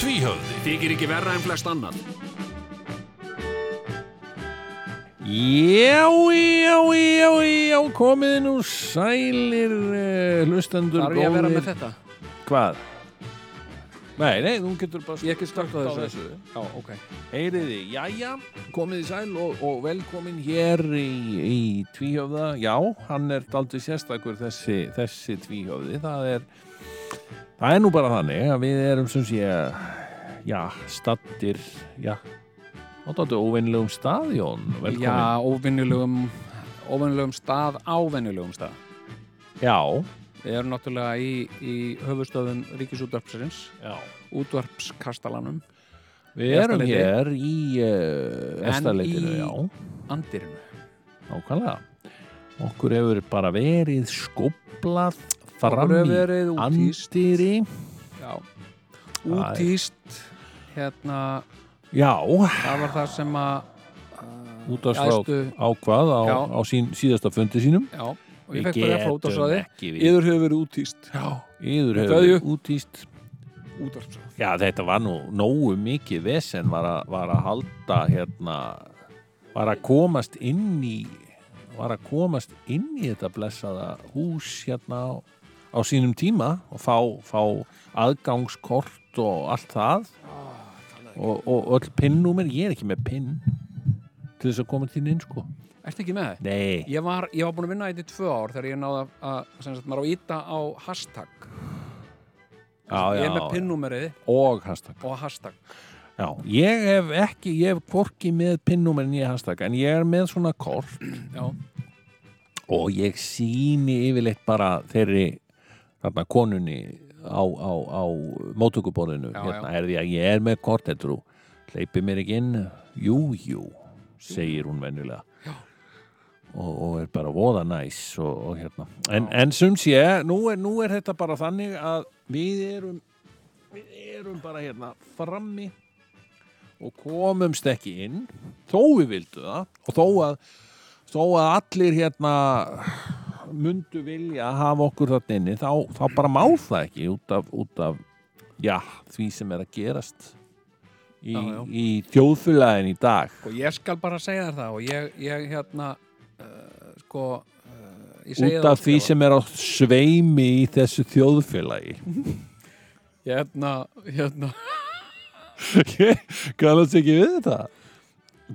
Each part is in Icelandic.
Tvíhöfði Þykir ekki verra en flest annan. Já, já, já, já, komið nú sælir uh, hlustendur Þarf ég að vera með þetta? Hvað? Nei, nei, þú getur bara Ég get slökkt á slökkt þessu. Já, ok. Heyriði, jæja, komið í sæl og, og velkomin hér í, í tvíhöfða. Já, hann er daldið sérstakur þessi, þessi tvíhöfði. Það er, það er nú bara þannig að við erum sem sé, já, stattir, já, á daldið óveinlegum stað, Jón. Velkomin. Já, óvenjulegum, óvenjulegum stað á venjulegum stað. Já, Við erum náttúrulega í, í höfustöðum Ríkisútvarpsins, já. útvarpskastalanum, Við Í erum Efstaleiti. hér í uh, En efstaleitinu, í- já, andirinu. nákvæmlega. Okkur hefur bara verið skóplað fram Okkur hefur í verið útýst. andýri. Já. er- Útýst, hérna, Já, það var það sem að... út af strák Æstu- ákvað á, Já. á sín, síðasta fundi sínum. Já, og ég fekk bara að flóta svo að þið. ekki við. Yður hefur verið útýst. Já. Yður Með hefur kveðju. verið útýst. Útvarpsráð. Já, þetta var nú nógu mikið vesen var, að- var að halda hérna, var að komast inn í, var að komast inn í þetta blessaða hús hérna á, á sínum tíma og fá, fá aðgangskort og allt það Ah, og, og öll pinnúmer, ég er ekki með pinn til þess að koma til inn sko. Ertu ekki með það? Nei. Ég var, ég var búin að vinna í þetta í tvö ár þegar ég náði að, að sem sagt, maður á íta á hashtag. Já, ég já, er með pinnúmerið og hashtag. og hashtag. Já, ég hef ekki, ég hef hvorki með pinnúmer en ég hashtag, en ég er með svona kort Já, og ég síni yfirleitt bara þeirri þarna konunni á, á, á móttökuborðinu Já, hérna er því að ég er með kort þetta hleypi mér ekki inn jú, jú, segir hún venjulega og, og er bara voða næs og, og hérna en, en sem sé, nú er, nú er þetta bara þannig að við erum við erum bara hérna frammi og komumst ekki inn þó við vildu það og þó að þó að allir hérna mundu vilja að hafa okkur þarna inni þá, þá bara má það ekki út af, út af já, því sem er að gerast í, Já, já. í þjóðfélagin í dag og ég skal bara segja þér það og ég, ég hérna, uh, sko, uh, ég segi út af því óskrifað. sem er á sveimi í þessu þjóðfélagi Hérna, hérna, kannast ekki við þetta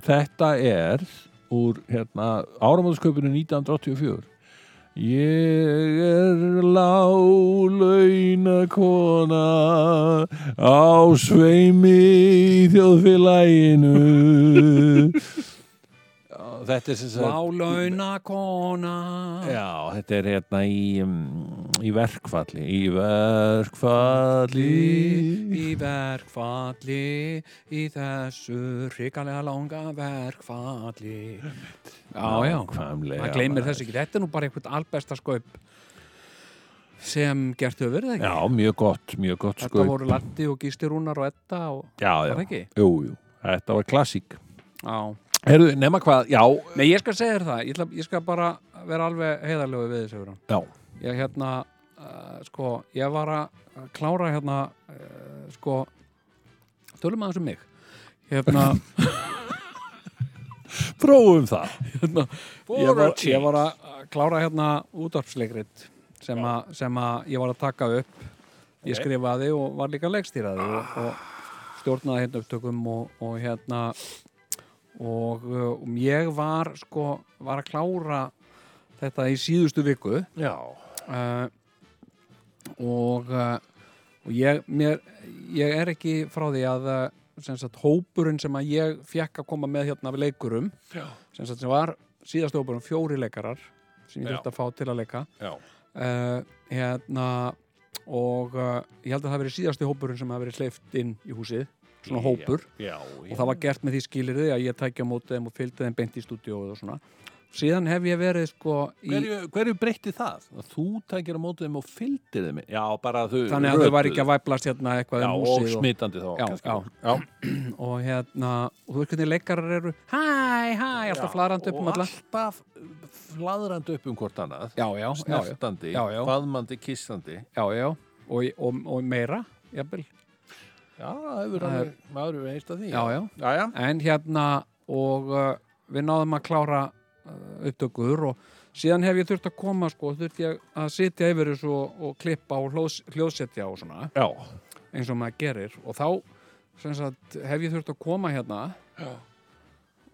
þetta er úr hérna, áramóðsköpunum 1984 Ég er lálauna kona á sveimi í þjóðfélaginu Já, Þetta er sem sagt lálauna kona. Já, þetta er hérna í, um, í verkfalli Í verkfalli Í verkfalli, í þessu hrikalega langa verkfalli. Já, já. Nákvæmlega, Það gleymir maður. þessu ekki. Þetta er nú bara eitthvað albesta skaup sem gert höfur verið ekki. Já, mjög gott, mjög gott Þetta sko voru Latti og Gísti Rúnar og Edda og Já, já, var það ekki? jú, jú, þetta var klassík Já. Herðu, nema hvað, já, Nei, ég skal segja þér það. Ég, ætla, ég skal bara vera alveg heiðarlegu við þessu. Hugrún. já, Ég hérna, uh, sko, ég var að klára hérna, uh, sko, tölum aðeins um mig. Hérna, prófum það hérna Ég ég, var- var, ég var að klára hérna útvarpsleikrit sem, a, sem að ég var að taka upp. Ég Ok. skrifaði og var líka leikstýraði og, og stjórnaði hérna upptökum og, og hérna og um, ég var sko, var að klára þetta í síðustu viku Já, uh, og, uh, og ég, mér, ég er ekki frá því að uh, sem sagt, hópurinn sem að ég fekk að koma með hérna við leikurum Já. sem, sagt, sem var síðast hópurinn fjóri um leikarar sem ég Já. þurfti að fá til að leika já, uh, hérna og uh, ég held að það hafi verið síðasti hópurinn sem hafi verið hleyft inn í húsið svona hópur já, og það var gert með því skilirði að ég tækja á móti þeim og fylgdi þeim beint í stúdíóið og svona síðan hef ég verið sko í, hverju, hverju breytti það? Að þú tækir á mótið þeim og fylgdir þeim já, bara að þau þannig að þau var ekki rötuðu. að væplast hérna eitthvað já, um og húsið smitandi þá Já, kannski. já. og hérna og þú veist hvernig leikarar eru hæ, hæ, alltaf Já, flarandi upp um og alla alltaf fladrandi upp um hvort annað já, já, já, já, snertandi, Já, já. faðmandi, kissandi já, já. Og, og, og meira jafnvel. já, það hefur Það alveg- maður hefur einst að því já, já, já, já. en hérna og uh, við náðum að klára uh, upptökur og síðan hef ég þurft að koma sko, þurft ég að sitja yfir þessu og, og klippa og hljós, hljóðsetja og svona Já. eins og maður gerir og þá sem sagt, hef ég þurft að koma hérna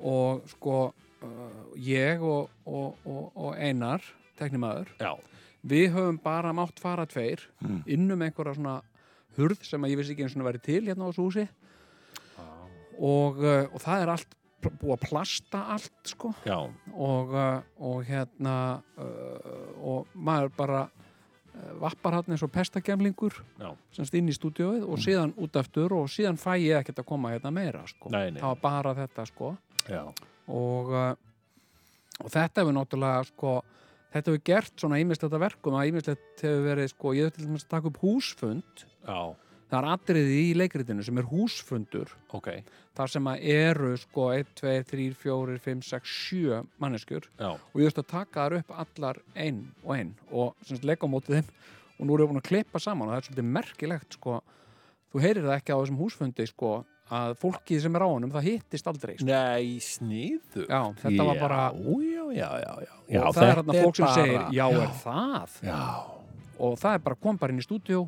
og sko uh, ég og, og, og, og Einar teknimaður já, við höfum bara mátt fara tveir Hmm. innum einhverja svona hurð sem að ég vissi ekki eins og verið til hérna á þessu húsi Ah. og, uh, og það er allt pl- búið að plasta allt sko já, og, uh, og hérna uh, og maður bara uh, vappar hann eins og pestagemlingur já. semst inn í stúdíóið Hmm. og síðan út aftur og síðan fæ ég ekkert að koma hérna meira sko Nei, nei. það var bara þetta sko já. og, uh, og þetta hefur náttúrulega sko, þetta hefur gert svona ímislegt að verkum að ímislegt hefur verið sko, ég hefur til dæmis að taka upp húsfund já. það er atriði í leikritinu sem er húsfundur ok þar sem að eru sko 1, 2, 3, 4, 5, 6, 7 manneskjur já. og ég hefur að taka þar upp allar einn og einn og sem sagt leika á mótið þeim og nú erum við búin að klippa saman og það er svolítið merkilegt sko, þú heyrir það ekki á þessum húsfundi sko að fólkið sem er á honum það hittist aldrei sko. nei, sniðu Já, þetta var bara- já, já, já, já. já og það er þetta hérna fólk sem bara- segir já, er það já, og það er bara kom bara inn í stúdíó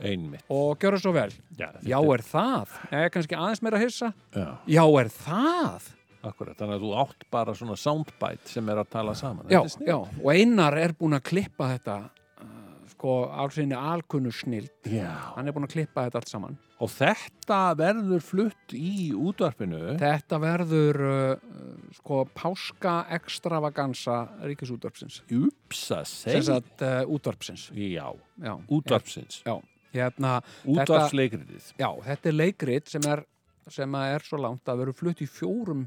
einmitt og gjörðu svo vel já, já þetta- er það, eða kannski aðeins meira að hissa já. já er það Akkurat, þannig að þú átt bara svona soundbite sem er að tala saman já, Þetta er já, sniðugt. og Einar er búinn að klippa þetta uh, sko allsinni alkunnu snild já. hann er búinn að klippa þetta allt saman Og þetta verður flutt í útvarpinu þetta verður uh, uh, sko páska extravagansa ríkisútvarpsins Upsa, sem segir sagt uh, útvarpsins Já, já, útvarpsins já, hérna þetta- Útvarpsleikritið Já, þetta er leikrit sem er, sem að er svo langt að veru flutt í fjórum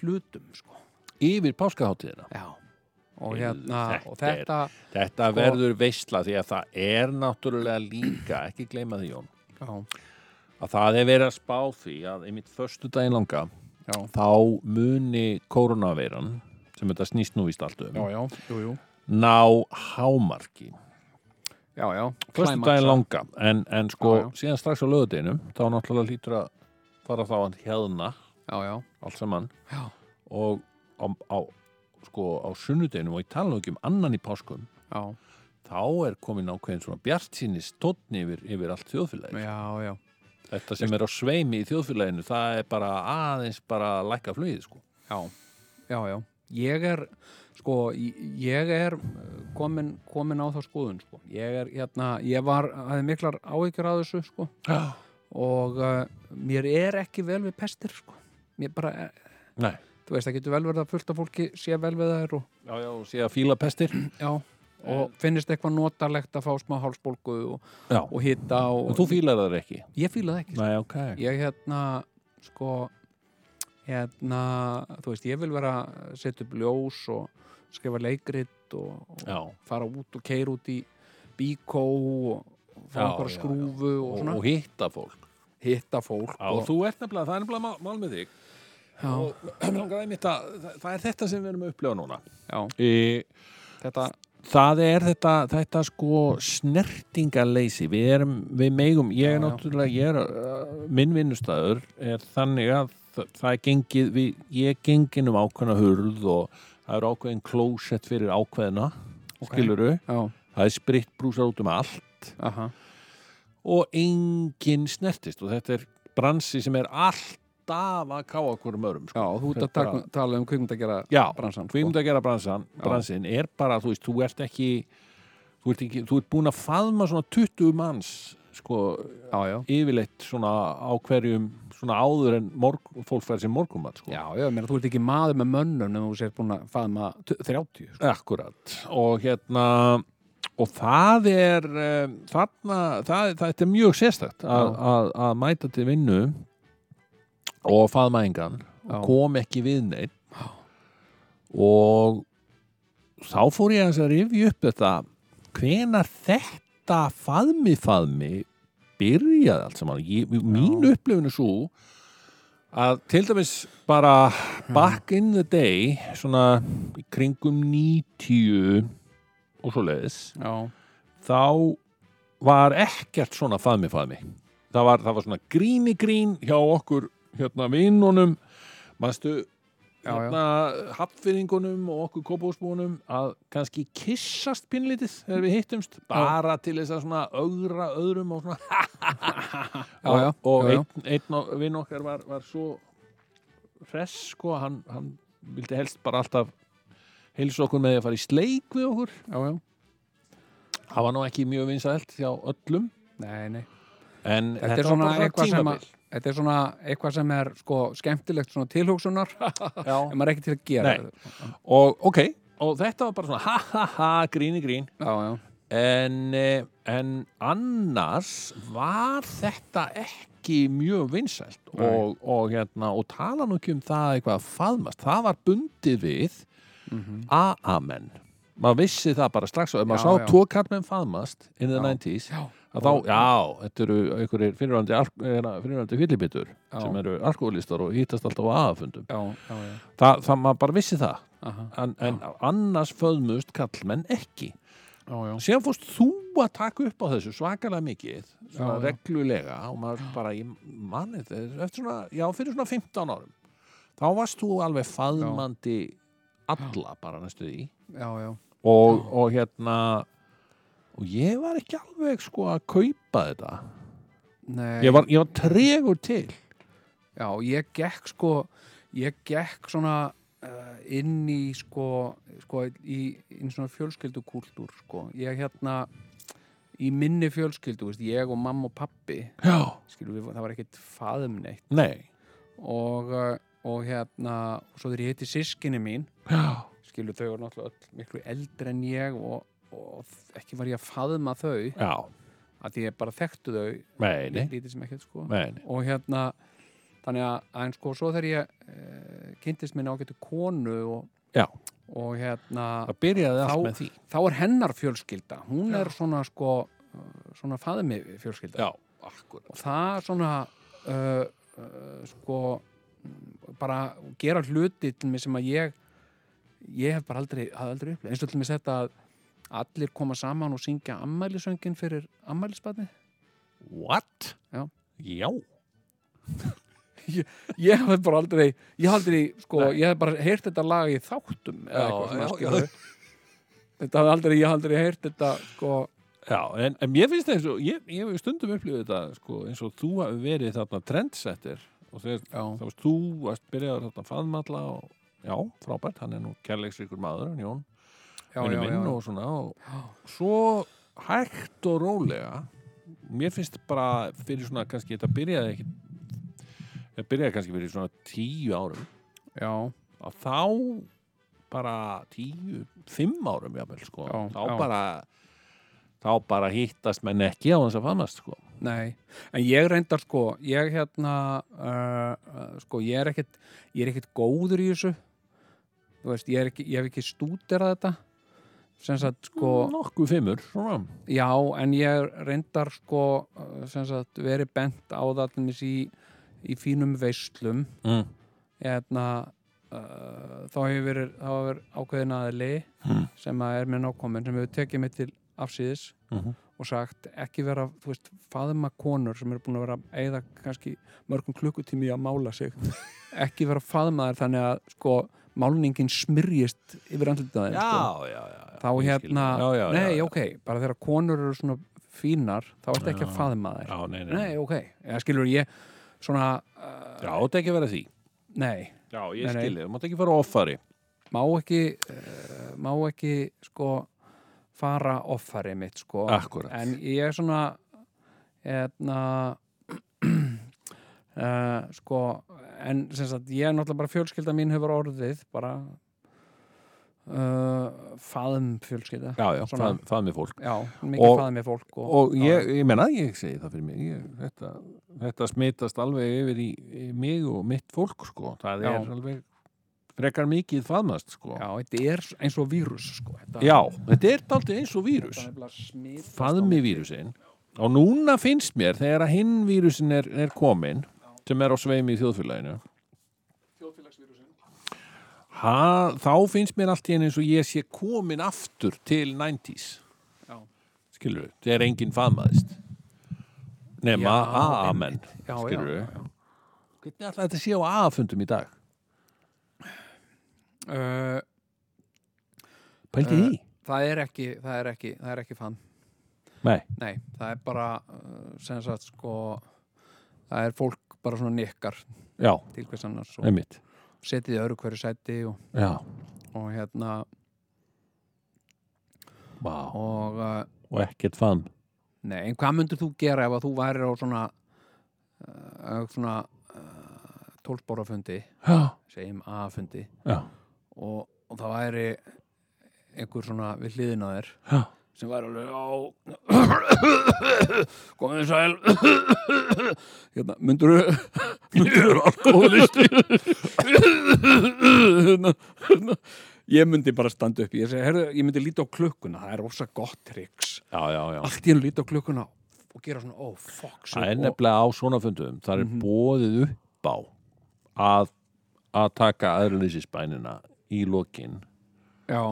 hlutum, sko. Yfir páskaháttíðina Já. Og Heyrðu, hérna, þetta og þetta, Þetta Sko- verður veistla því að það er náttúrulega líka, ekki gleyma því Jón já, að það er verið að spá því að einmitt förstu daginn langa já, þá muni koronaveiran sem þetta snýst nú víst allt um já, já, jú, jú, ná hámarki já, já. Föstu Climaxa. daginn langa, en, en sko Já, já. síðan strax á lögudeginum, þá náttúrulega hlýtur að fara þá hann hérna Já, já, allt saman já, og á, á, sko, á sunnudeginum og ég tala nú ekki um annan í páskum já, þá er komin ákveðin svona bjartsýnis tónn yfir, yfir allt þjóðfélagi já, já. þetta sem er á sveimi í þjóðfélaginu það er bara aðeins bara að lækka flugið sko. Já, já, já. Ég er, sko, ég er komin, komin á þá skoðun, sko. Ég er, hérna, ég var, hafði miklar áhyggjur að þessu, sko. Og uh, mér er ekki vel við pestir, sko. Mér bara, Nei. þú veist, það getur vel verið að fullt af fólki sé vel við þær og, já, já, og sé að fíla pestir já, og finnist eitthvað notalegt að fá smá hálsbólgu og, já. og hitta og, og þú fílar það ekki ég fíla það ekki sko. Nei, okay. ég hérna, sko hérna, þú veist, ég vil vera að setja upp ljós og skrifa leikrit og, og já. fara út og keira út í bíkó og fá Já, einhverja já, skrúfu og Og, svona og hitta fólk hitta fólk Já, og og, þú ert nefnilega, það er nefnilega mál, mál með þig já, og langaði mitt að það, það er þetta sem við erum að upplega núna já, e, þetta það er þetta, þetta sko snertingaleysi við erum, við megum, ég Já, er já. náttúrulega ég er, uh, minn vinnustæður er þannig að það, það er gengið við, ég er gengin um ákveðna hurð og það eru ákveðin klósett fyrir ákveðina okay. skiluru, já, það er spritt brúsar út um allt aha, og enginn snertist og þetta er bransi sem er alltaf að káa okkur um örum sko. já, þú ert að Þetta- taka- tala um kvikmyndagjara Já, bransan, sko. við erum að gera bransan bransin er bara, þú veist, þú ert ekki þú ert, ekki, þú ert búin að faðma svona 20 manns sko, já, já, yfirleitt svona á hverjum svona áður en morg, fólk fær sér morgumat sko. Já, já, ég meina, þú ert ekki maður með mönnum en þú sér búin að faðma t- 30 sko. Akkurat og hérna og það er um, þarna, það, þetta er mjög sérstakt að, Já. að, að mæta til vinnu og faðmæðingan Já. kom ekki við neitt og þá fór ég aðeins að rifja upp þetta hvenar þetta faðmi faðmi byrjaði allt saman ég, mín upplifinu svo að til dæmis bara back in the day svona í kringum 90 og svo leiðis já, þá var ekkert svona faðmi faðmi það var, það var svona gríni grín hjá okkur hérna vinnunum maðurstu Já, já. hérna hafnfyrringunum og okkur kópúsbúnum að kannski kissast pinlítið þegar við hittumst bara til þess að svona ögra öðrum og svona já, já, og já, já. einn, einn og vinn okkar var, var svo hress sko, hann, hann vildi helst bara alltaf heilsa okkur með því að fara í sleik við okkur já, já. það var nú ekki mjög vinsælt hjá öllum Nei, nei. en þetta, Þetta, er var svona bara eitthvað sem, tímabil að, þetta er svona eitthvað sem er sko skemmtilegt svona tilhugsunar en Já. maður er ekki til að gera Nei. og ok, og þetta var bara svona ha ha ha, gríni grín Já, já, en, eh, en annars var þetta ekki mjög vinsælt Nei. og, og, hérna, og tala nú ekki um það eitthvað að faðmast, það var bundið við a-amen maður vissi það bara strax og ef maður Mhm. Já, sá já. tvo kallmenn faðmast in the Já. 90s já, að þá, já, þetta eru einhverjir fyrirvændi, fyrirvændi fyllibitur Já. sem eru alkoholistar og hýtast alltaf á aðafundum já, já, já. Þa, það maður bara vissi það Aha, en, en annars föðmust kallmenn ekki já, já. síðan fórst þú að taka upp á þessu svakalega mikið svona Já, já. reglulega og maður bara, ég manni þess eftir svona, já, fyrir svona 15 árum þá varst þú alveg faðmandi alla bara næstu því já, já. og, og hérna og ég var ekki alveg sko að kaupa þetta Nei, ég var, ég var tregur til já, ég gekk sko ég gekk svona uh, inn í sko, sko í, inn í svona fjölskyldukúltúr sko, ég hérna í minni fjölskyldu, veist, ég og mamma og pappi já, skilur við, það var ekkert faðum neitt nei og, uh, og hérna og svo þegar ég heiti sískinni mín já, skilur þau eru náttúrulega öll miklu eldri en ég og, og ekki var ég að faðma þau já, að ég bara þekktu þau nei, nei, lítið sem ekkert sko nei, nei. og hérna þannig að, að sko svo þegar ég e, kynntist minna ágættu konu og, já, og hérna það byrjaði allt Þá- með því þá er hennar fjölskylda hún er svona sko eh, svona faðmi fjölskylda já, akkurat og það svona uh, uh, sko mm, bara gera hluti til mig sem að ég ég hef bara aldrei, hafði aldrei upplega eins og til mig þetta að allir koma saman og syngja ammælisöngin fyrir ammælisbarni what? Já. já, ég hef bara aldrei, ég hef aldrei sko, Nei. ég hef bara heyrt þetta lag í þáttum eða Já, eitthvað svona já, skilur þetta hef aldrei, ég hef aldrei heyrt þetta sko, já en, en mér finnst það eins og ég, ég hef stundum upplifið þetta sko, eins og þú hafi verið þarna trendsetter og þegar já, þá varst þú að byrjaði þarna að faðmalla og já, frábært, hann er nú kærleiksrikur maður en Jón, já, já, vinur já, minn já. og svona og Já. svo hægt og rólega mér finnst bara fyrir svona kannski þetta byrjaði ekki þetta byrjaði kannski fyrir svona tíu árum já, að þá bara tíu, fimm árum jáfnvel sko, Já, þá já. bara þá bara hittast menn ekki á þess að faðmast sko nei en ég reyndar sko, ég hérna uh, uh, sko, ég er ekkit ég er ekkit góður í þessu þú veist, ég, er ekki, ég hef ekki stúderað þetta sem sagt sko nokkuð fimmur, svona Já, en ég reyndar sko eh, sem sagt, verið bent á það allinnis í, í fínum veislum mm. eðna, Hérna, uh, þá hefur verið, þá hefur verið ákveðin aðli Mm. sem að er með nákomin sem hefur tekið mig til afsýðis Mhm. og sagt ekki vera, þú veist, faðma konur sem eru búin að vera að eyða kannski mörgum klukkutími í að mála sig ekki vera faðma þær þannig að sko málningin smyrjist yfir andlitaðin sko. já, já, já þá ég skil. hérna, já, já, nei, já, já. ok bara þegar konur eru svona fínar þá ertu ekki að faðma þær já, nei, nei, nei, ok, eða skilur ég svona, uh, já, þetta ekki að vera því nei já, ég Nei, nei. skilji, þú mátt ekki fara offari má ekki uh, má ekki sko fara offarið mitt sko Akkúrat. en ég er svona hérna uh, sko en sem sagt ég er náttúrulega bara fjölskylda mín hefur orðið bara uh, faðum fjölskylda já, já, Svona. fað, fað með fólk já mikið Og- faðum með fólk og, og ég, ég menna, ég segi það fyrir mig ég, þetta, þetta smitast alveg yfir í, í mig og mitt fólk sko, það Já. er alveg frekar mikið faðmast sko já, þetta er eins og vírus sko, þetta, Já, þetta er daldið eins og vírus þetta smit, faðmi vírusin og núna finnst mér þegar að hinn vírusin er, er komin sem er á sveimi í þjóðfélaginu ha, þá finnst mér allt í enn eins og ég sé komin aftur til 90s Já. skilur við, þegar enginn faðmaðist nema Já, A-A-menn já, skilur já, við hvernig alltaf þetta sé á A-fundum í dag uh, pældi Eh, því? það er ekki það er ekki, það er ekki faðm Nei, Nei, það er bara uh, sem sagt sko það er fólk bara svona nikkar já, til hvers annars og einmitt setið í öru hverju sæti og, já, og hérna vá, og uh, og ekkert faðm nei, en hvað myndir þú gera ef að þú værir á svona uh, svona uh, tólfbórafundi já, segjum A-fundi já, og, og það væri einhver svona við hliðin á þér já sem væri alveg á komið þið sæl hérna, myndur myndur alkoholisti hérna, hérna ég myndi bara standa upp ég, segi, herðu, ég myndi líta á klukkuna, það er rosa gott triks Já, já, já. allt í hennu líta á klukkuna og gera svona, ó, fuck Það er og- Mhm. nefnilega á svona fundum, það er mm bóðið upp á að, að taka aðrunlýsisbænina í lokin já,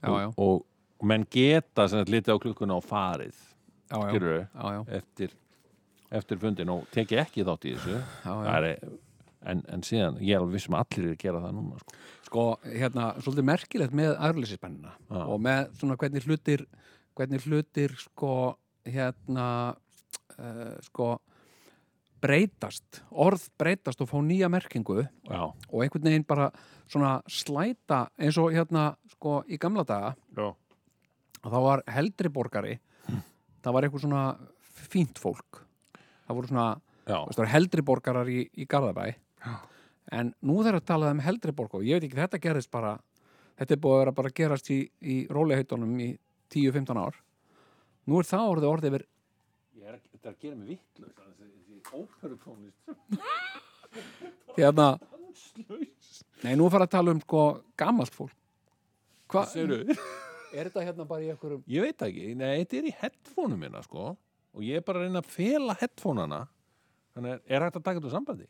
já, já, og menn geta sem að liti á klukkuna og farið, já, já, já, gerur já, eftir, eftir fundin og teki ekki þátt í þessu. já, já. Það er, en, en síðan, ég er alveg vissum að allir er að gera það núna, sko. sko, hérna, svolítið merkilegt með aðrlýsispennina Já. og með svona hvernig hlutir hvernig hlutir, sko, hérna uh, sko breytast, orð breytast og fá nýja merkingu Já, og einhvern veginn bara svona slæta eins og hérna, sko, í gamla daga já, að þá var heldri borgari það var eitthvað svona fínt fólk það voru svona já, Þú veist, það eru heldri borgarar í, í Garðabæ en nú þegar að talað um heldri borgar og ég veit ekki, þetta gerðist bara þetta er búið að vera bara að gerast í, í róliheitunum í 10-15 ár nú er það orðið orðið yfir Ég er, þetta er að gera mig vittlust, þessi óperutónlist. hérna nei, nú er farið að tala um sko gamalt fólk Hva, er þetta hérna bara í einhverjum Ég veit það ekki, nei, þetta er í headphone-um minna, sko, og ég er bara að reyna að fela headphone-ana, þannig að er hægt að taka þetta úr sambandi?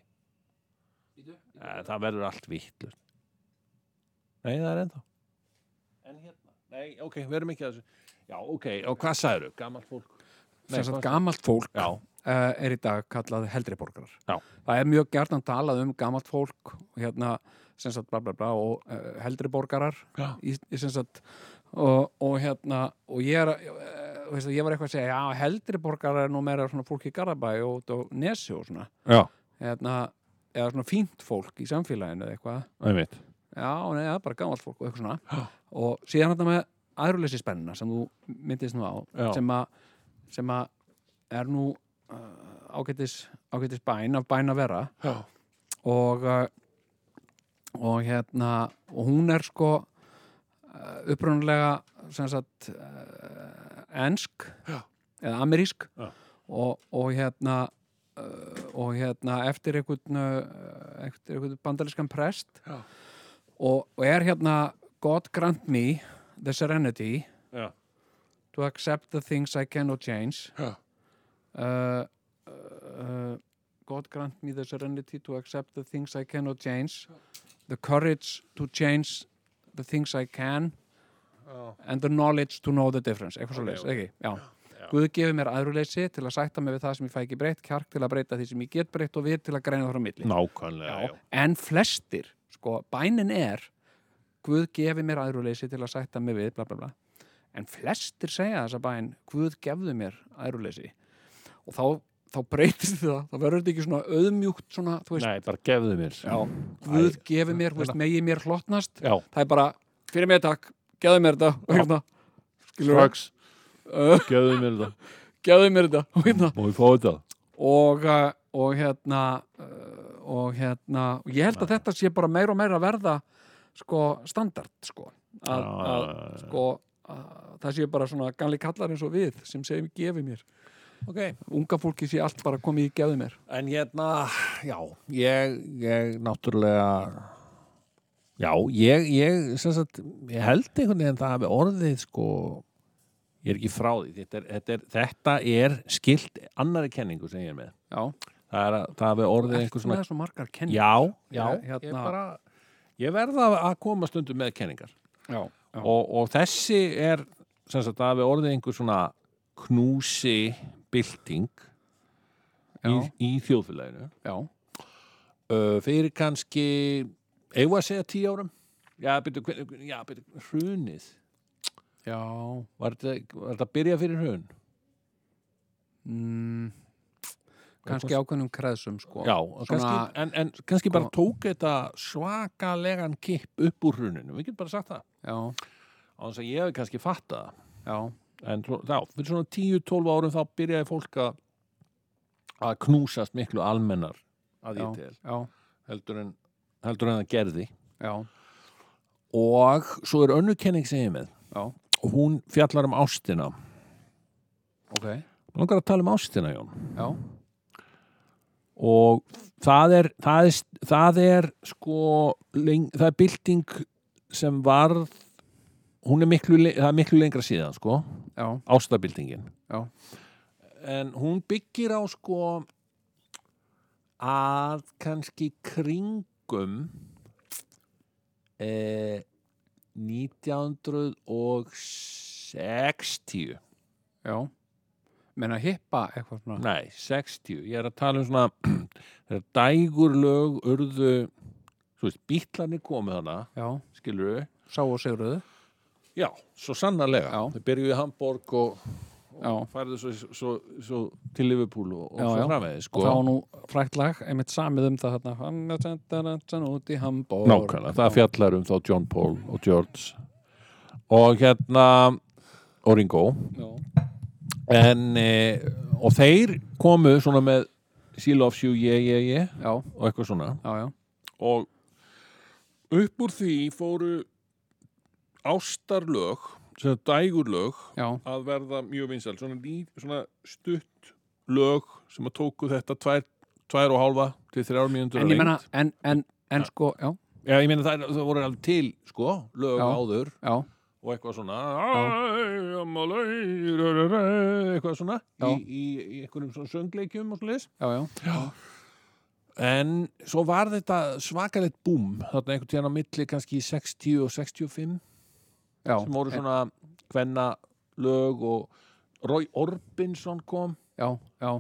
Nei, það verður allt vittlust. Nei, það er ennþá. En hérna, nei, ok, verum ekki að þessu. Já, ok, og hvað sagður, gamalt fólk? Nei, sem sagt, hvað- gamalt fólk Já, uh, er í dag kallað heldri borgarar. Já. Það er mjög gertan talað um gamalt fólk hérna, sem sagt, bla, bla, bla, og uh, heldri borgarar Já. í, í, sem sagt, og, og hérna og ég er uh, veist, að ég var eitthvað að segja, já, heldri borgarar er nú meira svona fólk í Garabæ og út á Nesi og svona já, hérna, eða svona fínt fólk í samfélaginu eða eitthvað einmitt. já, nei, það er bara gamalt fólk og eitthvað svona og síðan þetta með aðruleysi spennina sem þú myndist nú á Já. sem að sem að er nú uh, ágætis, ágætis bæn af bæn að vera Já. og uh, og hérna og hún er sko uh, upprunalega sem sagt uh, ensk Já. eða amerísk Já. og, og hérna uh, og hérna eftir einhvern uh, eftir einhvern bandaliskan prest Já. og, og er hérna God grant me the serenity Já. to accept the things I cannot change Já. uh, uh, God grant me the serenity to accept the things I cannot change the courage to change the things I can and the knowledge to know the difference eitthvað svo leys, ok. ekki? Já. Guð gefi mér aðruleysi til að sætta mig við það sem ég fæ ekki breytt kjark til að breyta því sem ég get breytt og við til að greina það frá milli Nákvæmlega, já. en flestir, sko, bænin er Guð gefi mér æðruleysi til að sætta mig við, bla bla bla en flestir segja þessa bæn Guð gefðu mér æðruleysi og þá, þá breytist það þá verður þetta ekki svona auðmjúkt svona, þú veist, Nei, bara gefðu mér. já, Guð gefi mér, þú veist, megi mér hlotnast Já, það er bara, fyrir mér takk, gefðu mér þetta og hérna, skilur við, strax, uh, gefðu mér það. gefðu mér þetta og hérna, Má ég fá þetta? og, eh, uh, og hérna uh, og hérna og ég held að þetta sé bara meira og meira að verða sko standard sko Já, að, já, að já. sko að, það séu bara svona ganli kallar eins og við sem segjum gefi mér ok unga fólki sé allt bara komið í gefi mér En hérna, já, ég, ég náttúrulega, já, ég, ég, sem sagt, ég held einhvern veginn það hafi orðið, sko, ég er ekki frá því, þetta er, þetta er, þetta er skilt annari kenningu sem ég er með. já, Það er að, það hafi orðið er einhver svona, svo margar kenning já, já, Ég- hérna- ég bara, ég verða að koma stundum með kenningar. já, já, Og, og þessi er, sem sagt, það hafi orðið einhver svona knúsi bylting í, já, í þjóðfélaginu. já, uh, fyrir kannski eigum við að segja tíu árum já, byrju, hver- já, byrju, hrunið já. var þetta, var þetta að byrja fyrir hrun Mm, kannski ákveðnum kreðsum sko já, Sko- kannski, Svona- en, en kannski bara tók þetta svakalegan kipp upp úr hruninu, við getum bara sagt það já, á þess að ég hefði kannski fatta það já, en svo- já, fyrir svona 10-12 árum þá byrjaði fólk að að knúsast miklu almennar að já, ég til já, heldur en, heldur en það gerði já, og svo er önnur kenning sem ég er með já og hún fjallar um ástina ok, langar að tala um ástina, Jón já, og það er það er, það er sko leng, það er bylting sem varð hún er miklu, le- það er miklu lengra síðan sko, já, ástabyltingin Já. en hún byggir á sko að kannski kringum eh, 1960 já menna hippa eitthvað svona Nei, 60. Ég er að tala um svona þegar dægurlög urðu, þú veist, bítlarnir komu þarna, já, skilur við? sá og segurðu Já, svo sannarlega. Já. Þau byrjuðu í Hamborg og, já, og færðu svo, svo, svo til Liverpool og, og Já, svo já. framvegði, og sko. það var nú frækt lag einmitt samið um það þarna Hamilton út í Hamburg Nákvæmlega, það fjallar um þá John Paul og George og hérna og Ringo já, en, e, og þeir komu svona með She Loves You, Yeah, Yeah, Yeah já, og eitthvað svona já, já, og upp úr því fóru ástarlög sem dægurlög já, að verða mjög vinsæl svona, líf, svona stutt lög sem að tóku þetta tvær, tvær og hálfa til þrjár mínútur en ég menna en, en, en sko, já, Já, ég meina það, það voru alveg til sko, lög Já. áður já og eitthvað svona I am a lady, eitthvað svona í, Já. í, í einhverjum svona söngleikjum og svoleiðis já, já, En svo var þetta svakalegt búm þarna einhvern tíðan á milli kannski í 60 og 65 já, sem voru svona hvenna lög og Roy Orbinson kom já, já,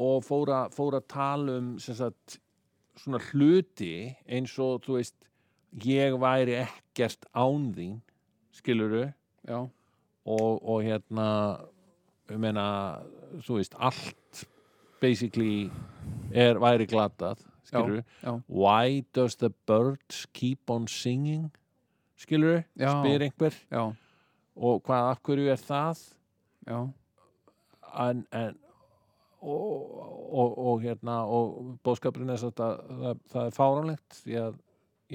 og fór að fór að tala um sem sagt, svona hluti eins og þú veist ég væri ekkert án þín skiluru já, og, og hérna ég meina þú veist allt basically er væri glatað skiluru já, Why does the birds keep on singing? Skilur við? Já. Spyr einhver. já, Og hvað, af hverju er það? já En, en, og, og, og hérna, og bóðskapurinn er satt að það, það er fáránlegt því að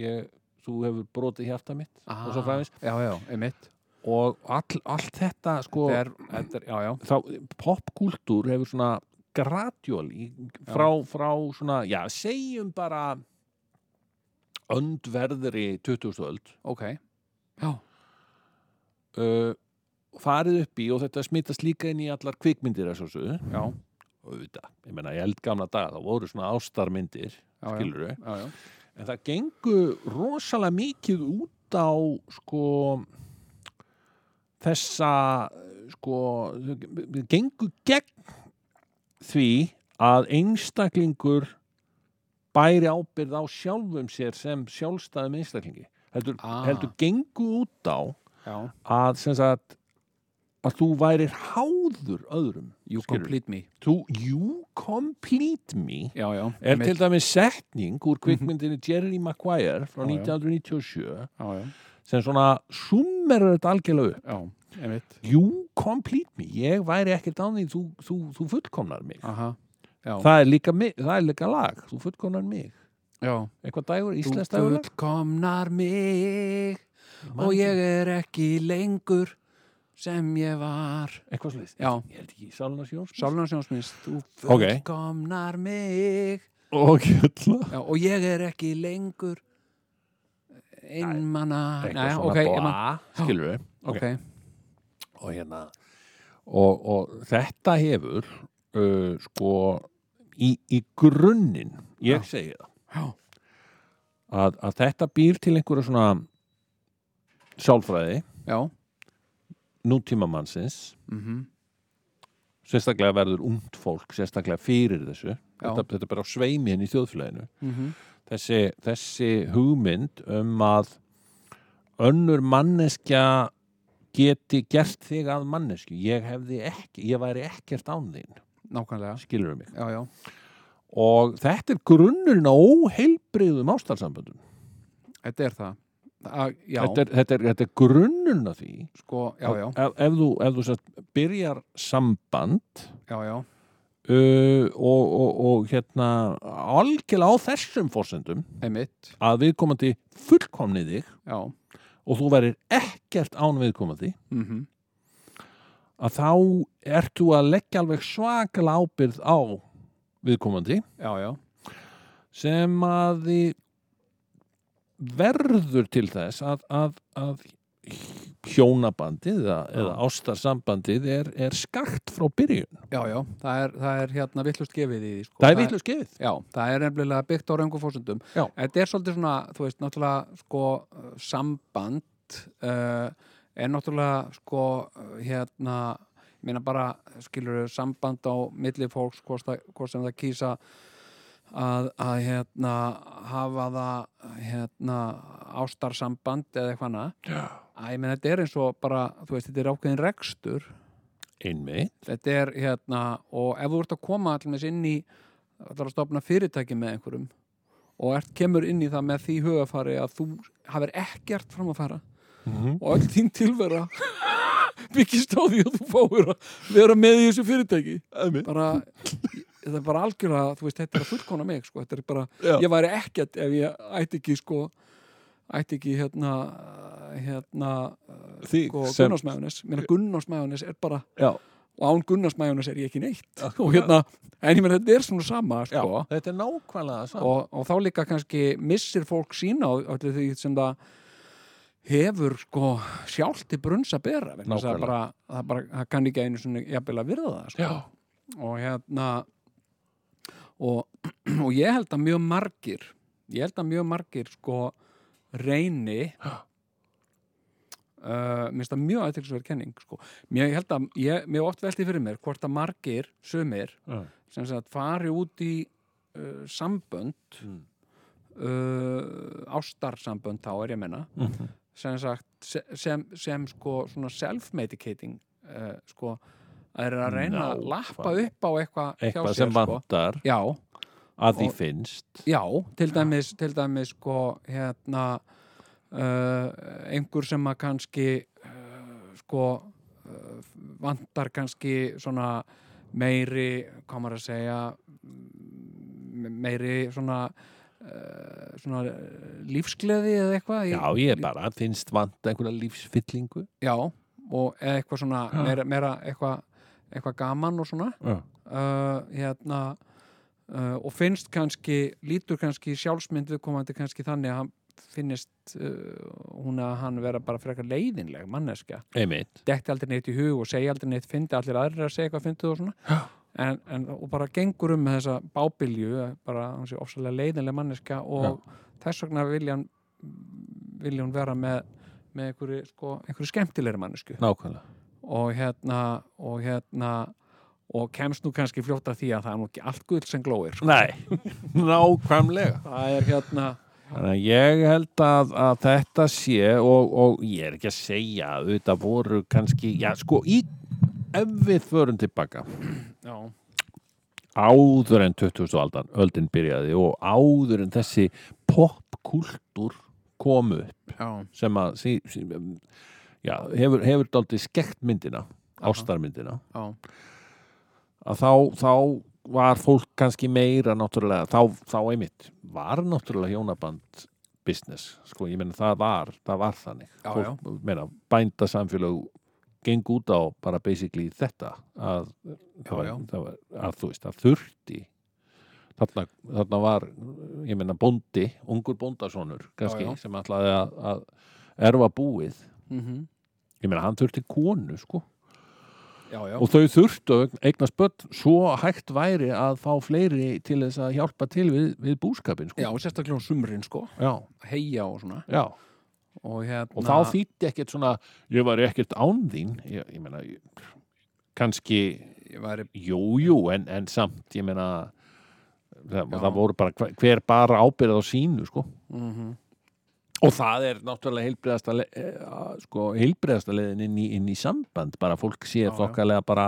ég, þú hefur brotið hjarta mitt og svo fræmis. já, já, einmitt Og all, allt þetta, sko, Þetta er, þetta er, já, já, þá, popkúltúr hefur svona gradjól í, frá, frá svona, já, segjum bara öndverðri 20. öld ok já, uh, farið upp í og þetta smittast líka inn í allar kvikmyndir að svo svo já, auðvitað, ég meina í eldgamla daga þá voru svona ástarmyndir, já, já, skilur við já, já. en það gengu rosalega mikið út á sko þessa sko, þau gengu gegn því að einstaklingur bæri ábyrð á sjálfum sér sem sjálfstæðum einstaklingi heldur, Ah. heldur gengu út á já, að sem sagt að þú værir háður öðrum you Skilurðu? complete me þú, you complete me já, já, er einmitt. til dæmis setning úr kvikmyndinni Jerry Maguire frá Já, já. 1997 já, já, sem svona summerur þetta algjörlega upp já, einmitt you complete me, ég væri ekkert án því þú, þú, þú fullkomnar mig aha, já, það er, líka, mi- það er líka lag, þú fullkomnar mig já. eitthvað dagur, Þú íslensk dagur fullkomnar mig Man og ekki. ég er ekki lengur sem ég var eitthvað slúðist, Já. ég held ekki Sálunas Jóns Sálnarsjónsminst, þú Ok. fullkomnar mig og hérna. jötla já, og ég er ekki lengur einmana eitthvað svona ok, ég man- bóa, skilur við ok, hérna. og hérna og, og þetta hefur uh, sko í, í grunninn, ég segi það Já. að, að þetta býr til einhverja svona sálfræði já nútíma mannsins mm sérstaklega verður umt fólk sérstaklega fyrir þessu þetta, þetta er bara á sveimi henni í þjóðfélaginu Mhm. þessi, þessi hugmynd um að önnur manneskja geti gert þig að mannesku ég hefði ekki, ég væri ekkert án þín nákvæmlega skilur mig já, já, og þetta er grunnurinn á óheilbriðum ástalsamböndum þetta er það A, já, þetta er, þetta, er, þetta er grunnurinn að því sko, já, já, Ef, ef þú, ef þú satt, byrjar samband já, já uh, og, og, og hérna algjörlega á þessum fórsendum einmitt, að viðkomandi fullkomni þig já og þú verir ekkert án viðkomandi mm að þá ert þú að leggja alveg svakal ábyrð á viðkomandi já, já, sem að þið verður til þess að, að, að hjónabandið eða, eða ástarsambandið er, er skakt frá byrjun. já, já það er, það er hérna villust gefið í því sko. Það er vitlust gefið. Já, það er nefnilega byggt á röngum fórsöndum. Já. Þetta er svolítið svona, þú veist, náttúrulega sko uh, samband uh, er náttúrulega sko uh, hérna, ég meina bara skilur samband á milli fólks hvort, það, hvort sem það kýsa að, að hérna hafa það hérna ástarsamband eða eitthvað annað. Já. Æ, ég meina þetta er eins og bara, þú veist, þetta er ákveðin rekstur Einmitt. þetta er hérna og ef þú ert að koma allmest inn í það er að stopna fyrirtæki með einhverjum og ert, kemur inn í það með því hugafari að þú hafir ekkert fram að fara Mhm. og öll þín tilvera byggist á því að þú fáir að vera með í þessu fyrirtæki Einmitt. bara, þetta er bara algjörlega þú veist, þetta er að fullkona mig sko, þetta er bara, Já. ég væri ekkert ef ég ætti ekki sko ætti ekki hérna hérna, Þig sko, sem- Gunnars Mæjónis meina Gunnars Mæjónis er bara Já. og án Gunnars Mæjónis er ég ekki neitt og hérna, en ég menn þetta er svona sama Já. sko. Þetta er nákvæmlega saman. og, og þá líka kannski missir fólk sína á öllu því sem það hefur sko sjálft í brunns að bera vegna þess að Nákvæmlega. bara, það bara, það kann ekki einu svona jafnvel að virða það sko. Já. og hérna og, og ég held að mjög margir ég held að mjög margir sko reyni uh, minnst það mjög aðtilsverð kenning sko. mér ég held að, ég, mér hef oft velti fyrir mér hvort að margir, sumir Já. sem sagt fari út í uh, sambönd Mm. uh, ástarsambönd þá er ég að menna Mhm. sem sagt se- sem, sem sko svona self-medicating uh, sko að er að reyna að Nákvæmlega. lappa upp á eitthvað hjá Eitthvað sér sem sko. vantar já, að því Og- finnst. já, til dæmis til dæmis sko hérna uh, einhver sem að kannski uh, sko uh, vantar kannski svona meiri, hvað maður að segja m- meiri svona uh, svona lífsgleði eða eitthvað í- Já, ég bara finnst vanta einhverja lífsfyllingu. Já, og eða eitthvað svona meira, meira eitthvað, eitthvað gaman og svona Já. uh, hérna uh, og finnst kannski, lítur kannski sjálfsmynd viðkomandi kannski þannig að hann finnist uh, hún að hann vera bara frekar leiðinleg manneskja Einmitt. detti aldrei neitt í hug og segja aldrei neitt fyndi allir aðrir að segja eitthvað fyndið og svona en, en, og bara gengur um með þessa bábilju bara hann sé ofsalega leiðinleg manneska og þess vegna vilja hann vilja hún vera með með einhverju, sko, einhverju skemmtilegri mannesku Nákvæmlega. og hérna og hérna og kemst nú kannski fljótt að því að það er nú ekki allt gull sem glóir sko. Nei, nákvæmlega. það er hérna Þannig að ég held að, að þetta sé og, og ég er ekki að segja að þetta voru kannski, já sko í, ef við förum tilbaka já, áður en 2000 aldan, öldin byrjaði og áður en þessi popkultúr kom upp já, sem að sí, sí, já, hefur, hefur dálítið skekt myndina, ástarmyndina já, að þá, þá var fólk kannski meira náttúrulega, þá, þá einmitt var náttúrulega hjónaband business, sko, ég meina það var það var þannig, Já, fólk, meina bænda samfélög geng út á bara basically þetta að, það var, já. Það var, að þú veist, að þurfti þarna, þarna var, ég meina bóndi ungur bóndasonur, kannski Já, já. sem ætlaði að, að erfa búið mm ég meina, hann þurfti konu, sko já, já, og þau þurftu að eignast börn svo hægt væri að fá fleiri til þess að hjálpa til við, við búskapin sko. já, sérstaklega um sumrin sko, já, heia og svona já. og hérna og þá þýtti ekkert svona ég var ekkert án þín ég, ég meina, ég, kannski ég væri, jújú, jú, en, en samt ég meina það, Já. það voru bara, hver- hver bara ábyrð á sínu sko. mm og það er náttúrulega heilbriðasta le- eh, að, sko, heilbriðasta leiðin inn í, inn í samband bara fólk sé Já, já. þokkalega bara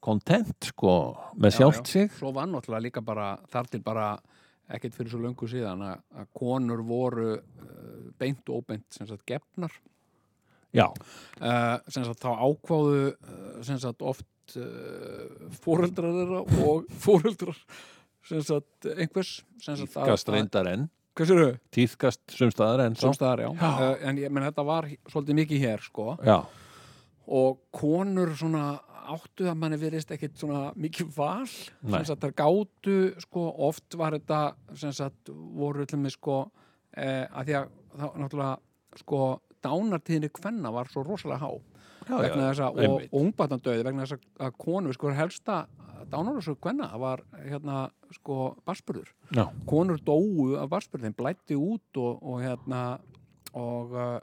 kontent sko, með Já, sjálft já. sig svo var náttúrulega líka bara þar til bara ekkert fyrir svo löngu síðan að, að konur voru uh, beint og óbeint sem sagt gefnar já, uh, sem sagt þá ákváðu uh, sem sagt oft uh, fóreldrar þeirra og fóreldrar sem sagt einhvers sem sagt að- Tíðkast reyndar enn, að- hvað sérðu? tíðkast sumstaðar enn svo. Sjónstæðar, já, já. Uh, en ég menn þetta var svolítið mikið hér sko Já, og konur svona áttu að manni verist ekkit svona mikið val sem Nei. sagt þær gátu sko oft var þetta sem sagt voru til mig sko eh, að því að þá náttúrulega sko dánartíðinni kvenna var svo rosalega há já, vegna þess að og, einmitt. og ungbarnandauði vegna þess að- að konur sko helsta dánarásög kvenna var hérna sko barspurður já, konur dóu af barspurðin, blætti út og, og hérna og uh,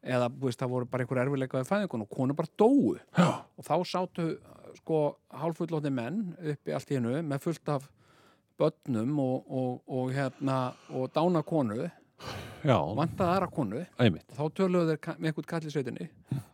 eða þú veist, það voru bara einhver erfiðleika við fæðingun og konur bara dóu já, og þá sátu uh, sko hálfullóti menn uppi allt í hennu með fullt af börnum og, og, og hérna og dána konu, já, vantaði aðra konu einmitt, þá töluðu þeir ka- með einhvern kall í sveitinni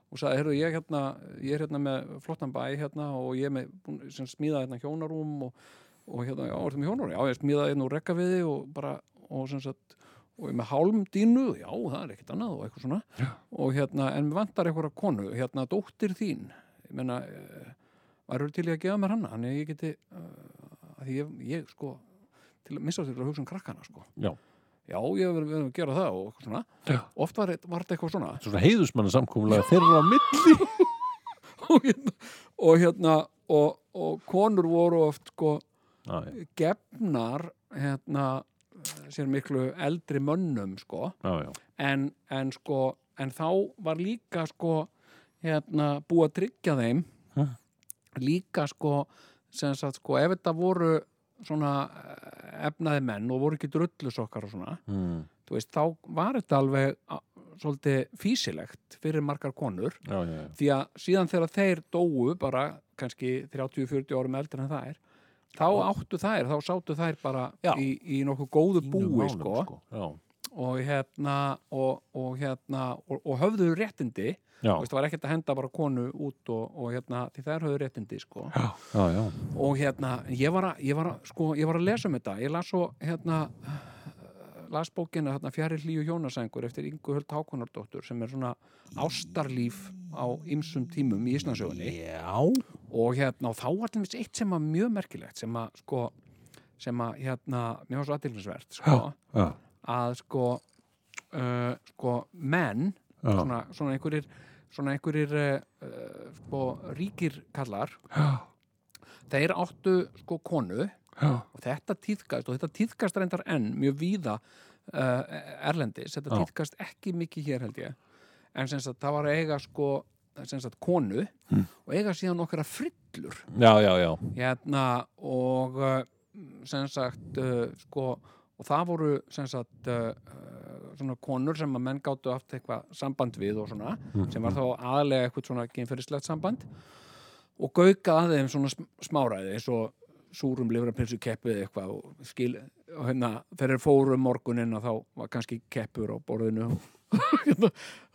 og sagði, heyrðu, ég, hérna, ég er hérna með flottan bæ hérna og ég er með búinn- sem smíðaði hérna hjónarúm og, og hérna, já, ertu með hjónarúm? Já, ég smíðaði hérna úr rekka við þið og bara, og sem sagt og ég er með hálm dínu, já, það er ekkert annað og eitthvað svona, já. og hérna, en mér vantar einhverja konu, hérna, dóttir þín ég menna, varur til í að gefa mér hana, þannig að ég geti uh, að því ég, ég, sko til að missa til að hugsa um krakkana, sko já. já, ég verður verður að gera það og eitthvað svona já. oft var, var þetta eitthvað svona Svona heiðusmanna samkúmulega þeirra á milli. og hérna og, hérna, og, og konur voru oft sko, Já, já, gefnar hérna, sér miklu eldri mönnum sko, já, já, en, en, sko, en þá var líka sko, hérna, búið að tryggja þeim Ha? líka sko, sem sagt, sko, ef þetta voru svona eh, efnaði menn og voru ekki drullusokkar og svona mm. þú veist, þá var þetta alveg a- svolítið físilegt fyrir margar konur já, já, já. því að síðan þegar þeir dóu bara kannski 30-40 árum eldri en þær þá áttu þær, þá sátu þær bara Já. í, í nokkuð góðu Fínum búi málum, sko, Já, og hérna og, og hérna og, og höfðu réttindi, já, Þú veist, það var ekkert að henda bara konu út og, og hérna því þær höfðu réttindi sko já, já, já, og hérna, ég var að, ég var að sko, ég var að lesa um þetta, ég las svo hérna, las bókina hérna, fjari hlýju hjónasengur eftir Ingu Höld Hákonardóttur sem er svona ástarlíf á ymsum tímum í Íslandsögunni já, og hérna, og þá var til dæmis eitt sem var mjög merkilegt sem að sko, sem að hérna, mér var svo aðtilsvert sko, já, að sko uh, sko, menn Já. svona, svona einhverjir svona einhverjir uh, uh, sko, ríkir kallar þeir áttu sko konu já, og þetta týðkast og þetta týðkast reyndar enn mjög víða uh, erlendis, þetta Já. týðkast ekki mikið hér held ég en sem sagt það var að eiga sko sem sagt konu og eiga síðan okkar að frillur já, já, já, hérna og uh, sem sagt uh, sko og það voru sem sagt uh, uh, svona konur sem að menn gáttu haft eitthvað samband við og svona sem var þá aðalega eitthvað svona kynferðislegt samband og gaukað að þeim svona sm- smáræði eins og súrum livrapilsu keppið eitthvað og skil og hérna þegar þeir fóru um morguninn að þá var kannski keppur á borðinu Hérna,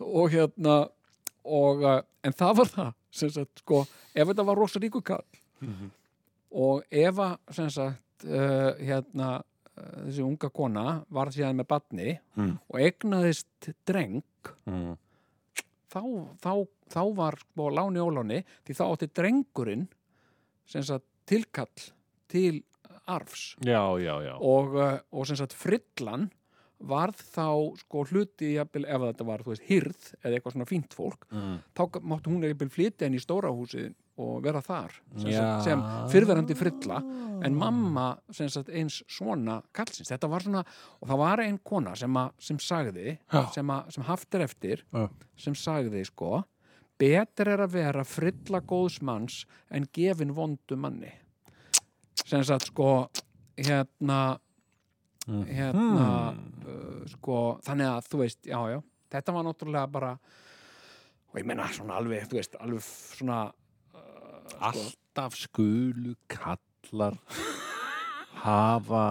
og hérna og uh, en það var það sem sagt sko ef þetta var rosa ríku kall og ef að sem sagt uh, hérna uh, þessi unga kona varð síðan með batni Mm. og egnaðist dreng mm. þá, þá, þá var sko láni óláni því þá átti drengurinn sem sagt tilkall til arfs já, já, já. og, uh, og sem sagt frillan varð þá sko hluti jafnvel, ef þetta var, þú veist, hirð eða eitthvað svona fínt fólk Mm. þá g- máttu hún eitthvað flytja henni í stóra húsið og vera þar sem, Já. sagt, sem fyrverandi frilla Ah. en mamma sem sagt, eins svona kallsins, þetta var svona og það var ein kona sem, a, sem sagði Já. sem, a, sem haftir eftir Já. sem sagði sko betur er að vera frilla góðs manns en gefin vondu manni sem sagt sko hérna hérna uh, sko, þannig að þú veist, já, já þetta var náttúrulega bara og ég meina svona alveg, þú veist, alveg f- svona Sko. alltaf skulu kallar hafa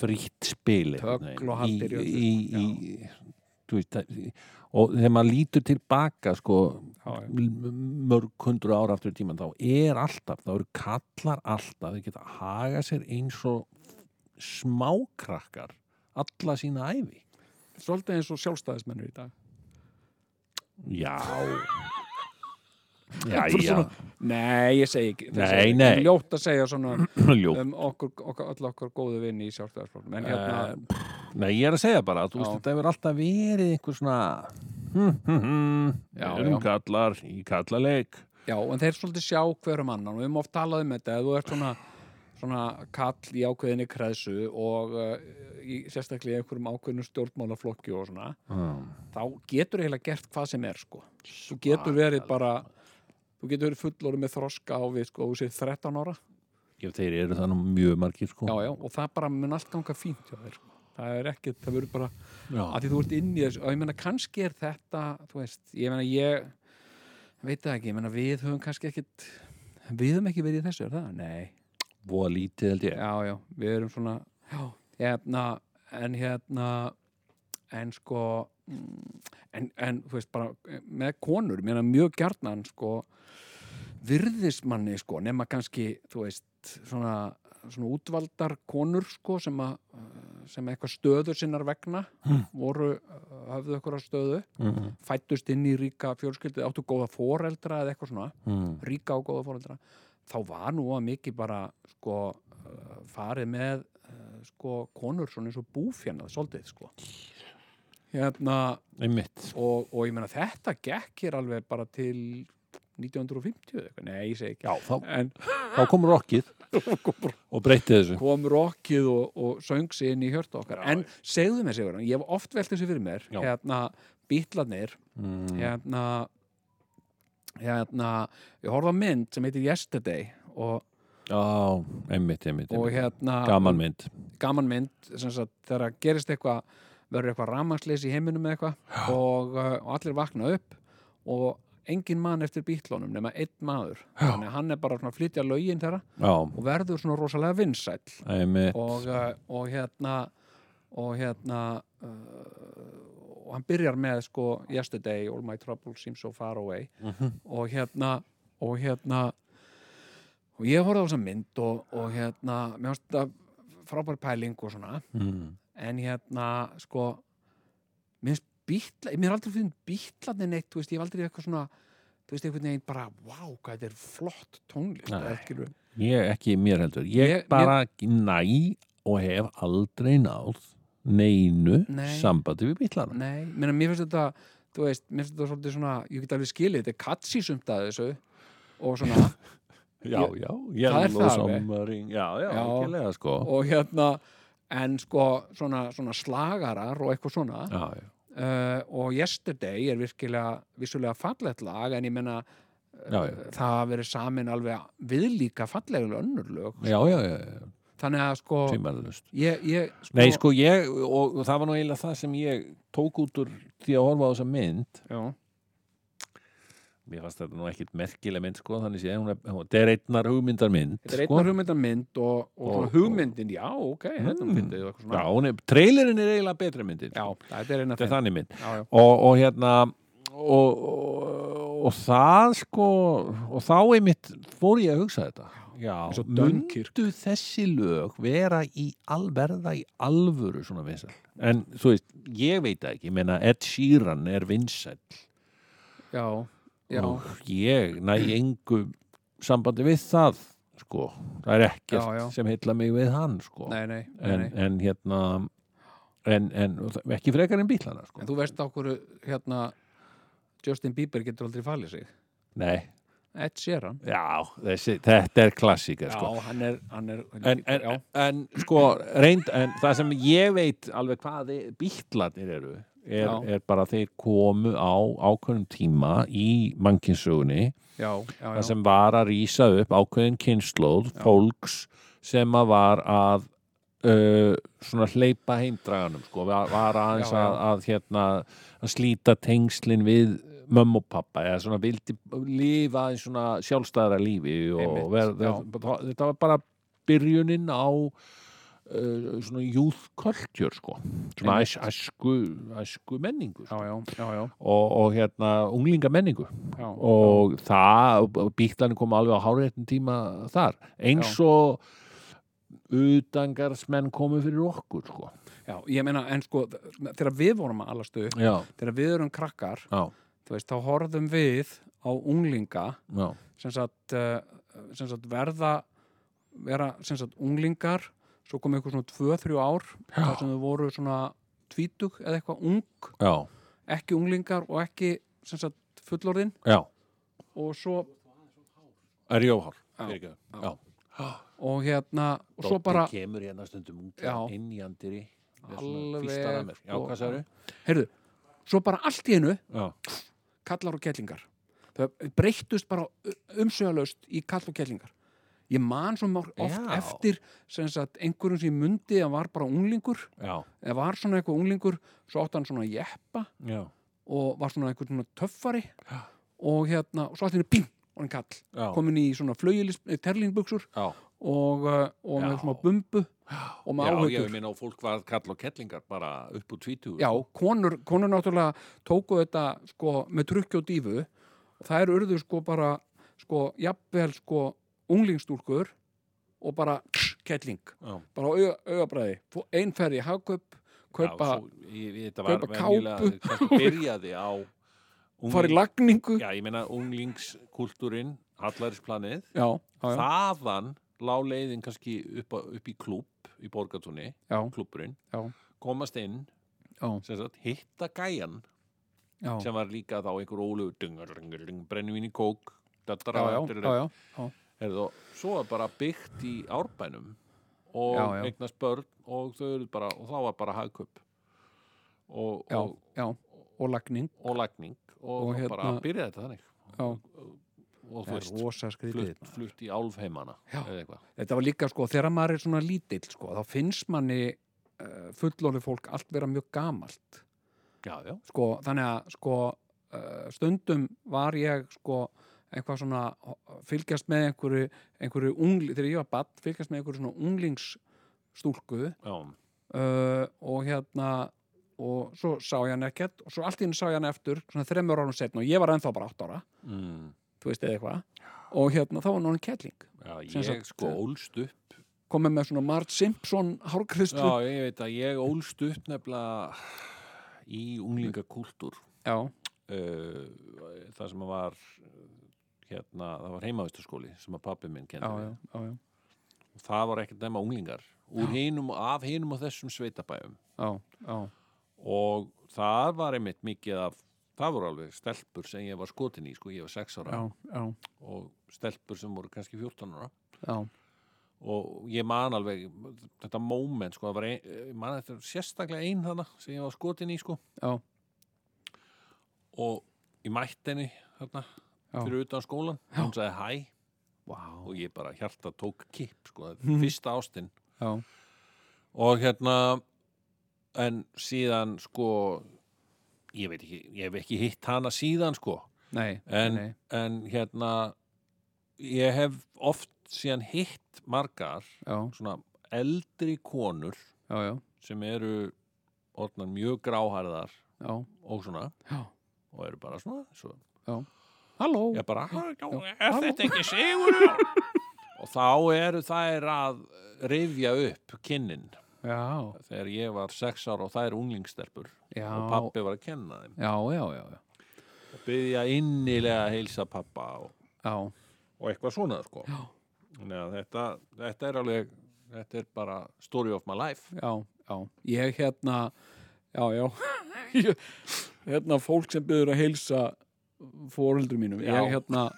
frítt spil einhvern Tögl veginn. og haldir í í, öllu, í, í, þú veist, það- og þegar maður lítur tilbaka sko, Já, já. m- mörg hundru ára aftur í tíman þá er alltaf, þá eru kallar alltaf þeir geta haga sér eins og smákrakkar alla sína æfi svolítið eins og sjálfstæðismennur í dag já já, já, Bara svona- Nei, ég segi ekki Nei, það er nei. Ljótt að segja svona ljó um okkur, okkur, öll okkur góðu vinn í sjálfstæðisflóknum en hérna, Eh. Nei, ég er að segja bara, þú veist, Já. þetta hefur alltaf verið einhver svona hm, hm, hm, Já, erum já. kallar í kallaleik já, en þeir svolítið sjá hverjum annan og við erum oft talað um þetta ef þú ert svona svona kall í ákveðinni kreðsu og uh, í, sérstaklega í einhverjum ákveðinu stjórnmálaflokki og svona mm. þá getur eiginlega gert hvað sem er sko. þú getur verið bara þú getur verið fullorið með þroska á við sko, og sér 13 ára Ég þeir eru þannig mjög margir sko já, já, og það bara mun allt ganga fínt hjá þér sko. það er ekkert, það verður bara Já. að því þú ert inn í þessu og ég meina kannski er þetta þú veist, ég meina ég veit það ekki, ég meina við höfum kannski ekkit við höfum ekki verið í þessu, er það? Nei voða lítið held ég já, já, við erum svona já, hérna, en hérna en sko mm, en, en þú veist bara með konur, mér er mjög gjarnan sko virðismanni sko, nema kannski þú veist, svona, svona útvaldar konur sko sem að eh, sem eitthvað stöður sinnar vegna voru, eh, höfðu eitthvað stöðu mm. fættust inn í ríka fjölskyldu áttu góða foreldra eða eitthvað svona Mm. ríka og góða fóreldra þá var nú að mikið bara sko, uh, farið með uh, sko, konur svona eins og búfjannað svolítið sko. hérna Einmitt og, og ég meina þetta gekk hér alveg bara til 1950 eða eitthvað, nei ég segi ekki Já, þá, en þá kom rockið og breytið þessu kom rockið og, og söng sig inn í hjörtu okkar en segðu mér Sigurðan, ég hef oft velt þessu fyrir mér Já. hérna, bítlarnir mm. hérna hérna, ég horfði á mynd sem heitir Yesterday og, Já, einmitt, einmitt, og einmitt. hérna Gaman mynd gaman mynd sem sagt, þegar gerist eitthvað verður eitthvað rafmagnsleysi í heiminum eða eitthvað og, uh, og allir vakna upp og engin mann eftir bítlónum nema einn maður Já. þannig að hann er bara svona að flytja lögin þeirra Já, og verður svona rosalega vinsæll einmitt og, uh, og hérna og hérna uh, og hann byrjar með sko Yesterday, All My Troubles Seem So Far Away Mhm, og hérna og hérna og ég horfði á þessa mynd og, og hérna, mér finnst þetta frábær pæling og svona mm. en hérna, sko mér finnst bítla, mér er aldrei fyrir bítlarni neitt, þú veist, ég hef aldrei eitthvað svona þú veist, einhvern veginn bara, wow, hvað þetta er flott tónlist, Nei. eða skilur við. Ég ekki mér heldur Ég Ég- bara næ og hef aldrei náð neinu Nei. sambandi við bílarna nei, mér, mér finnst þetta þú veist, mér finnst þetta svolítið svona ég get alveg skilið, þetta er katsi sumt að þessu og svona, Já, Ég- já, Það er yellow það alveg. something Já, já, Já. ekkilega sko og hérna en sko, svona, svona slagarar og eitthvað svona Já, já, uh, og Yesterday er virkilega vissulega fallegt lag en ég menna já, já, það hafa verið samin alveg viðlíka fallegul önnur lög já, já, já, já. þannig að sko tímalust ég, ég, sko, Nei, sko, ég, og, og það var nú eiginlega það sem ég tók út úr því að horfa á þessa mynd já, Mér fannst þetta nú ekkit merkileg mynd, sko þannig sé, hún er, hún- þetta er einnar hugmyndar mynd sko. þetta er einna hugmyndar mynd og, og, Og- sko. og hugmyndin, já, ok þetta Mm. er fyndið og eitthvað Já, svona hún er, trailerinn er eiginlega betri myndin já, sko. þetta er eina Þetta er þannig mynd já, já, og, og hérna og, og, og það sko og þá einmitt fór ég að hugsa þetta já, Eins og Dunkirk. mundu þessi lög vera í alverða í alvöru svona vinsæl en þú veist, ég veit það ekki ég meina Ed Sheeran er vinsæl já, já. og ég næ engu sambandi við það sko, það er ekkert Já, já. sem heilla mig við hann sko. nei, nei, nei, en, nei. en hérna en, en ekki frekar en bílana sko. En þú veist á hverju hérna Justin Bieber getur aldrei falið sig nei, Ed Sheeran já, þessi, þetta er klassíka sko. Já, hann er, hann er en, já, en, en sko reynd, en það sem ég veit alveg hvað bíklanir eru er, Já. er bara að þeir komu á ákveðnum tíma í mannkinsögunni já, já, já. það sem var að rýsa upp ákveðin kynnslóð fólks sem að var að uh, svona hleypa heimdraganum sko, var, var aðeins Já, já. Að, að hérna að slíta tengslin við mömmu og pappa eða svona vildi lifa aðeins svona sjálfstæðra lífi og Einmitt, ver, ver, þetta var bara byrjunin á uh, svona youth culture sko, svona æs, æsku, æsku menningu já, sko. já, já, já, og, og hérna unglinga menningu já. og það, bíklarnir kom alveg á háréttin tíma þar eins og utangarsmenn komu fyrir okkur sko. já, ég meina, en sko þegar við vorum að alastu upp já, þegar við erum krakkar, já, þú veist, þá horfðum við á unglinga já, sem sagt, eh, sem sagt verða vera sem sagt unglingar svo kom eitthvað svona 2-3 ár þar sem þau voru svona tvítug eða eitthvað ung, já, ekki unglingar og ekki sem sagt fullorðin já. og svo er jóhál Já. já. Já. og hérna og svo Doddi bara, kemur hérna stundum ung Já. inn í andiri Alveg já, og- hvað sagði heyrðu svo bara allt í einu já, kallar og kellingar það breyttust bara umsöðalaust í kall og kellingar ég man svo mörg oft Já. eftir sem sagt, einhverjum sem ég mundi að var bara unglingur já, eða var svona eitthvað unglingur svo átti hann svona jeppa já, og var svona eitthvað svona töffari og hérna, og svo átti henni ping og hann kall, já. komin í svona flögilis terlingbuksur já. og, uh, og með Já. svona bumbu og með já ég áhautur minna og fólk var kall og kettlingar bara upp úr tvítu já, konur, konur náttúrulega tóku þetta sko með trukki og dífu það er urðu sko bara sko, jafnvel sko unglingstúlkur og bara kettling, Já. bara á auga- augabræði einferði, hagkaup, kaupa svo, ég, ég, þetta var kaupa venjulega kannski byrjaði á fara í lagningu já, Já, ég meina unglingskultúrin, hallarinsplanið, já, já, þaðan lá leiðin kannski upp, á, upp í klúb í borgatúni, já, klúburinn, Já. komast inn, já, sem sagt, hitta gæjan já. sem var líka þá einhver ólegur dungar, dungar, dungar, brennivín í kók, já, já, já, dattara, já, herðu, svo er bara byggt í árbænum og Já, já. eignast börn og þau eru bara, og þá var bara hagkaup og, já, og, já, og lagning og lagning og, Og og bara hérna- byrjaði þetta þannig já, og þú veist, rosa skrítið flutt, flutt í álfheimana Já. eða eitthvað þetta var líka sko, þegar maður er svona lítill sko, þá finnst manni uh, fullóli fólk allt vera mjög gamalt já, já, sko, þannig að sko uh, stundum var ég sko eitthvað svona fylgjast með einhverju, einhverju ungli, þegar ég var badd fylgjast með einhverju svona unglingsstúlku já, uh, og hérna og svo sá ég hann ekkert og svo allt í henni sá ég hann eftir svona þremur árum setna og ég var ennþá bara átt ára mm, þú veist eða eitthvað og hérna þá var hann kettling já Sem ég sagt, sko eh, ólst upp sko. komið með svona Mart Simpson hárkristu já, ég veit að ég ólst upp nefnilega í unglingakultúr já, uh, það sem var eh, hérna, það var heimavistaskóli sem að pappi minn já, kendi já, mér. já, já. og það var ekkert nema unglingar úr hinum, af hinum og þessum sveitabæjum já, já. og það var einmitt mikið af það voru alveg stelpur sem ég var skotin í sko, ég var sex ára já, já, og stelpur sem voru kannski 14 ára já. og ég man alveg þetta moment sko, það var ein, ég man þetta sérstaklega ein þarna sem ég var skotin í sko Já. og ég mætti henni þarna Já. fyrir utan skólan Já. hún sagði hæ Wow. og ég bara hjarta tók kipp sko, þetta Mhm. er fyrsta ástinn já, og hérna en síðan sko ég veit ekki, ég hef ekki hitt hana síðan sko nei, En- nei, en hérna ég hef oft síðan hitt margar já, svona eldri konur já, já, sem eru orðnar mjög gráhærðar já, og svona já. og eru bara svona svo, Halló, ég bara, er Halló. þetta ekki sigur og þá eru þær að rifja upp kinnin já, þegar ég var sex ára og þær unglingstelpur já, og pappi var að kenna þeim já, já, já, já, og byggja innilega að heilsa pappa og, já, og eitthvað svona sko. Þannig að þetta, þetta er alveg, þetta er bara story of my life. já, já, ég hérna já, já ég, hérna fólk sem byrður að heilsa fóröldrum mínum Já. ég hérna,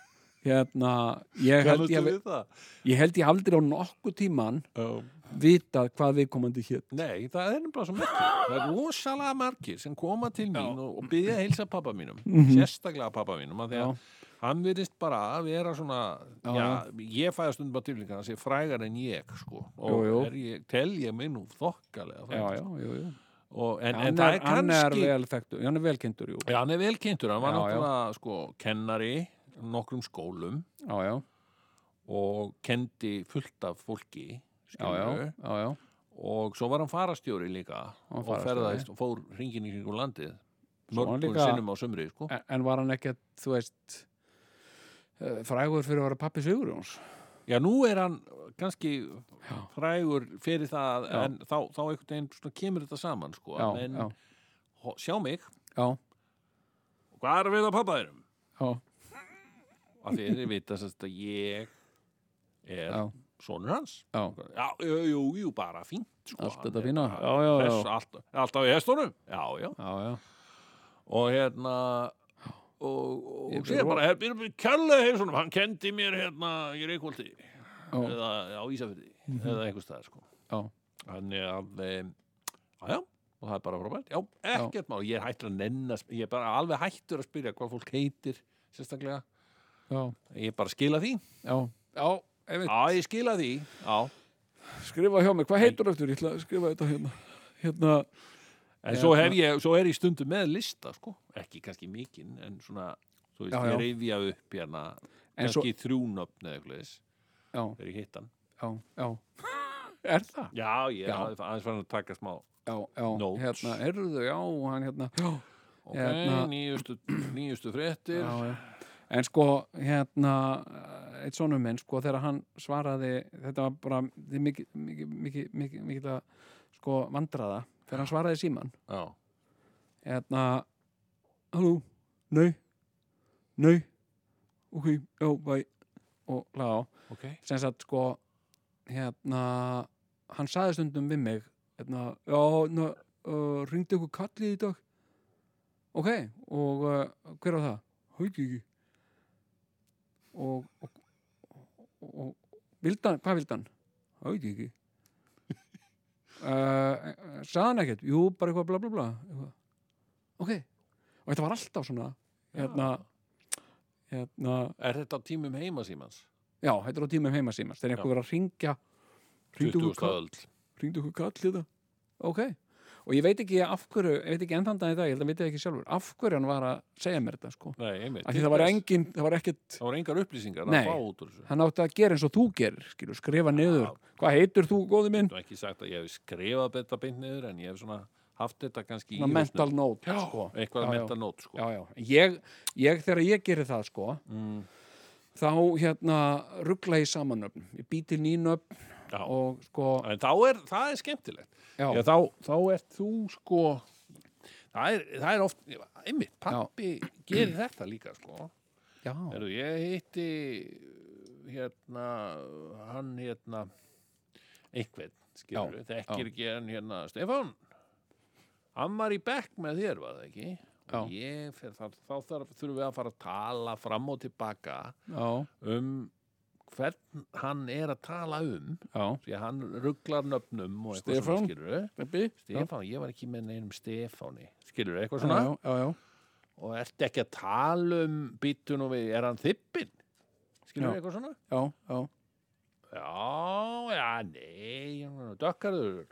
hérna ég held ég, hafi- við það? ég held ég aldrei á nokkuð tíman Um, vitað hvað viðkomandi hér nei, það er bara svo merkir. Það er rosalega margir sem koma til mín og, og byrja að heilsa pappa mínum. Sérstaklega pappa mínum. af Því Mhm. Já. að hann virðist bara að vera svona, Já, já, ég fæða stundum á tilflingar að sé frægar en ég, sko. Og Jú, jú. Er ég, tel ég mig nú þokkalega. já, frægur. já, jú, jú Og, en, en hann, það er, er hann er kannski... vel þekktur, hann er velkindur, jú Já, hann er vel kynntur, hann var Já, já. náttúrulega sko kennari nokkrum skólum já, já, og kendi fullt af fólki já, já, skilurðu. já, já. og svo var hann farastjóri líka var og fararstjóri. ferðaðist og fór hringin í kringum landið Svo var hann mörgum líka- sinnum á sömri sko. En, en var hann ekkert, þú veist eh, frægur fyrir að vera pappi Sigurjóns já, nú er hann kannski Já. frægur fyrir það Já. en þá, þá einhvern veginn svona kemur þetta saman sko. já, en já, ho- sjá mig, já, hvað er við að pappa þeirum? já, af því þeir vita sem sagt að ég er Já. sonur hans já já, jú, jú, jú, bara fínt sko. allt Hann þetta er fína bara- já, já, Hress, já, allt, alltaf í hestunum já, já já, já. og hérna og, Ég og sér byrja- bara, hér byrjum við kjærlega heimsónum hann kendi mér hérna í Reykjóldi Já. Mhm. eða á Ísafirði eða einhvers staðar sko Já. þannig að, e, að já og það er bara frábært, já, ekkert mál ég er hættur að nenna, ég er bara alveg hættur að spyrja hvað fólk heitir sérstaklega já, ég er bara að skila því, já, já einmitt. já, ég skila því já, skrifa hjá mig, hvað heitur eftir, ég ætla að skrifa þetta hérna hérna, En Eða svo, svona- hef ég, svo er ég stundum með lista, sko, ekki kannski mikinn, en svona, þú veist, Já, já. ég reyfja upp hérna, En svo- kannski þrjúnöfn eða eitthvað þess, já, þegar ég hitt hann. já, já er það? Já, ég er Já. aðeins- aðeins fann að taka smá, já, já, Notes. hérna, heyrðu, já, hann hérna já, ok, Hérna. nýjustu, nýjustu fréttir, já, já en sko, hérna eh, eitt sonum minn, sko, þegar hann svaraði þetta var bara þið mikið, mikið, mikið, mikið, mikið að sko vandraða, þegar hann svaraði síman já, hérna, halló nei, nei ok, já, bæ og laga á ok, sem sagt sko hérna, hann saði stundum við mig hérna, já, ná, uh, ringdi ykkur kallið í dag ok, og uh, hver var það? Hauki ekki og, og, og, og vildi hann, hvað vildi hann? Hauki ekki uh, saði hann ekkert jú, bara eitthvað bla bla bla eitthvað. ok, og þetta var alltaf svona hérna hérna er þetta á tímum heima símans? Já, þetta er á um tímum heimasímans þegar einhver verið að ringja hringdu 20. okkur kall- öld. hringdu okkur kall í það ok, og ég veit ekki af hverju ég veit ekki enn þann dag í dag, ég held að veit ég ekki sjálfur af hverju hann var að segja mér þetta sko Nei, einmitt. af til því það var þess- engin, það var ekkit Það voru engar upplýsingar Nei. að fá út úr þessu. hann átti að gera eins og þú gerir, skilu, skrifa niður hvað heitur þú, góði minn? Þú ekki sagt að ég hef skrifað þetta beint niður, en ég hef svona haft þetta kannski Svona mental note, Já, sko eitthvað Já, já. mental note, sko. já, já, ég, ég þegar ég gerir það sko Mm. þá hérna ruggla ég saman öfn ég býti nýn öfn Já. og sko En þá er, það er skemmtilegt. Já. Já, þá, þá ert þú sko, það er, það er oft, einmitt, pappi gerir þetta líka sko. já, Heru, ég hitti hérna, hann hérna, einhvern, skilur Já, við, þekkir ekki hann hérna, Stefán, hann var í bekk með þér, var það ekki? Og Ég, fer, þá, þá þarf, þurfum við að fara að tala fram og tilbaka já, um hvern hann er að tala um já því að hann rugglar nöfnum og eitthvað Stefán? svona, skilur Steppi, Stefán, ég var ekki með neinum Stefáni skilur eitthvað svona já, já, já og ertu ekki að tala um býtun og við, er hann þippin skilur Já. eitthvað svona já, já, já, já, nei dökkarður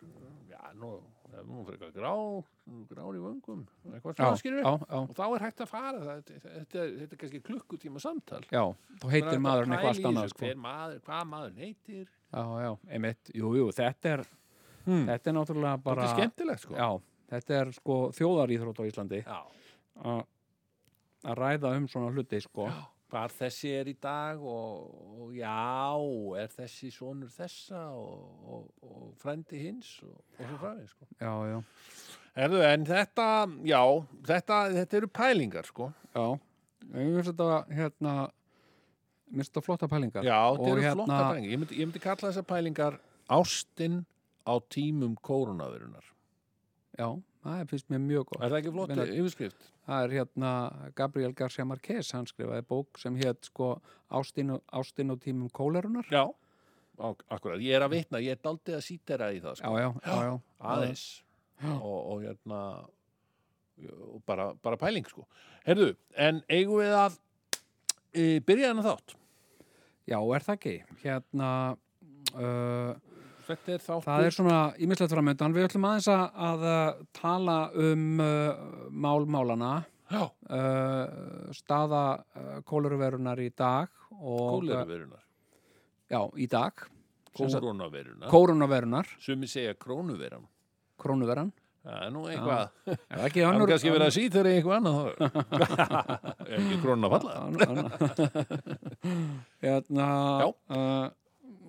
já, nú, það er nú fyrir eitthvað grá grár í vöngum, eitthvað já, svona, skilur já, já, og þá er hægt að fara það, þetta, þetta, er- þetta er kannski klukkutíma samtal já, þá heitir maðurinn eitthvað allt annað sko. sko. maður, hvað maður heitir já, já, einmitt, jú, jú, þetta er Hmm. þetta er náttúrulega þetta bara er skemmtilegt sko já, þetta er sko þjóðaríþrótt á Íslandi Já. að að ræða um svona hluti sko já, hvar þessi er í dag og, og já, er þessi sonur þessa og, og, og frændi hins og, og svo fræði sko. já, já, Erðu, en þetta, já, þetta, þetta eru pælingar sko. já. En ég finnst þetta hérna mér finnst þetta flotta pælingar Já, Og þetta eru hérna- flotta pælingar. Ég myndi, ég myndi kalla þessar pælingar ástin á tímum koronavirunar. Já, það finnst mér mjög Er gott það ekki flott Meina- yfirskrift? Það er hérna Gabriel Garcia Marquez hann skrifaði bók sem hétt sko Ástin, og- Ástin og tímum kólerunar Já. Akkurat, ég er að vitna, ég er daldið að sítera í það, sko. Já, já, já, já aðeins og, og hérna og bara, bara pæling sko Herðu, en eigum við að e, byrja hennar þátt Já, er það ekki Hérna uh, Þetta er þáttur Það er svona ímislegt framöndan Við ætlum aðeins að, að uh, tala um uh, mál málana Já, uh, staða uh, kóleruverunar í dag og, uh, kóleruverunar, Já, í dag Sem sagt, kóronaverunar Kórunaverunar, sem við segja krónuveran krónuveran Það er nú eitthvað Er það ekki Það önnur er kannski verið að sítera í eitthvað annað þá Er ekki krónan að falla Ann- ann- hérna uh,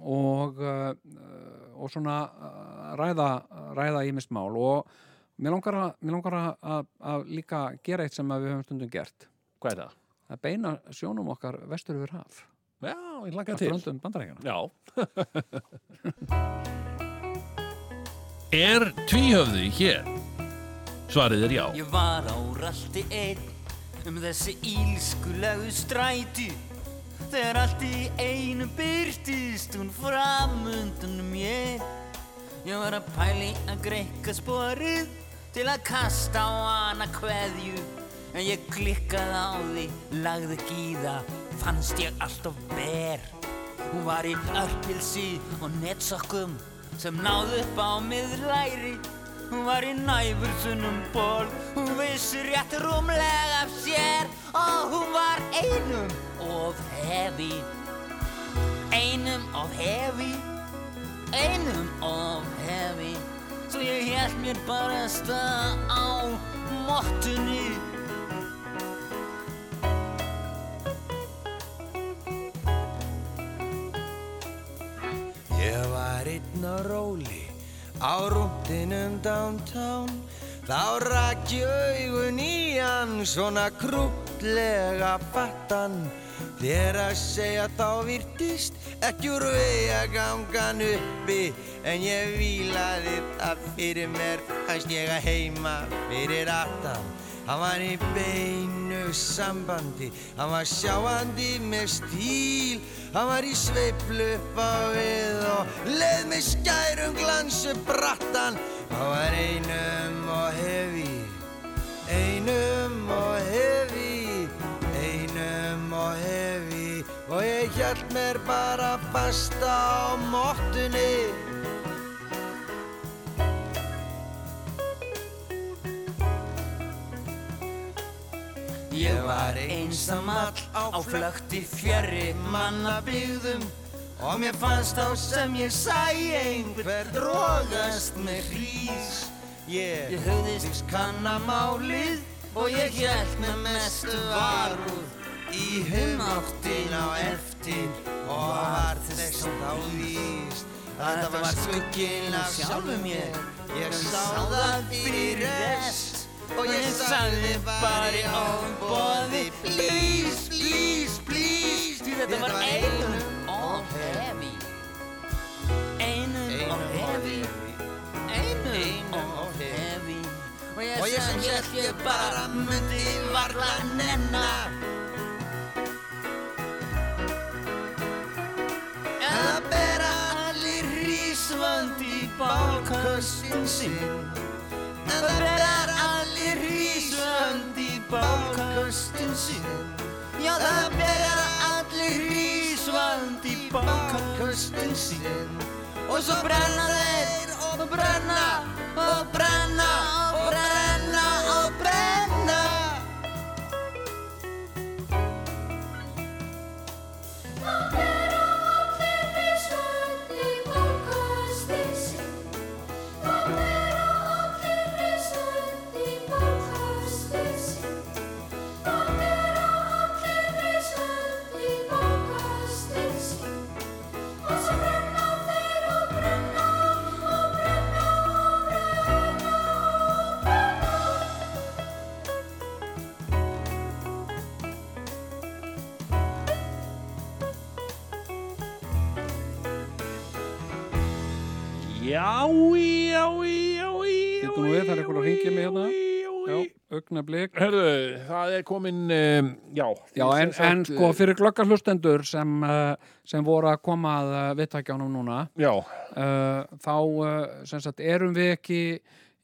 og uh, og svona uh, ræða, ræða ímist mál og mér langar, að, mér langar að, að, að líka gera eitt sem að við höfum stundum gert Hvað er það? að beina sjónum okkar vestur yfir haf Já, ég langa að til blöndum bandarækjana Já Er tvíhöfði hér? Svarið er já Ég var á ralti einn um þessi ílskulegu stræti Þegar allt í einu byrtist hún framundan mér Ég var að pæli að greikka sporið til að kasta á hana kveðju En ég klikkaði á því, lagði ekki í það, fannst ég alltof ber Hún var í örpilsi og netsokkum sem náðu upp á miðlæri Hún var í næfursunum ból, hún vissi rétt rúmlega af sér Og hún var einum of hefi Einum of hefi einum of hefi Svo ég held mér bara að staða á mottunni Ég var einn á róli á rúndinum um downtown Þá rak ég augun í hann svona krúptlega fattan Þér að segja þá virtist ekki úr vega gangan uppi En ég vílaði það fyrir mér fannst ég að heima fyrir aftan Hann var í beinu sambandi, hann var sjáandi með stíl Hann var í sveiflu upp á við og leið með skærum glansu brattan Hann var einum og hefi, einum og hefi, einum og hefi Og ég hjælt mér bara fasta á mottunni Ég var einsamall á flökti fjörri mannabyggðum Og mér fannst þá sem ég sæi einhver drogast með hrís Yeah. Ég hugðist kanna málið og ég hjælt með mestu varúð Í humáttin á eftir og var þess þá víst að þetta var skugginn af sjálfum mér ég sá það fyrir rest og ég sagði bara í ábóði please, please, please Því þetta var einum og hefi Einum og hefi Einum og hefi Og ég sem hjælt ég bara mundi varla nenna En að bera allir rísvandi bálkössin sinn En að bera allir rísvandi bálköstin sinn Já það bera allir rísvandi bálköstin sinn Og svo brenna þeir og brenna og brenna og brenna og brenna Brenna, og brenna, og brenna Já, já, já, já Bíddu nú við, það er einhver að hringja mig hérna. Já, augnablik. Herðu, það er komin um, Já, Já, en, en sko eh, fyrir glöggarhlustendur sem, eh, sem voru að koma að eh, viðtækjanum núna, Já, eh, þá eh, sem sagt erum við ekki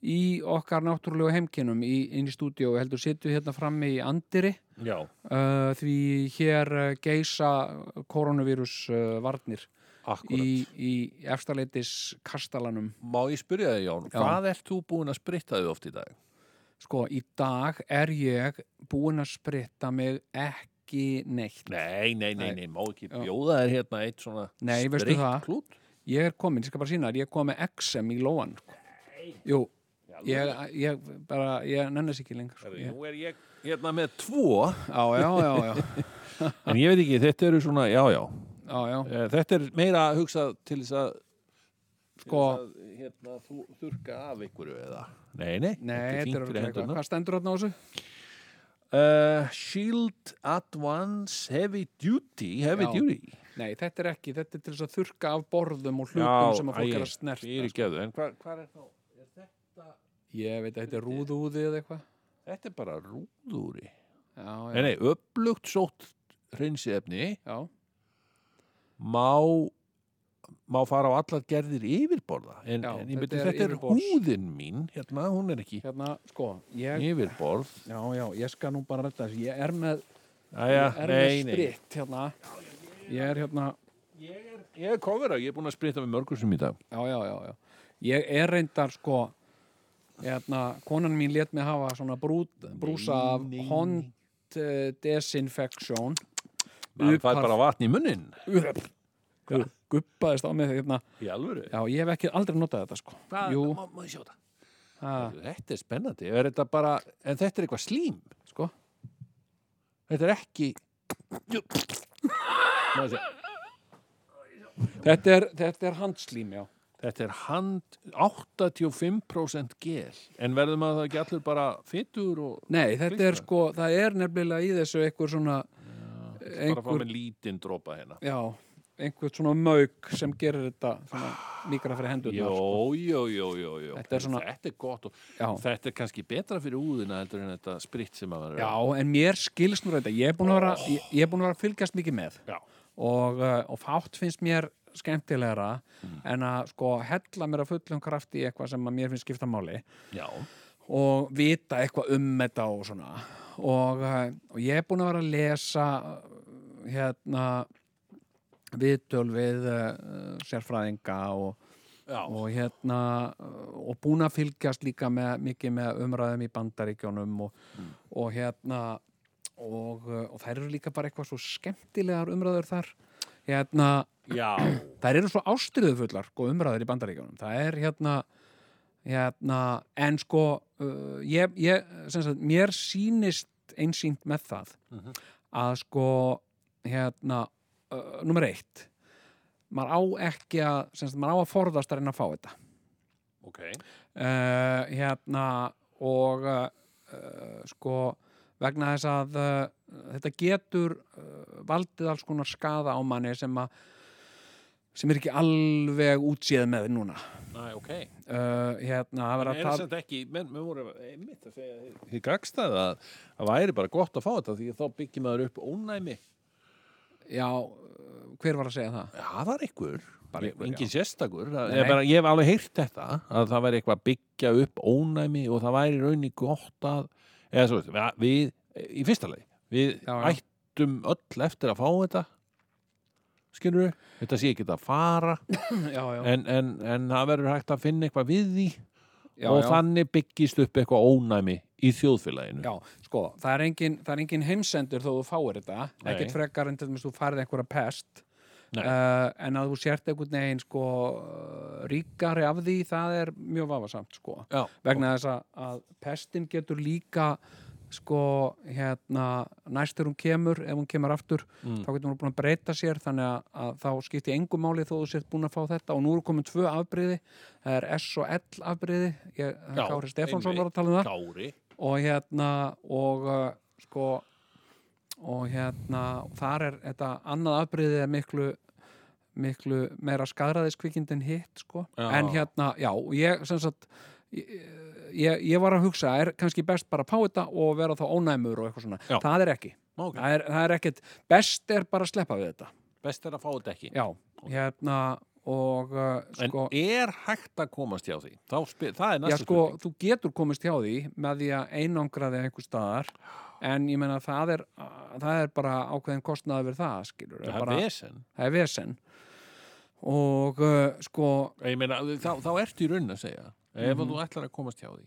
í okkar náttúrulegu heimkinnum í, inn í stúdíu, heldur sittu hérna frammi í Andiri já uh, því hér uh, geisa koronavírus uh, varnir Akkurat. í, í efstaletis kastalanum Má ég spyrja þig, Jón, hvað ert þú búin að spritta þig oft í dag? sko, í dag er ég búin að spritta mig ekki neitt Nei, nei, nei, nei, má ekki bjóða þér hérna eitt svona Nei, veistu það? klút ég er komin, ég skal bara sína, ég er komin með XM í lóan sko. jú, ég, ég bara, ég nennis ekki lengur sko. ég, Nú er ég hérna með tvo á, já, já, já, En ég veit ekki, þetta eru svona, já, já á, já Eh, Þetta er meira hugsað til þess að sko, að, hérna, þú, þurka af ykkur eða Nei, nei, nei, þetta er fínt örugglega fyrir eitthvað hendurna hvað stendur þarna á þessu? uh, Shield Advance Heavy Duty Heavy Já. Duty nei, þetta er ekki, þetta er til þess að þurka af borðum og hlutum sem að fólk er að snerta Fyrir sko. geðu, en hvað hva er þá? ég veit að þetta er rúðúði eða eitthvað Þetta er bara rúðúri já, Nei, já, nei, upplugt sótt hreinsiðefni já, má má fara á allar gerðir yfirborða en, Já, en ég þetta myndi er þetta er yfirborðs. húðin mín hérna, hún er ekki hérna, sko ég, yfirborð já, já, ég skal nú bara redda þessu, ég er með Æja, ég er með nei, nei, spritt hérna ég er hérna, ég er kofera ég er búin að spritta með mörgur sem í dag já, já, já, já ég er reyndar sko hérna, konan mín let mig hafa svona brút, brúsa af nei, nei. hond uh, desinfection maður fær Upphaf- bara vatn í munnin Gu- guppaðist á mig hérna, í alvöru já, ég hef ekki aldrei notað þetta sko, Hvað- jú, má, má ég sjá það? ha, Þetta er spennandi, er þetta bara, en þetta er eitthvað slím sko Þetta er ekki Má ég sjá. þetta er, þetta er handslím, já Þetta er hand 85% gel En verður maður það ekki allur bara fytur og nei, þetta er Klístra. sko, það er nefnilega í þessu einhver svona bara fá einhver með lítinn dropa hérna já, einhvern svona mög sem gerir þetta svona mýkra fyrir hendurnar sko. Jó, jó, jó, jó, jó Þetta er svona- þetta er gott og Já. Þetta er kannski betra fyrir úðina heldur en þetta spritt sem maður er já, en mér skilst nú þetta ég er búin að vera, ég, ég er búin að vera að fylgjast mikið með Já. og, uh, og fátt finnst mér skemmtilegra Mm. en að sko hella mér að fullum krafti í eitthvað sem að mér finnst skipta máli já, og vita eitthvað um þetta og svona og, eh, og ég er búin að vera að lesa eh, hérna viðtöl við uh, sérfræðinga og, já, og hérna eh, og búin að fylgjast líka með, mikið með umræðum í bandaríkjónum og, og hérna og, eh, og þær eru líka bara eitthvað svo skemmtilegar umræður þar hérna já. þær eru svo ástriðufullar sko, umræður í bandaríkjunum það er hérna, hérna en sko uh, ég, ég, sem sagt, mér sýnist einsýnt með það að sko hérna, uh, nummer eitt maður á ekki að sem sagt, maður á að forðast að reyna að fá þetta ok uh, hérna og uh, uh, sko vegna þess að uh, þetta getur uh, valdið alls konar skada á manni sem að sem er ekki alveg útséð með núna Næ, ok uh, hérna, það En verður er að það tala samt ekki, menn, menn voru einmitt að segja hið- hið gagstaði að það væri bara gott að fá þetta því að þá byggir maður upp ónæmi já, uh, hver var að segja það? Já, það er einhver, bara einhver, engin sérstakur það, Nei, ég, nei. bara, ég hef alveg heyrt þetta að það væri eitthvað að byggja upp ónæmi og það væri í rauninni gott að eða svo veist, við- við, í fyrsta leið við Já, já. ættum öll eftir að fá þetta skilur við, þetta sé ekki að fara já, já, en, en, en það verður hægt að finna eitthvað við því já, og já. þannig byggist upp eitthvað ónæmi í þjóðfélaginu Já, sko, það er engin, það er engin heimsendur þó þú fáir þetta, Nei. ekkert frekar en til þess að þú farið einhverja pest Nei. uh, en að þú sért einhvern veginn sko eh, ríkari af því það er mjög vafasamt sko Já. vegna þess að, að pestin getur líka sko hérna næst þegar hún kemur, ef hún kemur aftur Mm. þá getur hún búin að breyta sér þannig að, að þá skipti engu máli þó þú sért búin að fá þetta og nú eru komin tvö afbreyði það er S og L afbreyði ég, Já, Kári Stefánsson einmitt. var að tala um það Kári og hérna og uh, sko og hérna þar er þetta annað afbreyðið er miklu miklu meira skaraðiskvikind en hitt sko. Já. en hérna, já, og ég sem sagt ég, ég ég var að hugsa, er kannski best bara að pá þetta og vera þá ónæmur og eitthvað svona Já. það er ekki, Ok. það er, það er ekkit best er bara að sleppa við þetta Best er að fá þetta ekki. já, hérna og uh, En sko, er hægt að komast hjá því? Þá Spyr, það er já, næsta sko spurning. þú getur komist hjá því með því að einangra þig einhver staðar en ég meina það er það er bara ákveðin kostnaði við það skilur, Það er bara, vesen. það er vesen og uh, sko Ég meina, þá, þá ertu í raun að segja ef Mhm. mm þú ætlar að komast hjá því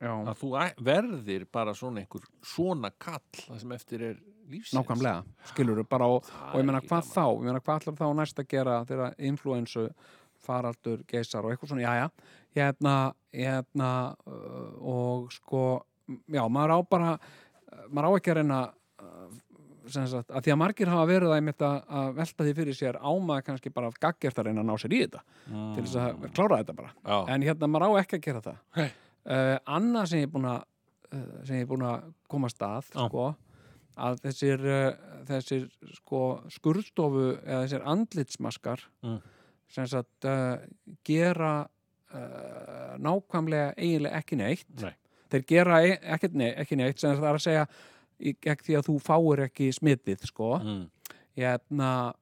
já, að þú æ- verðir bara svona einhver svona kall það sem eftir er lífsins. nákvæmlega, skilur bara og, og er ég meina ekki hvað þá, ég meina hvað ætlar þá næst að gera þegar influensu faraldur geisar og eitthvað svona, jæja hérna, hérna uh, og sko, m- já, maður á bara uh, maður á ekki að reyna uh, sem sagt, að því að margir hafa verið að, einmitt að, að velta því fyrir sér ámaður kannski bara gaggert að reyna að ná sér í þetta til þess Ah. að klára þetta bara Já. en hérna maður á ekki að gera það Nei. uh, annað sem ég er búin að uh, sem ég er búin að koma að stað Já. sko, að þessir, uh, þessir sko, skurðstofu eða þessir andlitsmaskar Mm. sem sagt uh, gera uh, nákvæmlega eiginlega ekki neitt Nei. þeir gera e- ekkert nei, ekki neitt sem sagt það er að segja í- gegn því að þú fáir ekki smitið sko Mm. hérna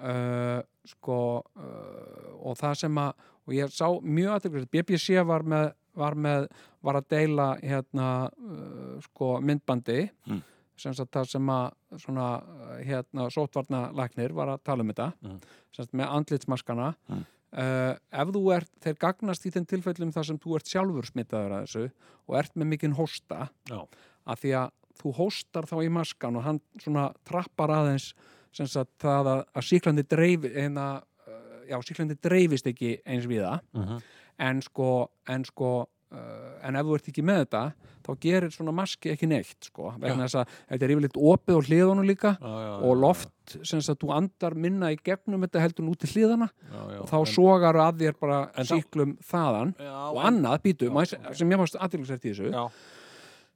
uh, sko uh, og það sem að og ég sá mjög aðeins BBC var með var, með, var að deila hérna uh, sko myndbandi Mm. sem sagt það sem að svona uh, hérna sóttvarnalæknir var að tala um þetta Mm. sem sagt með andlitsmaskana Mm. Uh, ef þú ert, þeir gagnast í þeim tilfellum þar sem þú ert sjálfur smitaður að þessu og ert með mikinn hósta Já. að því að þú hóstar þá í maskan og hann svona trappar aðeins sem sagt það að, að síklandi dreif en að, eh, já, síklandi dreifist ekki eins við það Mhm. en sko, en sko uh, en ef þú ert ekki með þetta þá gerir svona maski ekki neitt sko, vegna þess að þetta er yfirleitt opið á hliðunum líka Já, já, og já, loft sem sagt þú andar minna í gegnum þetta heldur en út til hliðana já, já. og þá En- sogar að þér bara En þá- síklum þaðan Já, og en- annað býtu, Já, maður- ok. sem ég mást aðdýrlisvert í þessu Já.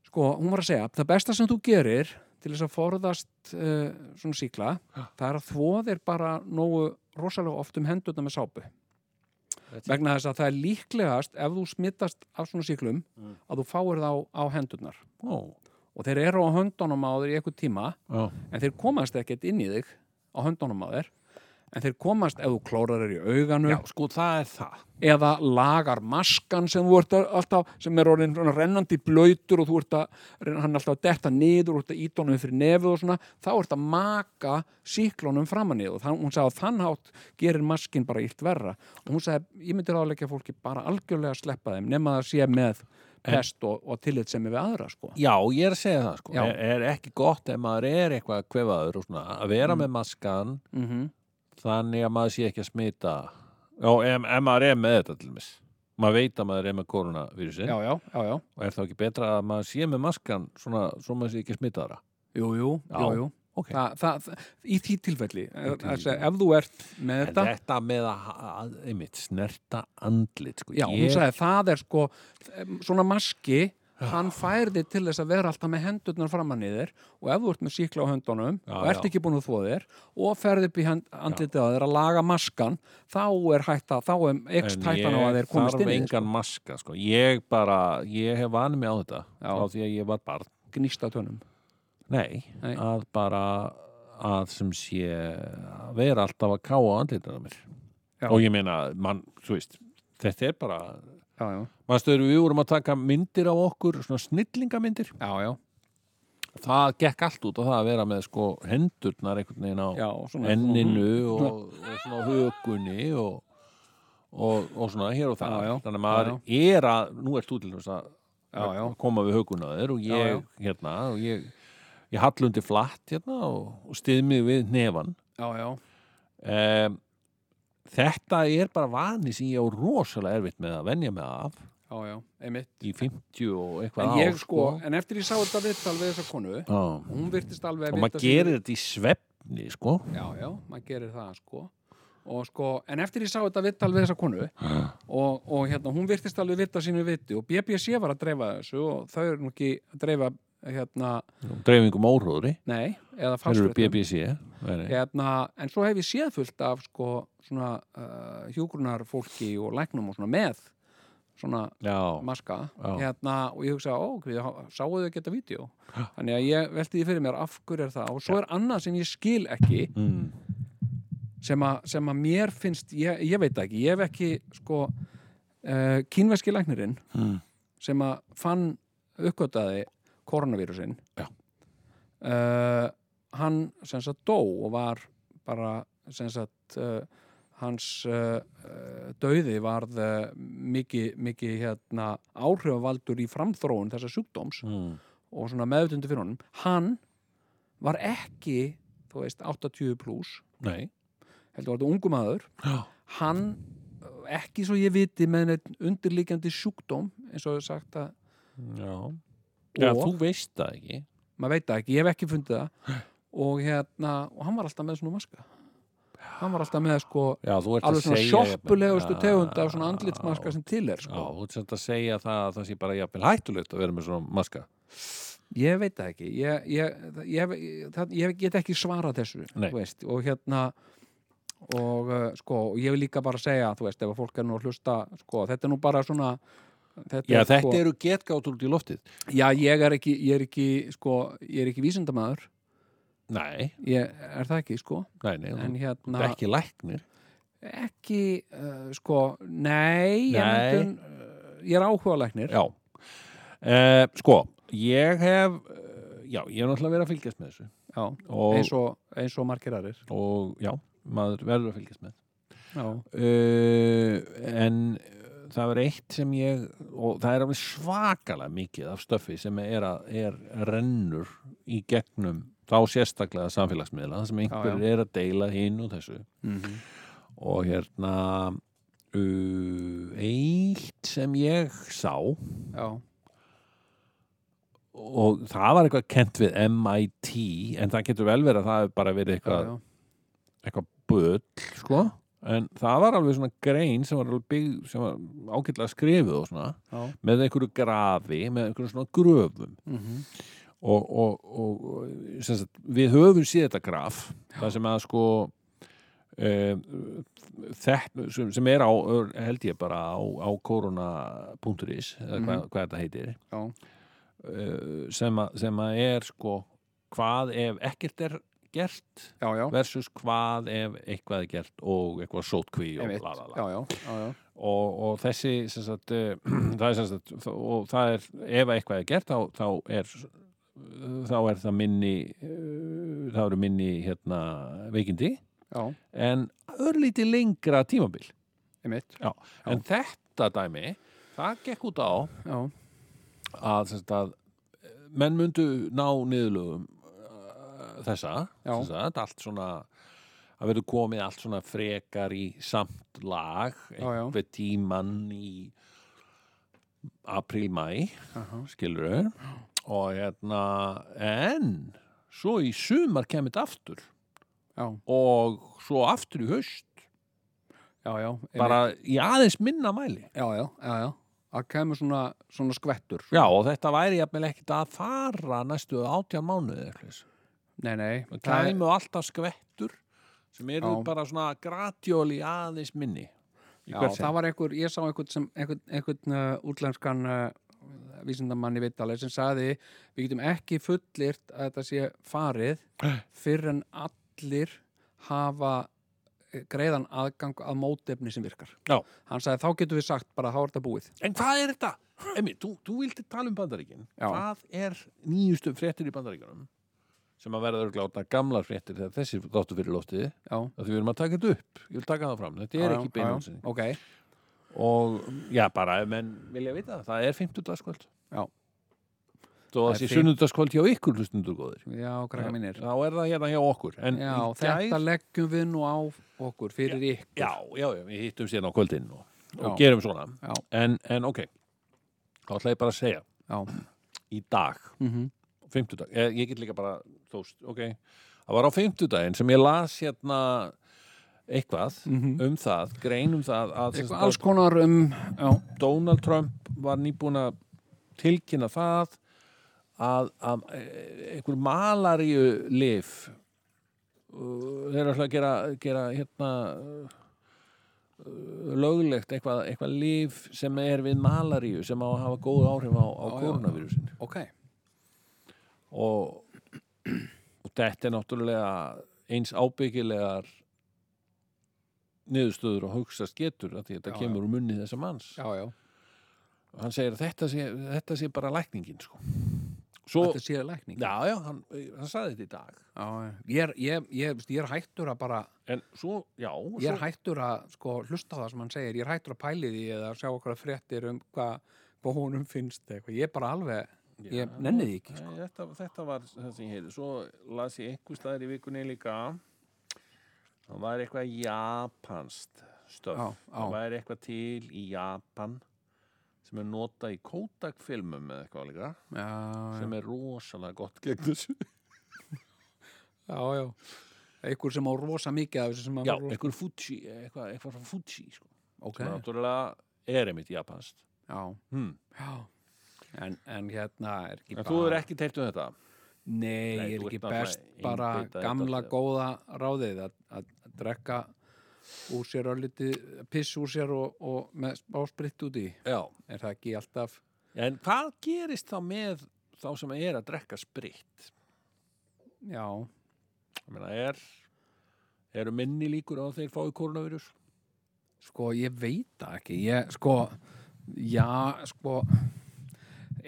sko, hún var að segja það besta sem þú gerir til þess að forðast uh, svona síkla það er að þvoðir bara nógu rosalega oft um hendurna með sápu Þetta- vegna þess að það er líklegast ef þú smittast af svona síklum að þú fáir þá á hendurnar Mm. Ó. og þeir eru á höndunum á þér í eitthvað tíma Já. en þeir komast ekkert inn í þig á höndunum á þér en þeir komast ef þú klórar þér í auganu Já, sko, það er það. eða lagar maskan sem þú ert að- alltaf, sem er orðin svona rennandi blöytur og þú ert að reyna- hann er alltaf að detta niður og ert að íta honum upp fyrir nefið og svona, þá ert að maka síklónum framan í þú. Þann, hún sagði að þann hátt gerir maskin bara illt verra og hún sagði, ég myndi ráðleika fólki bara algjörlega að sleppa þeim, nema það sé með pest og, og tillit sem er við aðra sko. Já, ég er að segja það, sko. Já. Er, er ekki gott ef maður er eitthvað kvefaður og svona, að vera Mhm. með maskan mm -hmm. þannig að maður sé ekki að smita. Já, ef, ef maður er með þetta til mis. Maður veit að maður er með koronavírusin Já, já, já, já og er þá ekki betra að maður sé með maskan svona, svo maður sé ekki smitaðara. Jú, jú, Já. jú, jú. Ok. Þa, það, það, í því tilfelli, þess að ef þú ert með En þetta þetta með að, að einmitt, snerta andlit, sko. Já, hún Ég- sagði það er sko svona maski, hann færði til þess að vera alltaf með hendurnar framan í þér og ef þú ert með síkla á höndunum Já, og ert já. ekki búin að þvo þér og ferði upp í hand, andlitið á þér að laga maskan þá er hætta, þá er ekst En hættan á ég að þeir komist inn þarf í þig, engan maska, sko. Ég bara, ég hef vanið mig á þetta Já. frá því að ég var barn. sko, gnýsta tönum Nei, Nei. að bara að sem sé að vera alltaf að káa andlitaðum mér Já. og ég meina, mann, þú veist þetta er bara, Já, já, maður stöður við vorum að taka myndir af okkur, svona snillingamyndir já, já, það gekk allt út á það að vera með sko hendurnar einhvern veginn á já svona, enninu og, og svona högunni og, og, og svona hér og það Já, já. þannig að maður Já, er að, nú ert þú til þess að Já, já. að koma við höguna þér og ég, Já, hérna og ég, ég hallundi flatt hérna og, og stið mig við nefann já, já, um, þetta er bara vani sem ég á rosalega erfitt með að venja mig af já, já, einmitt í 50 og En eitthvað ég ár, sko, en eftir ég sá þetta viðtal við þessa konu, Já. hún virtist alveg og að vita maður sig- gerir þetta í svefni sko Já, já, maður gerir það sko og sko, en eftir ég sá þetta vittal við þessa konu og, og hérna, hún virtist alveg vita sínu viti og BBC var að dreifa þessu og þau eru nú ekki að dreifa hérna, dreifingum óhrúðri, nei, um eða þeir eru fastfréttum. BBC væri. hérna, en svo hef ég séð fullt af sko, svona uh, hjúgrunarfólki og læknum og svona með svona já, maska Já. hérna, og ég hugsa, ó, við sáu þau geta vídeo þannig að ég velti því fyrir mér af hverju er það og svo er annað sem ég skil ekki mm, sem, a, sem að mér finnst ég, ég veit það ekki, ég hef ekki sko, uh, kínveski læknirinn Mm. sem að fann uppgötaði koronavírusin Já. Eh, hann sem sagt dó og var bara sem sagt uh, hans uh, döiði varð uh, mikið miki, hérna, áhrifavaldur í framþróun þessa sjúkdóms mm, og svona meðutundu fyrir honum hann var ekki þú veist 80 pluss nei heldur var þetta ungu maður Já. hann, eh, ekki svo ég viti með neitt undirlíkjandi sjúkdóm eins og ég sagt að já. já, Og- þú veist það ekki maður veit það ekki, ég hef ekki fundið það og hérna, og hann var alltaf með svona maska hann var alltaf með sko já, þú ert alveg að svona segja sjoppulegustu jafnvel- tegund af svona andlitsmaska sem til er já, sko. þú ert sem að segja það að það sé bara jafnvel hættulegt að vera með svona maska ég veit það ekki ég, ég, það- ég, hef- það, ég get ekki svarað þessu Nei. þú veist, og hérna og uh, sko, og ég vil líka bara segja þú veist, ef að fólk er nú að hlusta sko, þetta er nú bara svona þetta já, er, þetta sko, eru getgátur út í loftið Já, ég er ekki, ég er ekki, sko, ég er ekki vísindamaður, nei, ég er það ekki, sko, nei, nei, en þú hérna, ert ekki læknir ekki uh, sko, nei, ég, Nei. myndun, uh, ég er áhuga læknir, Já, uh, sko, ég hef, uh, já, ég hef náttúrulega verið að fylgjast með þessu já, eins og, og, eins og margir aðrir, og já, maður verður að fylgjast með. já, Uh, en það er eitt sem ég, og það er alveg svakalega mikið af stöffi sem er, að, er rennur í gegnum þá sérstaklega samfélagsmiðla, það sem einhverjir er að deila hinn og þessu. Mhm. og hérna uh, eitt sem ég sá já, og það var eitthvað kent við MIT en það getur vel verið að það hefur bara verið eitthvað, já, eitthvað bull sko. en það var alveg svona grein sem var, alveg bygg, sem var ágætlega skrifuð og svona já, með einhverju grafi, með einhverju svona gröfum mm -hmm. og, og, og, og sem sagt, við höfum séð þetta graf það sem að sko um, þett, sem, sem er á held ég bara á, á korona.is eða hvað, hvað þetta heitir Mhm. já, uh, sem, að, sem að er sko hvað ef ekkert er gert já, já, versus hvað ef eitthvað er gert og eitthvað sótkví og einmitt, bla bla bla já, já, já, já, og, og þessi sem sagt, eh, það er, sem sagt, þó- og það er ef eitthvað er gert þá, þá er þá er það minni eh, þá eru minni hérna, veikindi já, en örlíti lengra tímabil einmitt, já. en þetta dæmi það gekk út á já, að, sem sagt, að eh, menn mundu ná niðurlögum eh, þessa Já. sem sagt, allt svona að verður komið allt svona frekar í samt lag Já, já. einhver tíman í apríl-mæ skilur við og hérna en svo í sumar kemur þetta aftur já, og svo aftur í haust já, já, einmitt, bara í aðeins minna mæli já, já, já, já, að kemur svona, svona skvettur, já og þetta væri jafnvel ekkert að fara næstu átján mánuði eða eitthvað nei, nei, Það það er- kæmu alltaf skvettur sem eru Já. bara svona gratjóli aðeins minni í Já, hvert sinn. það var einhver, ég sá einhvern sem einhvern, einhvern uh, útlenskan uh, vísindamann í Vitali sem sagði við getum ekki fullirt að þetta sé farið Eh. fyrr en allir hafa eh, greiðan aðgang að mótefni sem virkar. Já. Hann sagði þá getum við sagt bara þá er þetta búið. En hvað er þetta? Emi, þú, þú vildi tala um bandaríkin Já. Hvað er nýjustu fréttir í bandaríkinum sem að verða örgláta gamlar fréttir þegar þessi þáttu fyrir loftið Já. að því við erum að taka þetta upp, ég vil taka það fram þetta er Já, já, ekki já, já. beinum Ok, og já, bara ef menn vilja vita það, það er 50 dagskvöld Já. Þó Það að er sé fínt. sunnudagskvöld hjá ykkur hlustundur góðir já, krakka mínir. Þá er það hérna hjá okkur En Já, í gær- þetta leggjum við nú á okkur fyrir ykkur. Já, já, já, við hittum síðan á kvöldin og, og Já. gerum svona Já. en, en ok, þá ætla ég bara að segja Já. í dag, Mm -hmm. fimmtudag eh, ég, ég get líka bara, þóst, ok það var á fimmtudaginn sem ég las hérna eitthvað um það, grein um það að sem sagt Mhm. Alls konar um, já, Donald Trump var nýbúin að tilkynna það að, að e, einhver malaríu lif uh, þeir eru alltaf að gera, gera hérna uh, löglegt eitthvað, eitthvað lif sem er við malaríu sem á að hafa góð áhrif á, á koronavírusin ok, og, og þetta er náttúrulega eins ábyggilegar niðurstöður og hugsa getur að þetta Já, kemur úr munni þessa manns já, já hann segir að þetta sé, þetta sé bara lækningin sko. svo, þetta sé lækning já já, hann, hann sagði þetta í dag Já, já. ég, er, ég, ég, veist, ég er hættur að bara en svo, já ég er svo, hættur að sko, hlusta á það sem hann segir ég er hættur að pæli því eða sjá okkur að fréttir um hvað hva honum finnst eða eitthvað. ég er bara alveg ég nenni því ekki Nei, þetta, þetta var það sem ég heyrði svo las ég einhver staðar í vikunni líka það var eitthvað japanst stöf Já, já. það var eitthvað til í Japan sem er notað í Kodak-filmum eða eitthvað líka já, sem er rosalega gott gegn þessu já, já einhver sem á rosa mikið af þessu sem hann já, á rosa... eitthvað Fuji eitthvað, eitthvað frá Fuji sko. ok, sem náttúrulega er einmitt japanst já, hmm. já. En, en hérna er ekki en þú er ekki teilt um þetta nei, Nei, ég er þú ekki ert náttúrulega best bara einbeitað í gamla þetta. góða ráðið að, að drekka úr sér örlítið piss úr sér og, og með spáspritt út í já. er það ekki alltaf en hvað gerist þá með þá sem er að drekka spritt já, Ég meina, er, eru minni líkur á að þeir fái koronavírus? Sko, ég veit það ekki. Ég, sko, já, sko,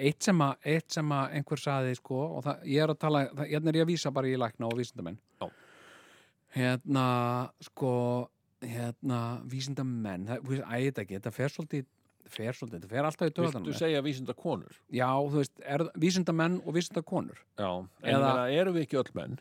eitt sem að, eitt sem að einhver saði, sko, og það, ég er að tala, það, hérna er ég að vísa bara í lækna og vísindamenn. Já. Hérna, sko, hérna, vísindamenn, það, þú veist, æ, þetta ekki, þetta fer svolítið, fer svolítið, þetta fer alltaf í Viltu töðanum. segja vísinda konur? Já, þú veist, er, vísindamenn og vísindakonur. Já, en Eða- Eða... meina, eru við ekki öll menn?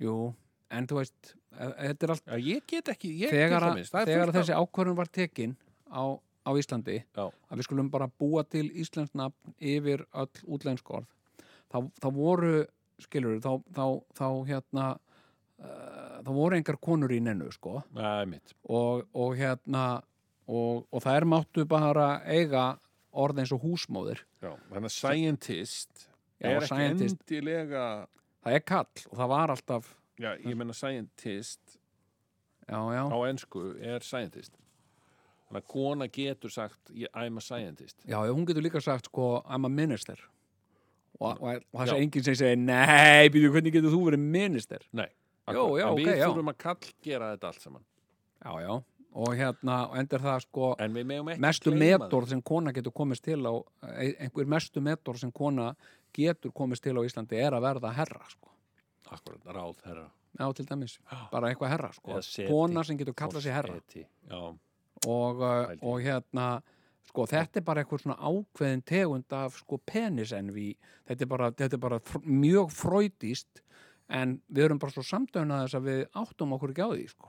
Jú, en þú veist, e- þetta er allt, Já, ég get ekki, ég þegar, til að- dæmis, það er þegar fullt þessi ákvörðun var tekin á, á Íslandi, af- Já, að við skulum bara búa til íslensk nafn yfir öll útlensk orð þá, þá voru, skilur þá, þá, þá hérna uh, þá voru engar konur í nennu sko það er mitt. og, og hérna og, og þær máttu bara eiga orð eins og húsmóðir Já, þannig að scientist Já, er scientist. ekki endilega, það er kall og það var alltaf já, ég meina scientist já, já, á ensku er scientist. Þannig að kona getur sagt, "Ég- I'm a scientist. já, já, hún getur líka sagt sko I'm a minister og, og, og það Já. sé enginn sem segir nei, býtu, hvernig getur þú verið minister Nei. Jó, já, en við ok, já. þurfum að kall gera þetta allt saman. já, já, og hérna og endur það sko En við megum ekki mestu gleyma því. metorð sem kona getur komist til á e, einhver mestu metorð sem kona getur komist til á Íslandi er að verða herra sko. Akkúrat, ráð herra. Já, til dæmis, bara eitthvað herra sko. Eða seti. kona sem getur kallað sig herra Forseti. Já, og, uh, Pældi. og hérna sko, þetta er bara eitthvað svona ákveðin tegund af sko penisenvi þetta er bara, þetta er bara fr mjög fröydist en við erum bara svo samdöfnað þess að við áttum okkur ekki á því sko.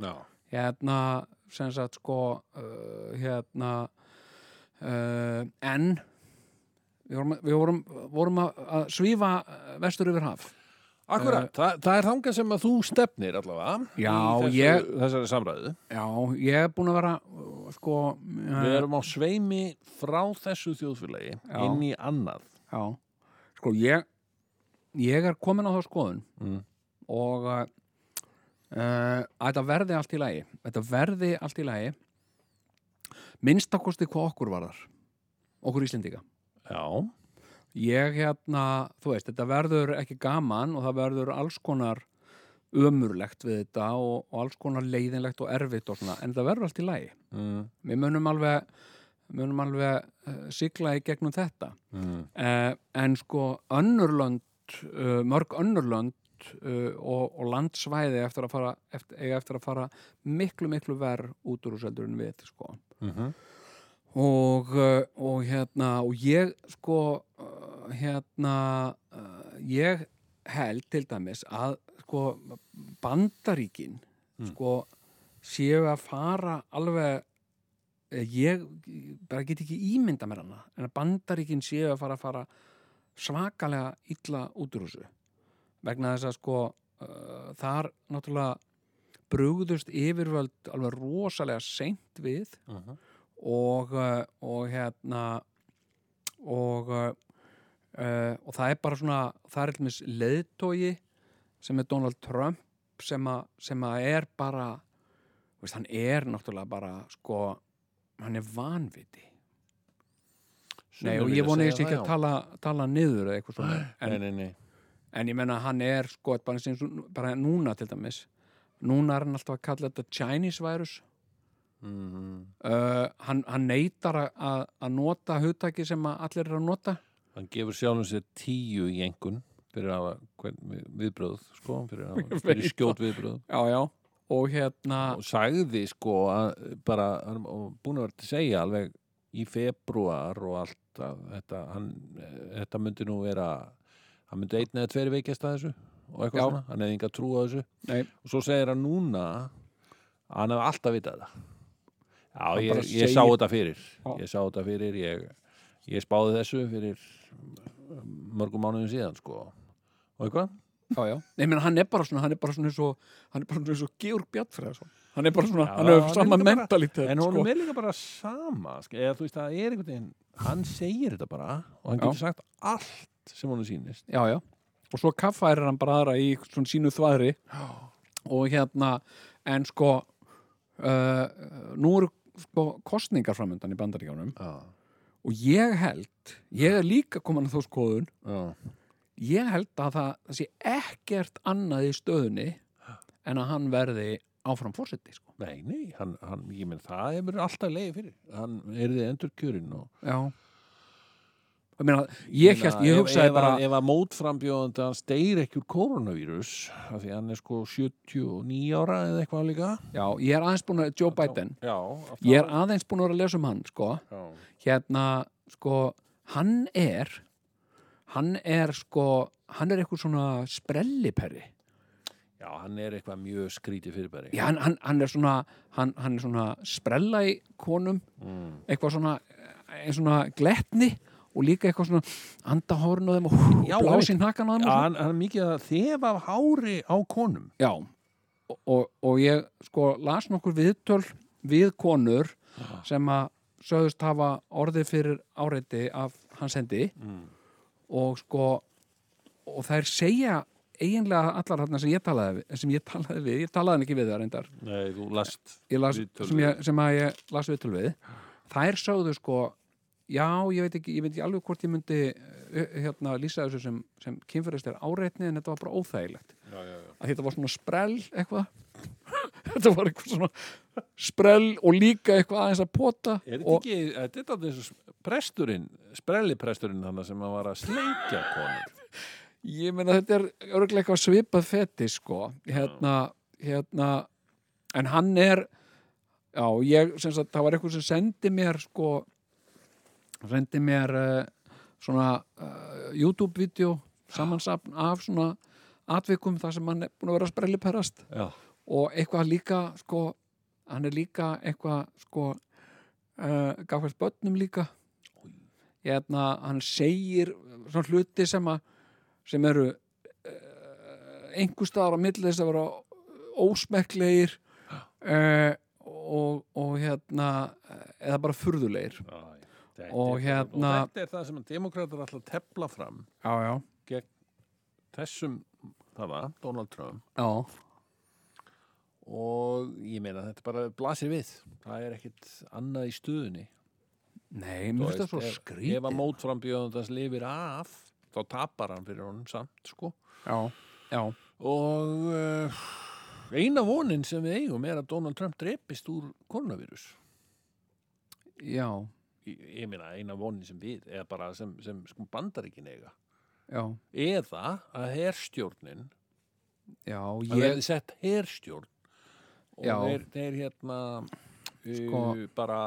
já. hérna sem sagt sko uh, hérna uh, en við vorum, við vorum, vorum að, að svífa uh, vestur yfir haf Akkurat, Eh, það, það er þangað sem að þú stefnir allavega Já, í þessu, ég- þessari samræðu. já, ég er búin að vera uh, sko Við uh, erum á sveimi frá þessu þjóðfélagi Já. inn í annað. já, sko ég ég er komin á þá skoðun Mm. og uh, að þetta verði allt í lagi þetta verði allt í lagi minnstakosti hvað okkur varðar okkur Íslendinga Já, ég hérna, þú veist, þetta verður ekki gaman og það verður alls konar ömurlegt við þetta og, og alls konar leiðinlegt og erfitt og svona, en það verður allt í lagi. mm. Við munum alveg, munum alveg uh, sigla í gegnum þetta. Mm. Uh, en sko, önnurlönd, uh, mörg önnurlönd uh, og, og landsvæði eftir að fara, eftir, eiga eftir að fara miklu, miklu verð út úr þessu heldur en við, sko Mhm. og, uh, og hérna og ég sko uh, hérna uh, ég held til dæmis að sko bandaríkin sko séu að fara alveg eh, ég bara get ekki ímynda mér hana en að bandaríkin séu að fara að fara svakalega illa út úr þessu vegna þess að sko uh, þar náttúrulega brugðust yfirvöld alveg rosalega seint við Mhm. eh, og, uh, og hérna og uh, uh, og það er bara svona það er allmest leiðtogi sem er Donald Trump sem að, sem að er bara þú veist, hann er náttúrulega bara sko, hann er vanviti Nei, og ég vona ég sé ekki að tala, tala niður eða eitthvað svona en, nei, nei, nei. en ég menna hann er sko bara, eins og, bara núna til dæmis núna er hann alltaf að kalla þetta Chinese virus Mhm. uh, hann, hann neytar að- að að nota hugtaki sem að allir eru að nota Hann gefur sjálfum sér tíu í engun fyrir að hafa hvern, viðbröð sko, fyrir, að, hafa- fyrir veit skjót viðbröð já, já, og hérna og sagði sko að bara, hann var búin að vera að segja alveg í februar og allt að þetta, hann, þetta myndi nú vera hann myndi einn eða tveri veikjast að þessu og eitthvað Já. svona, hann hefði enga trú á þessu nei, og svo segir hann núna að hann hefði alltaf vitað það já, ég, bara ég segir- sá þetta fyrir Já. ég sá þetta fyrir ég, ég spáði þessu fyrir mörgum mánuðum síðan sko og eitthvað já, já nei, menn, hann er bara svona hann er bara svona eins og hann er bara svona eins og Georg Bjartfræðarsson hann er bara svona, Já, hann hefur hann er sama líka bara- mentalitet en honum sko. er líka bara sama sk- eða þú veist það er einhvern veginn hann segir þetta bara og hann Já. getur sagt allt sem honum sýnist já, já, og svo kaffærir hann bara aðra í svona sínu þvæðri og hérna, en sko uh, nú eru sko kostningar framöndan í bandaríkjánum já, og ég held, ég er líka komin að þó skoðun já, ég held að það, það sé ekkert annað í stöðunni en að hann verði áfram fórseti sko. nei, nei hann, hann, ég menn það er mér alltaf leið fyrir hann er þið endur kjörinn og já ég meina, ég held, ég ef- hugsaði ef, bara að- ef að mótframbjóðandi hann steir ekki úr koronavírus af því hann er sko 79 ára eða eitthvað líka já, ég er aðeins búin að, Joe Biden já, þá- ég er aðeins búin að vera að lesa um hann sko. já, hérna, sko hann er hann er sko hann er eitthvað svona sprelliperri já, hann er eitthvað mjög skrítið fyrirbæri Já, hann, hann, hann er svona hann, hann er svona sprella í konum Mm. eitthvað svona, eh, svona gletni og líka eitthvað svona andahórn á þeim og hú, Já, blás í nakkan á þeim Já, og svona. hann, hann er mikið að þefa af hári á konum Já, og, og, og ég sko las nokkur viðtöl við konur sem að sögðust hafa orðið fyrir áreiti af hans hendi og sko og þær segja eiginlega allar þarna sem ég talaði við, sem ég talaði við, ég talaði ekki við það reyndar Nei, þú last ég las, Viðtöl sem, ég, sem að ég las viðtöl við þær sögðu sko já, ég veit ekki, ég veit ekki alveg hvort ég myndi eh, hérna lýsa þessu sem, sem kynferðislega áreitni en þetta var bara óþægilegt já, já, já. að þetta var svona sprell eitthvað þetta var eitthvað svona sprell og líka eitthvað aðeins að pota Er þetta og, ekki, þetta er alltaf eins og presturinn, sprellipresturinn hann sem hann var að sleikja konur ég meina þetta er örglega eitthvað svipað feti sko hérna, hérna en hann er já, ég, sem sagt, það var eitthvað sem sendi mér sko sendi mér uh, svona uh, YouTube-vídeó samansapn af svona atvikum þar sem hann er búin að vera að sprelliperast Já, og eitthvað líka sko, hann er líka eitthvað sko uh, gafvært börnum líka hérna, hann segir svona hluti sem að sem eru uh, einhver staðar á milli þess að vera ósmekklegir uh, og, og hérna eða bara furðulegir já, þetta Og er- hérna- og þetta er það sem að demokrátar alltaf tepla fram já, já, þessum, það var, Donald Trump já, og ég meina þetta bara blasir við það er ekkit annað í stuðunni nei, mér finnst það svo skrítið Ef að skrítið mótframbjóðandans lifir af þá tapar hann fyrir honum samt sko já, já, og uh, eina vonin sem við eigum er að Donald Trump drepist úr koronavírus já, ég, ég meina eina vonin sem við eða bara sem, sem sko bandaríkin eiga já eða að herstjórnin Já, að ég, verði sett herstjórn og Já. þeir, þeir hérna sko, Sko- bara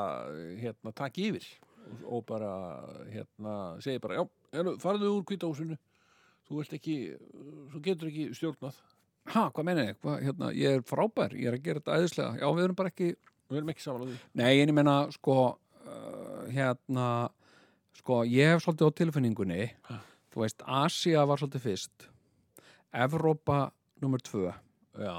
hérna takk yfir og, og bara hérna segi bara já, heru, farðu úr kvítahúsinu þú vilt ekki, uh, þú getur ekki stjórnað ha, hvað meina ég? Hvað, hérna, ég er frábær, ég er að gera þetta æðislega Já, við erum bara ekki við erum ekki samanlega því Nei, en ég meina, sko uh, hérna sko, ég hef svolítið á tilfinningunni þú veist, Asia var svolítið fyrst Evrópa nummer tvö já,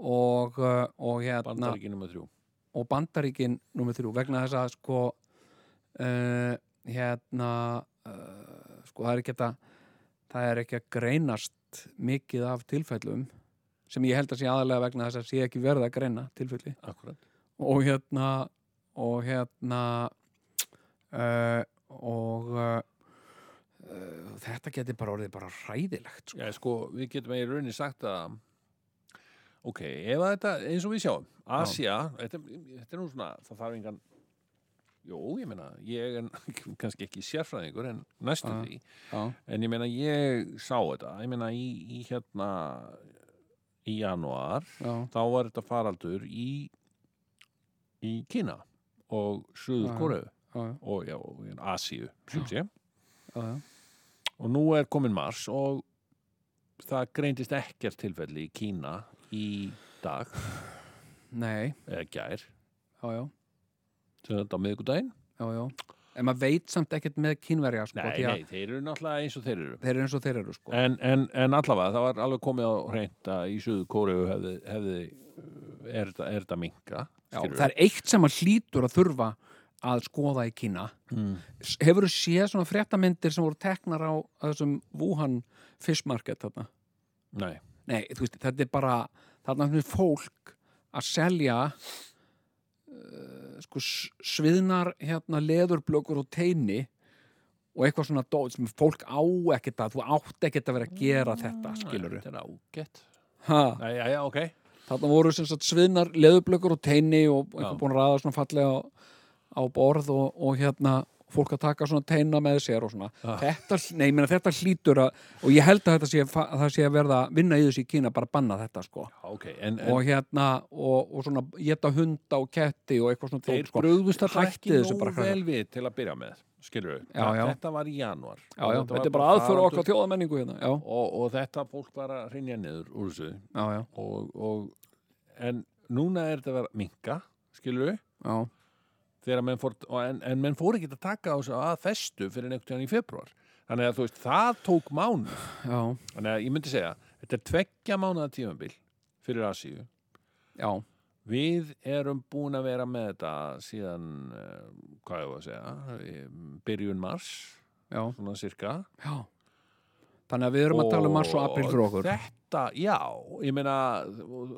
og, uh, og hérna bandaríkinum að þrjú og Bandaríkin nummer þrjú vegna þess að sko uh, hérna uh, eh, sko það er ekki að það er ekki að greinast mikið af tilfellum sem ég held að sé aðalega vegna þess að sé ekki verið að greina tilfelli akkurat og hérna og hérna uh, og uh, uh, þetta geti bara orðið bara hræðilegt sko. Já, sko, við getum í rauninni sagt að ok, ef að þetta, eins og við sjáum Asia, þetta, þetta er nú svona það þarf engan Jó, ég meina, ég er kannski ekki sérfræðingur en næstu Já. því Já, En ég meina, ég sá þetta, ég meina, í, í hérna, í januar, já, þá var þetta faraldur í, í Kína og Suður Já, já. Kóru já, já, og, já, og í Asíu, sem sé. já, já. Og nú er komin mars og það greindist ekkert tilfelli í Kína í dag, Nei, eða gær, já, já, sem þetta á miðgudaginn. já, já En maður veit samt ekkert með kynverja sko, Nei, því að nei, þeir eru náttúrulega eins og þeir eru. þeir eru eins og þeir eru sko. En, en, en allavega, það var alveg komið á hreint að í Suður Kóriðu hefði, hefði er, þetta- er þetta minka. Já, það er eitt sem að hlýtur að þurfa að skoða í Kína Mm. S- Hefurðu séð svona fréttamindir sem voru teknar á á þessum Wuhan Fish Market þarna? Nei, Nei, þú veist, þetta er bara þarna er fólk að selja uh, sko s- sviðnar hérna leðurblökur og teini og eitthvað svona dóð sem fólk á ekkert að þú átt ekkert að vera að gera þetta, skilur Ah, þetta er ágætt. Ha, Nei, já, já, ok. þarna voru sem sagt sviðnar leðurblökur og teini og Já. eitthvað búin að ræða svona fallega á, á borð og, og hérna fólk að taka svona teina með sér og svona Ah. þetta, nei, ég meina, þetta hlýtur að og ég held að þetta sé, að það sé að verða vinna í þessu í Kína bara að banna þetta sko Já, ok, en, en og hérna og, og svona geta hunda og ketti og eitthvað svona þeir dót, sko. brugðust alltaf Hættið ekki þessu nóg bara, krakkar. vel við til að byrja með, skilur við. Já, já. Þetta var í janúar. já, já, þetta er bara aðför okkar þjóðamenningu hérna já, Og, og þetta fólk var að hreinja niður úr þessu. já, já, Og, og, en núna er þetta að vera minka, skilur við. já, Þegar menn fór, og en, en menn fór ekki að taka á þessu að festu fyrir einhvern tíðan í februar. Þannig að þú veist, það tók mánu. já, Þannig að ég myndi segja, þetta er tveggja mánuða tímabil fyrir Asíu. já. Við erum búin að vera með þetta síðan, eh, hvað ég var að segja, eh, byrjun mars, já, svona cirka. já. þannig að við erum að tala um mars og april fyrir okkur Þetta, já, ég meina,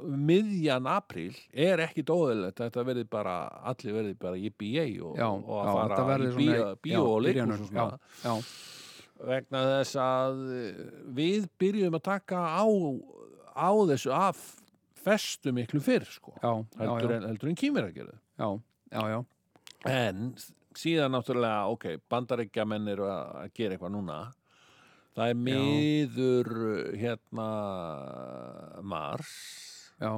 miðjan april er ekki dóðilegt, þetta verði bara, allir verði bara í BA og, já, og að já, þetta fara verður í svona bíó- í- bíó og já, leikhús byrjanir, og svona. já, já, Vegna þess að eh, við byrjum að taka á, á þessu af festu miklu fyrr, sko. já, já, Heldur já, en, heldur en kýmir að gera það. já, já, já, En síðan náttúrulega, ok, bandaríkjamenn eru að að gera eitthvað núna. Það er miður uh, hérna mars. já.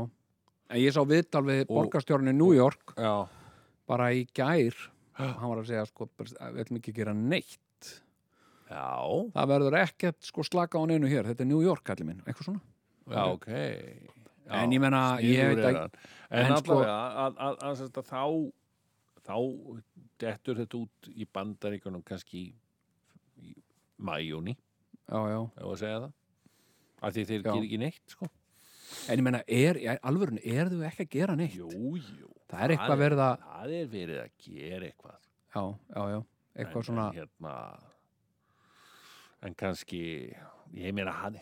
En ég sá viðtal við borgarstjórn í New York Já. bara í gær og hann var að segja sko, bara, við ætlum ekki að gera neitt Já, það verður ekkert sko slaka á neinu hér þetta er New York allir minn, eitthvað svona já, ok. Já, En ég meina, ég sniðugur veit er ekki- hann. En, en en sko- allavega, að, að, að, að, að þá, þá dettur þetta út í bandaríkunum kannski í mæjúni, já, já. ef að segja það. Af því þeir Já. gerir ekki neitt, sko. en ég meina, er, í alvörun, er þau ekki að gera neitt Jú, jú. það er eitthvað verið að Það er verið að gera eitthvað. já, já, já, En- eitthvað svona en, hérna, en kannski ég meina hann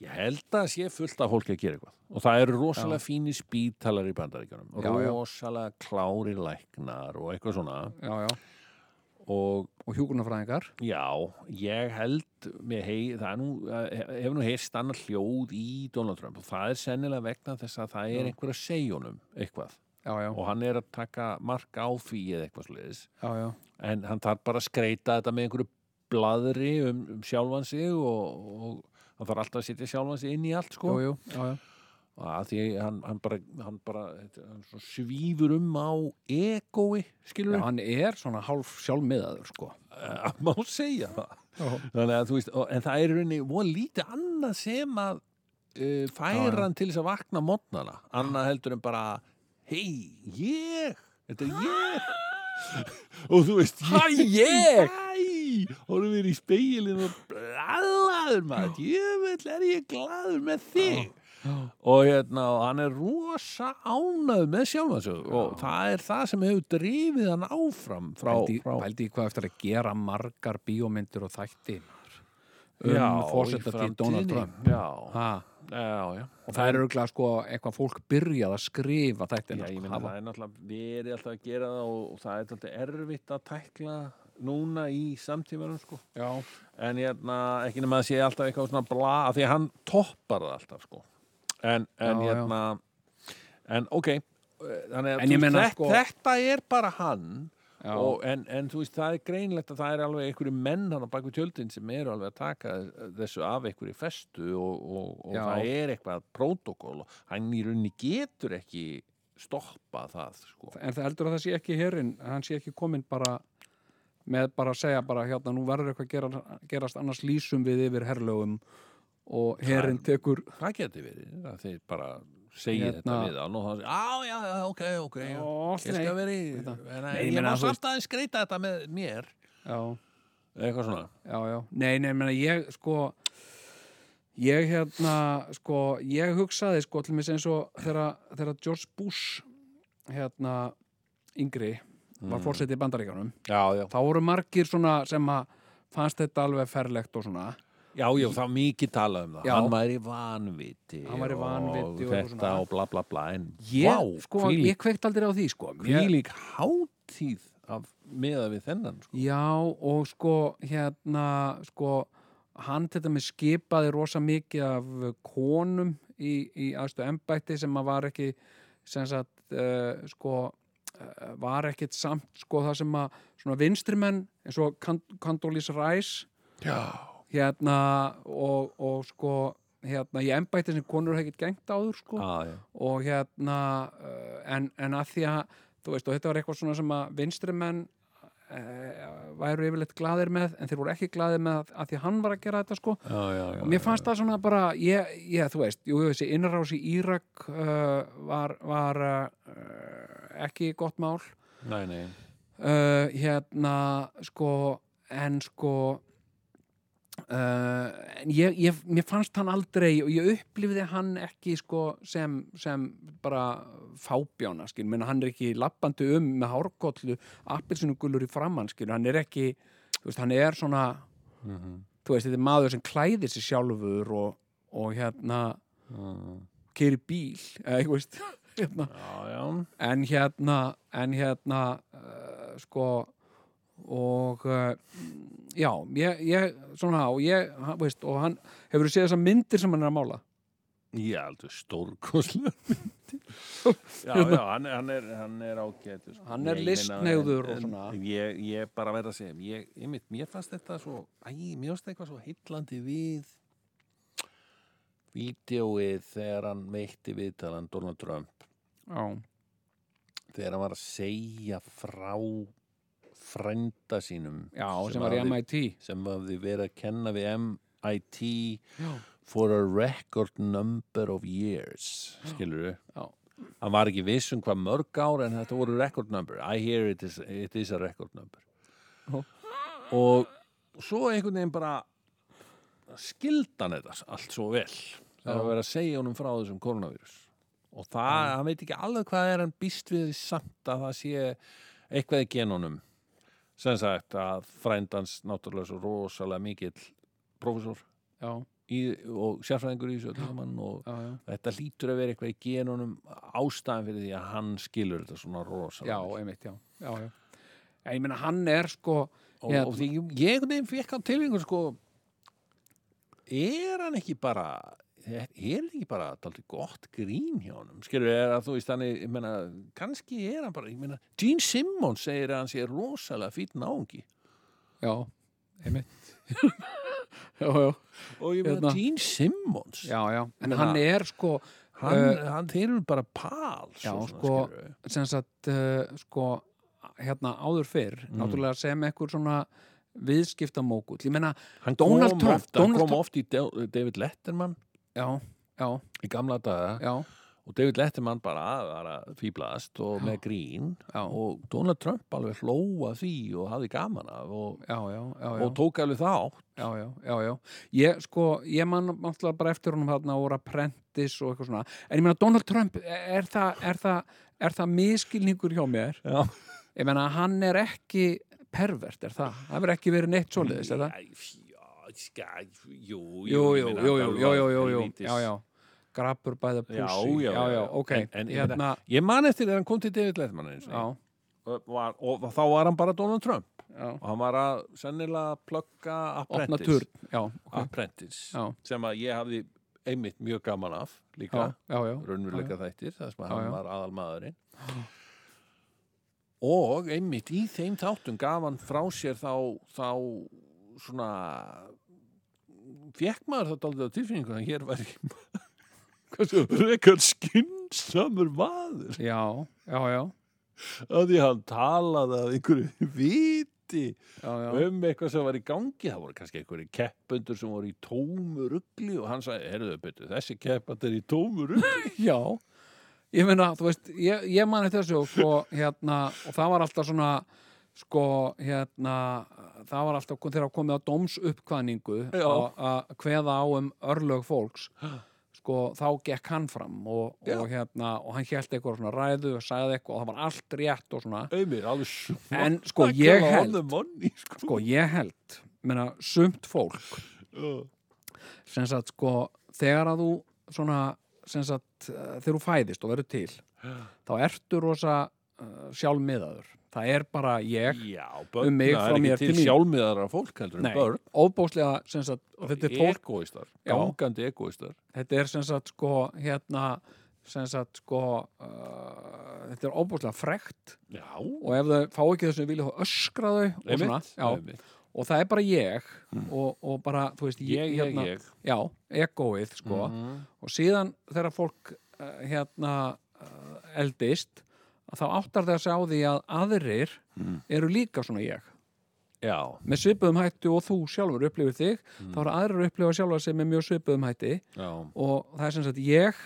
ég held að sé fullt af fólki að gera eitthvað og það eru rosalega fínir spítalar í bandaríkjunum Já, já. rosalega klári læknar og eitthvað svona já, já. og og hjúkunarfræðingar já, ég held mér hei, það er nú, eh, hefur nú heist annar hljóð í Donald Trump og það er sennilega vegna þess að það er einhver að segja honum eitthvað já, já, og hann er að taka mark á því eða eitthvað sliðis já, já, en hann þarf bara að skreita þetta með einhverju bladri um, um sjálfan sig og, og hann þarf alltaf að setja sjálfan sig inn í allt sko jú, jú, já, já. að því hann, hann bara, hann bara þetta- hann svo svífur um á egoi, skilur já, við, hann er svona hálf sjálfmiðaður sko að Eh, má segja það já, þannig að þú veist, og, en það er í rauninni von lítið annað sem að uh, Já, já. færa hann til þess að vakna mótnana, annað heldur en bara hei, ég þetta er ég og þú veist, hæ, ég hæ, horfum við í speilin og blaðaður maður, jöfell er ég glaður með þig og, hérna, og hann er rosa ánægð með sjálfan sig og það er það sem hefur drifið hann áfram frá, Pældi, frá pældi í hvað eftir að gera margar bíómyndir og þætti maður, um Já, fórsetta í til framtíðinni. Donald Trump já, ha, já, já. og það er örgulega sko eitthvað fólk byrjað að skrifa þættina Já, sko, ég meina hafa- það er náttúrulega verið alltaf að gera það og, og það er alltaf erfitt að tækla núna í samtímanum sko. já, en hérna, ekki nema að sé alltaf eitthvað svona bla, af því að hann toppar það alltaf sko. en, en Já, já. hérna en ok þannig að En þú ég veist, meina, þetta, sko- þetta er bara hann Já. og, en, en þú veist, það er greinlegt að það er alveg einhverju menn hann á baku tjöldin sem eru alveg að taka þessu af einhverju festu og, og, og Já. það er eitthvað protokól og hann í rauninni getur ekki stoppa það sko. en það heldur að það sé ekki hérinn hann sé ekki kominn bara með bara að segja bara hérna nú verður eitthvað gera, gerast annars lýsum við yfir herlögum og herinn tekur það geti verið að þeir bara segja Hérna. þetta við hann og það segja, á já, já, ok, ok já, Ó, ég skal nei, verið, þetta. en Nei, ég ég meina, má þú samt aðeins skreita þetta með mér já, eitthvað svona já, já, nei, nei, menna ég sko ég hérna sko, ég hugsaði sko til mér eins og þegar þegar George Bush hérna yngri Mm. var fórsetið í bandaríkjanum já, já, þá voru margir svona sem að fannst þetta alveg ferlegt og svona já, já það var mikið talað um það Já. hann væri vanviti Hann væri vanviti og, og eitthvað þetta svona. og bla bla bla en ég, vá, sko, hvílík, ég kveikt aldrei á því sko Ég- hvílík hátíð af meða við þennan sko. Já, og sko, hérna, sko, hann þetta með skipaði rosa mikið af konum í, í aðstu embætti sem að var ekki, sem sagt, uh, sko, uh, var ekkit samt, sko, það sem að svona vinstrimenn, eins og Kandolís Ræs, já, hérna, og, og sko, hérna, í embætti sem konur hefði ekkit gengt áður, sko já, já og hérna uh, en, en að því að þú veist og þetta var eitthvað svona sem að vinstrimenn uh, væru yfirleitt glaðir með en þeir voru ekki glaðir með að, að því að hann var að gera þetta sko Já, já, já, og mér fannst það svona bara ég, ég þú veist, jú, jú, þessi innrás í Írak uh, var, var uh, ekki gott mál nei, nei. uh, hérna sko en sko Uh, en ég, ég, mér fannst hann aldrei og ég upplifði hann ekki sko, sem, sem bara fábjána, skil, menn hann er ekki lappandi um með hárkollu, appelsinugulur í framann, skil, hann er ekki þú veist, hann er svona þú veist, þetta er maður sem klæðir sér sjálfur og, og hérna keri bíl, eða ég veist hérna, já, já en hérna en hérna uh, sko og uh, já, ég, ég svona og ég, hann, veist, og hann hefur séð þessar myndir sem hann er að mála Já, aldrei stórkoslega Já, já, hann, hann, er, hann er ágætur sko. Hann er Ég meina, listnægður en- og svona. en Ég, ég bara verð að segja ég, ég, mitt, Mér fannst þetta svo Æ, mér fannst eitthvað svo heillandi við Vídeóið þegar hann veitti viðtalan Donald Trump já, þegar hann var að segja frá frænda sínum já sem var í hafði- MIT sem hafði verið að kenna við MIT Já. for a record number of years skilur Já. hann var ekki viss um hvað mörg ár en þetta voru record number I hear it is, it is a record number Já. og svo einhvern veginn bara skildan þetta allt svo vel það er að vera að segja honum frá þessum koronavírus og það, hann veit ekki alveg hvað er hann býst við samt að það sé eitthvað í genunum sem sagt að frændans náttúrulega svo rosalega mikill prófessor já, í, og sérfræðingur í þessu öllu saman og já, já, þetta hlýtur að vera eitthvað í genunum ástæðan fyrir því að hann skilur þetta svona já, rosalega vel. einmitt, já, já, já. Já, ég meina hann er sko og, hérna- og því ég einhvern veginn fekk á tilhengur sko er hann ekki bara er þetta ekki bara daldið gott grín hjá honum skilur er að þú veist hann er, ég meina, kannski er hann bara ég meina, Gene Simmons segir að hann sé rosalega fýtt náungi já, einmitt já, já, og ég meina Hérna. Gene Simmons já, já en Meina- hann er sko hann, Eh, hann þeir eru bara pal Já, svo, sko, sem sagt uh, sko, hérna áður fyrr Mm. náttúrulega sem ekkur svona viðskiptamókull, ég meina hann Donald kom Trump, oft, hann Donald kom Trump- oft í Del- David Letterman já, já, í gamla daga já, og David Letterman bara að var að fýblast og með grín Já. og Donald Trump alveg hlóa því og hafði gaman af og, já, já, já, já. og tók alveg þátt já, já, já, já. Ég, sko, ég man náttúrulega bara eftir honum þarna úr Apprentice og eitthvað svona en ég meina Donald Trump, e, er það, er það, er það miskilningur hjá mér? Já. Ég meina, hann er ekki pervert, er það? Það verður ekki verið neitt svoleiðis, er það? Já, ska, jú, Jú, ég jú, meina, jú, jú, alveg jú, jú, jú, helvítis. já, já. Grappur bæða pussi. Já, já, já, já, ok. en, en, ég hérna, meina, ég man eftir þegar hann kom til David Letterman eins já, og, var, og þá var hann bara Donald Trump já. og hann var að sennilega plugga Opna Apprentice, turn, já, ok. Apprentice Já. sem að ég hafði einmitt mjög gaman af líka Já, já, já. raunveruleika þættir, það sem að já. hann var aðal maðurinn og einmitt í þeim þáttum gaf hann frá sér þá, þá svona fekk maður þetta aldrei á tilfinningu að hér var ekki hversu rekar skinnsamur maður Já, já, já, að því hann talaði að einhverju viti já, já. um eitthvað sem var í gangi það voru kannski einhverju keppundur sem voru í tómu rugli og hann sagði, heyrðu, betur, þessi keppand er í tómu rugli Já, ég meina, þú veist, ég, ég mani þessu og sko, hérna, og það var alltaf svona, sko, hérna, það var alltaf þegar komið á dómsuppkvæningu Já. og að kveða á um örlög fólks, sko, þá gekk hann fram og, Já. og hérna, og hann hélt eitthvað svona ræðu og sagði eitthvað og það var allt rétt og svona, Auðvitað, alveg svona En, sko, ég held- money, sko. sko, ég held, meina, sumt fólk, sem sagt sko þegar að þú svona sem sagt eh, þegar þú fæðist og verður til þá ertu rosa uh, sjálfmiðaður það er bara ég Já, börn, Um mig það frá er mér ekki til til mín. sjálfmiðara fólk heldur en Nei, börn ofbóðslega sem sagt og þetta er fólk, Egoistar, Já. gangandi egoistar þetta er sem sagt sko hérna sem sagt sko uh, þetta er ofbóðslega frekt Já, og ef þau fá ekki þessum vilja þá öskra þau og, svona, einmitt, já, einmitt. og það er bara ég og, og bara, þú veist, Mm. hérna, Ég, ég, ég. Mm-hmm. já, egoið sko og síðan þegar fólk uh, hérna uh, eldist að þá áttar það að sjá því að aðrir Mm. eru líka svona ég Já, með svipuðum hættu og þú sjálfur upplifir þig Mm. þá eru aðrir að upplifa sjálfa sig með mjög svipuðum hætti já, og það er sem sagt ég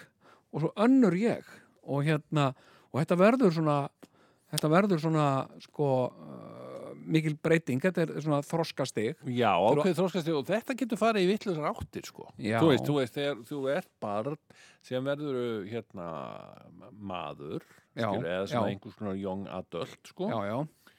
og svo önnur ég og hérna, og þetta verður svona þetta verður svona sko uh, mikil breyting þetta er svona þroskastig já ákveð þróskast og þetta getur farið í vitlega ráttir sko. Já. þú veist, þú veist, þegar þú ert barn sem verður hérna maður Já, skilur, eða svona já. einhvers konar young adult sko. já, já,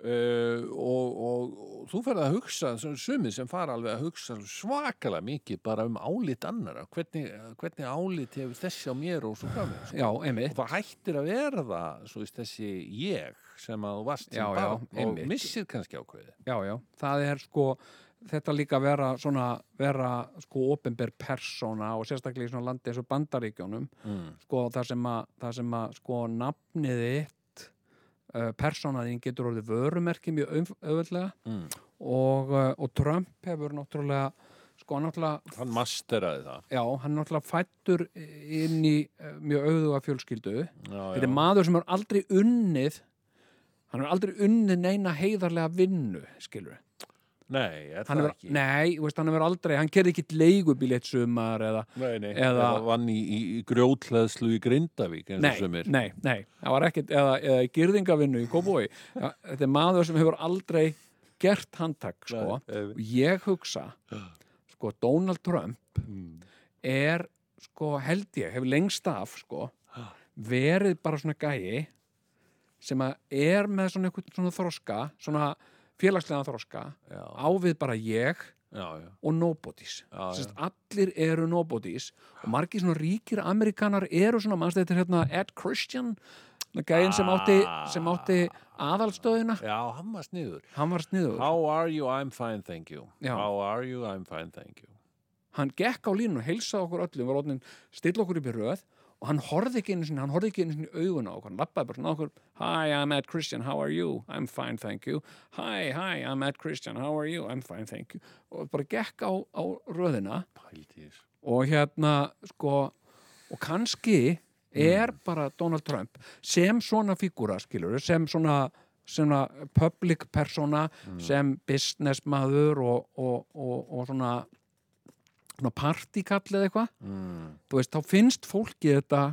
uh, og, og, og þú ferð að hugsa sem sumið sem fara alveg að hugsa svakalega mikið bara um álit annara hvernig, hvernig álit hefur þessi á mér og svo framveg sko. já, einmitt og það hættir að verða svo veist, þessi ég sem að þú varst Já, sem já, barn og einmitt. missir kannski ákveði já, já, það er sko þetta líka vera svona vera sko opinber persóna og sérstaklega í svona landi eins og bandaríkjónum mm. sko það sem að, það sem að sko nafnið þitt uh, persónaðin getur orðið vörumerki mjög auðf- auðveldlega Mm. og, uh, og Trump hefur náttúrulega sko hann náttúrulega hann masteraði það Já, hann er náttúrulega fættur inn í uh, mjög auðuga fjölskyldu. já, Þetta er maður sem er aldrei unnið, hann er aldrei unnið neina heiðarlega vinnu, skilur við. nei, er hann það hefur, ekki nei, þú veist, hann hefur aldrei hann gerði ekki leigubíl eitt sumar eða, nei, nei, eða- eða vann í, í, í grjótleðslu í Grindavík eins nei, og sumir nei, nei það var ekkit, eða, eða í gyrðingavinnu í Kóbói þetta er maður sem hefur aldrei gert handtak, sko Nei, einmitt. og ég hugsa sko, Donald Trump er, sko, held ég hefur lengst af, sko verið bara svona gæi sem að er með svona einhvern svona þroska, svona félagslega þroska, Já. ávið bara ég já, já, og nobodies Já, Sest, allir eru nobodies og margir svona ríkir amerikanar eru svona mannst þetta er hérna Ed Christian svona gæinn sem átti, sem átti aðalstöðina já, hann var sniður hann var sniður, How are you? I'm fine, thank you. Já. How are you? I'm fine, thank you. hann gekk á línu og heilsaði okkur öllum, var orðin stilla okkur upp í röð og hann horfði ekki einu sinni, hann horfði ekki einu sinni í augun á okkur, hann lappaði bara svona á okkur Hi, I'm Ed Christian, how are you? I'm fine, thank you Hi, hi, I'm Ed Christian, how are you? I'm fine, thank you og bara gekk á, á röðina Pældís. og hérna sko og kannski er Mm. bara Donald Trump sem svona fígúra skilur sem svona, svona public persona Mm. sem business maður og, og, og, og svona svona partykall eða eitthvað mm. þú veist, þá finnst fólki þetta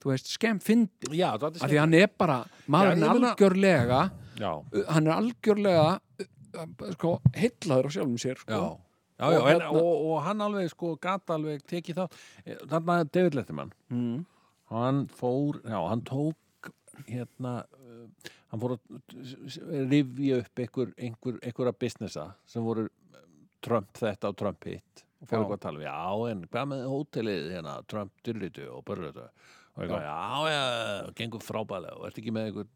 þú veist, skemm fyndi Já, það af því hann er bara, maðurinn ég er meina- algjörlega Já, hann er algjörlega uh, uh, sko, heillaður á sjálfum sér sko. já Já, Og já, en, hérna- og, og hann alveg sko gata alveg tekið þá, þannig að David Letterman mm. hann fór, já, hann tók hérna uh, hann fór að rifja upp einhver, einhver, einhverja businessa sem voru eh, Trump þetta og Trump hitt og fór Já. eitthvað að tala um, já, en hvað með hótelið hérna, Trump dyrritu og börritu og eitthvað, já, já, já, gengur frábælega og ertu ekki með einhver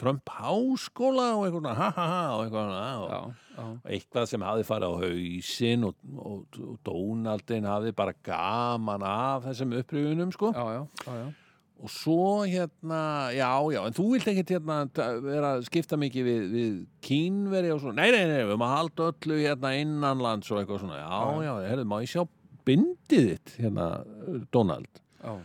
Trump háskóla og eitthvað, ha, ha, ha og eitthvað, ha, og, já, já, eitthvað sem hafði farið á hausinn og, og, og Donaldin hafði bara gaman af þessum upprifunum sko já, já, já, já. og svo hérna, já, já en þú vilt ekkert hérna ta- vera að skipta mikið við, við kínveri og svona nei, nei, nei, við maður halda öllu hérna innanlands og eitthvað svona, já, já, herðu, má ég sjá bindið þitt, hérna Donald, já.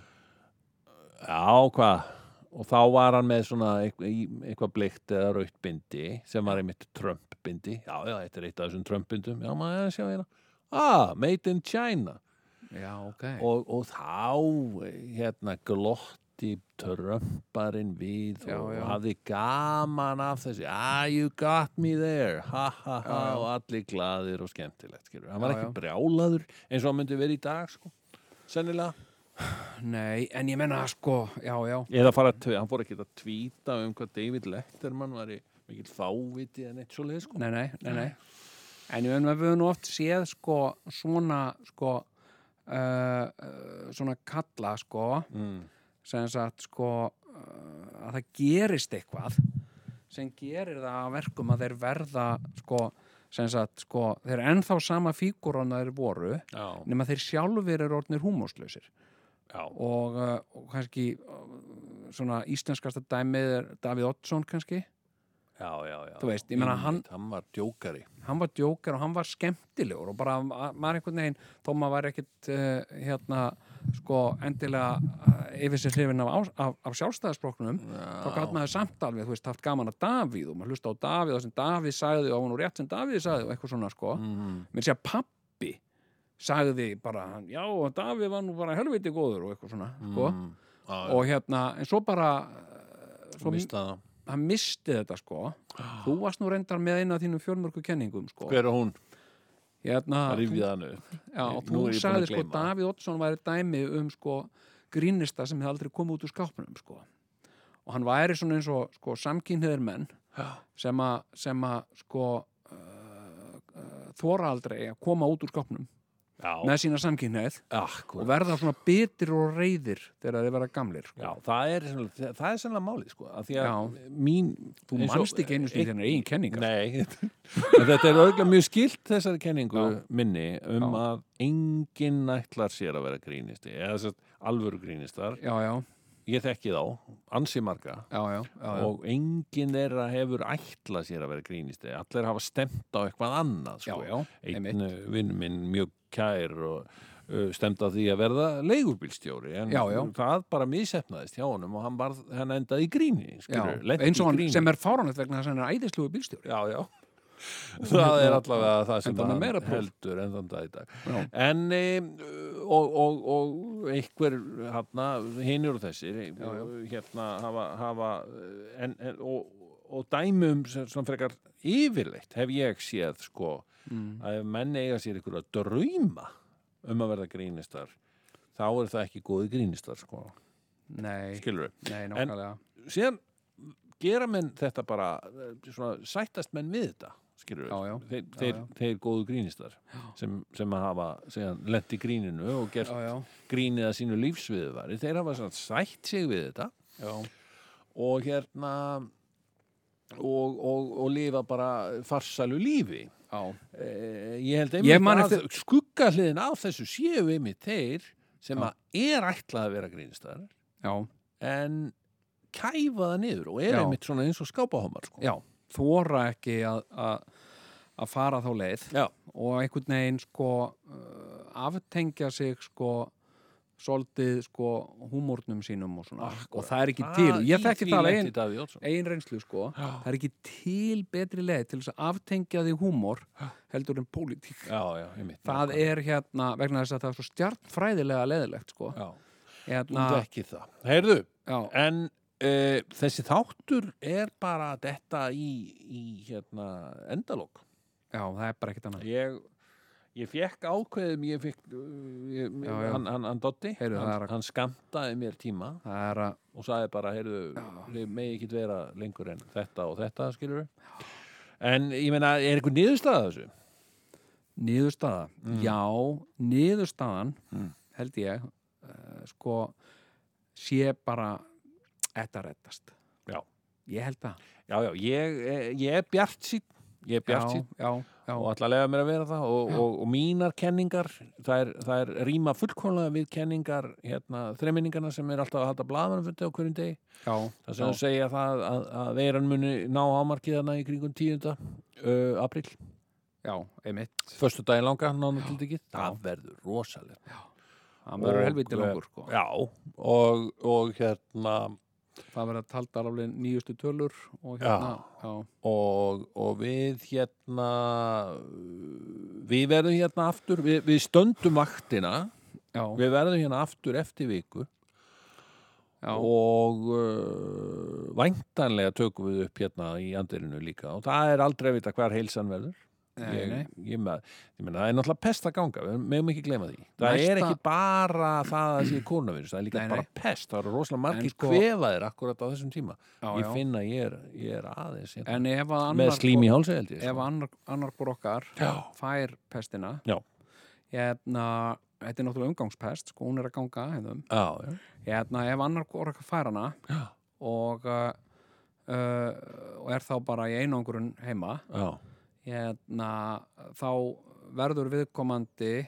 já, hvað og þá var hann með svona eitthvað, í- eitthvað blikt eða rautt bindi sem var einmitt Trump bindi já, já, þetta er eitt af þessum Trump bindum já, maður sjá hérna, ah, made in China já ok og, og þá hérna glotti trömparinn við Já, og já. hafði gaman af þessu ah you got me there ha ha ha Já, já. og allir glaðir og skemmtilegt skilur. hann var Já, ekki brjálaður eins og hann myndi verið í dag sko. sennilega nei, en ég menna sko, já, já eða fara að, tve- hann fór ekki að tvíta um hvað David Letterman var í mikill fáviti en eitt svo leið sko. nei, nei, nei, nei. en ég menna við höfum nú oft séð sko svona sko Uh, uh, svona kalla sko mm. sem sagt sko uh, að það gerist eitthvað sem gerir það að verkum að þeir verða sko sem sagt sko þeir eru ennþá sama fígurun að þeir voru já, nema þeir sjálfur eru orðnir húmóslausir já, og, uh, og kannski uh, svona íslenskasta dæmið er Davíð Oddsson kannski já, já, já Þú veist, ég meina, hann- Einmitt, hann var djókari hann var djókar og hann var skemmtilegur og bara ma- maður einhvern veginn þó maður var ekkit uh, hérna sko endilega uh, yfir sér hrifin af, ás- af, af sjálfstæðisbróknum þá gæt maður samt alveg, þú veist, haft gaman að Davíð og maður hlusta á Davíð og sem Davíð sagði og hún og rétt sem Davíð sagði og eitthvað svona sko mm. menn sé að pappi sagði bara, hann, já, og Davíð var nú bara helviti góður og eitthvað svona sko. Mm, já, já, og hérna, en svo bara eh, svo, og mista það hann misti þetta sko þú varst nú reyndar með eina af þínum fjölmörku kenningum sko hver er hún? hérna, að þú, rifja hann upp já, og Nú er þú ég búinn að sagði sko gleyma. Davíð Oddsson væri dæmi um sko grínista sem hefði aldrei komið út úr skápnum sko og hann væri svona eins og sko samkynniðir menn Já. sem að sem að sko uh, uh, þóra aldrei að koma út úr skápnum Já, með sína samkynnið og akkurat verða svona bitir og reyðir þegar þeir verða gamlir sko. Já, það er sennilega, það er sennilega málið sko, að því að Já. mín þú eins og- e- manst ekki einu sinni þennan eigin kenningar Nei, en þetta er auðvitað mjög skilt þessari kenningu Já. minni um Já. að enginn nætlar sér að vera grínisti eða sett, alvöru grínistar já, já, ég þekki þá, ansi marga já, já, já, já. og enginn þeirra hefur ætlað sér að vera grínisti allir hafa stemt á eitthvað annað sko. Já, já, einn einmitt. vinn minn mjög kær og uh, stemt á því að verða leigubílstjóri en Já, já. það bara missefnaðist hjá honum og hann, varð, hann endaði í gríni skilur, já. eins og hann sem er fáránlegt vegna þess að hann er æðislugu bílstjóri já, já það er allavega það sem Endaði með hann meira próf. heldur en þann dag í dag Já. en e, og, og, og einhver hana, hinur og þessir e, hérna hafa, hafa eh, en, en, og, og dæmum sem, sem frekar yfirleitt hef ég séð sko Mm. að ef menn eiga sér ykkur að drauma um að verða grínistar þá er það ekki góði grínistar sko, Nei, skilur við nei, nákvæmlega síðan gera menn þetta bara eh, svona, sættast menn við þetta skilur Já, já. þeir, Já, þeir, já. þeir góðu grínistar sem, sem að hafa segjan, lent í gríninu og gert Já, já, grínið að sínu lífsviðuvari þeir hafa svona, sætt sig við þetta já, og hérna og, og, og lifa bara farsælu lífi já, eh, ég held Ég man einmitt eftir- að skuggahliðin á þessu séu einmitt þeir sem Já. að er ætlað að vera grínistar já, en kæfa það niður og er Já. einmitt svona eins og skápahómar sko. já. Þóra ekki að, að, að fara þá leið Já. og einhvern veginn sko uh, aftengja sig sko soldið sko húmórnum sínum og svona og það er ekki til, ég þekki það alveg ein, ein reynslu sko, Já. það er ekki til betri leið til þess að aftengja því húmór heldur en pólitík já, já, einmitt það er hérna, vegna þess að það er svo stjartfræðilega leðilegt sko já. þú hérna, vekki það. Heyrðu, já, en uh, þessi þáttur er bara þetta í, í hérna, endalók. já, það er bara ekkert annað Ég, ég fekk ákveðum, ég fekk, uh, ég, Já, já. hann, hann, hann Dotti, Heyrðu, það er hann, að- hann skamtaði mér tíma það er að, og sagði bara, heyrðu, þið megi ekki vera lengur en þetta og þetta, skilur við. En ég meina, er einhver niðurstaða þessu? niðurstaða Mm. já, niðurstaðan held ég uh, sko, sé bara þetta rettast Já. ég held það Já, já, ég, eh, ég er bjart sín, ég er bjart já, sín já, já, og ætla að lega mér að vera það og, og, og mínar kenningar það er, það er rýma fullkomlega við kenningar hérna, þreminningarna sem er alltaf að halda blaðmannfundi á hverjum degi já, það sem já, þau segja það að, að veiran muni ná ámarkið hana í kringum 10. Uh, april, já, einmitt förstu daginn langa nána til ekki, það verður rosalega það verður Og, helviti eh, langur sko. Já, og, og hérna það verður taldar alveg nýjustu tölur og hérna, já, og, og við hérna við verðum hérna aftur við, við stöndum vaktina já, við verðum hérna aftur eftir viku já, og uh, væntanlega tökum við upp hérna í andirinu líka og það er aldrei að vita hver heilsan verður Nei, ég, nei. Ég, með, ég meina það er náttúrulega pest að ganga við meðum ekki gleyma því það Næsta- er ekki bara það að sé kórnavirus það er líka Nei, nei. bara pest, það eru rosalega margir sko- sko, kvefaðir akkurat á þessum tíma já, ég já. finna ég er, ég er aðeins hérna, en ef að með annar slím í hálsi held ég ef sko. annar, annar brokkar Já. fær pestina Já. hérna þetta er náttúrulega umgangspest sko hún er að ganga hefðum já, já. hérna ef annar brokkar fær hana Já. og uh, uh, og er þá bara í einangrun heima Já. hérna þá verður viðkomandi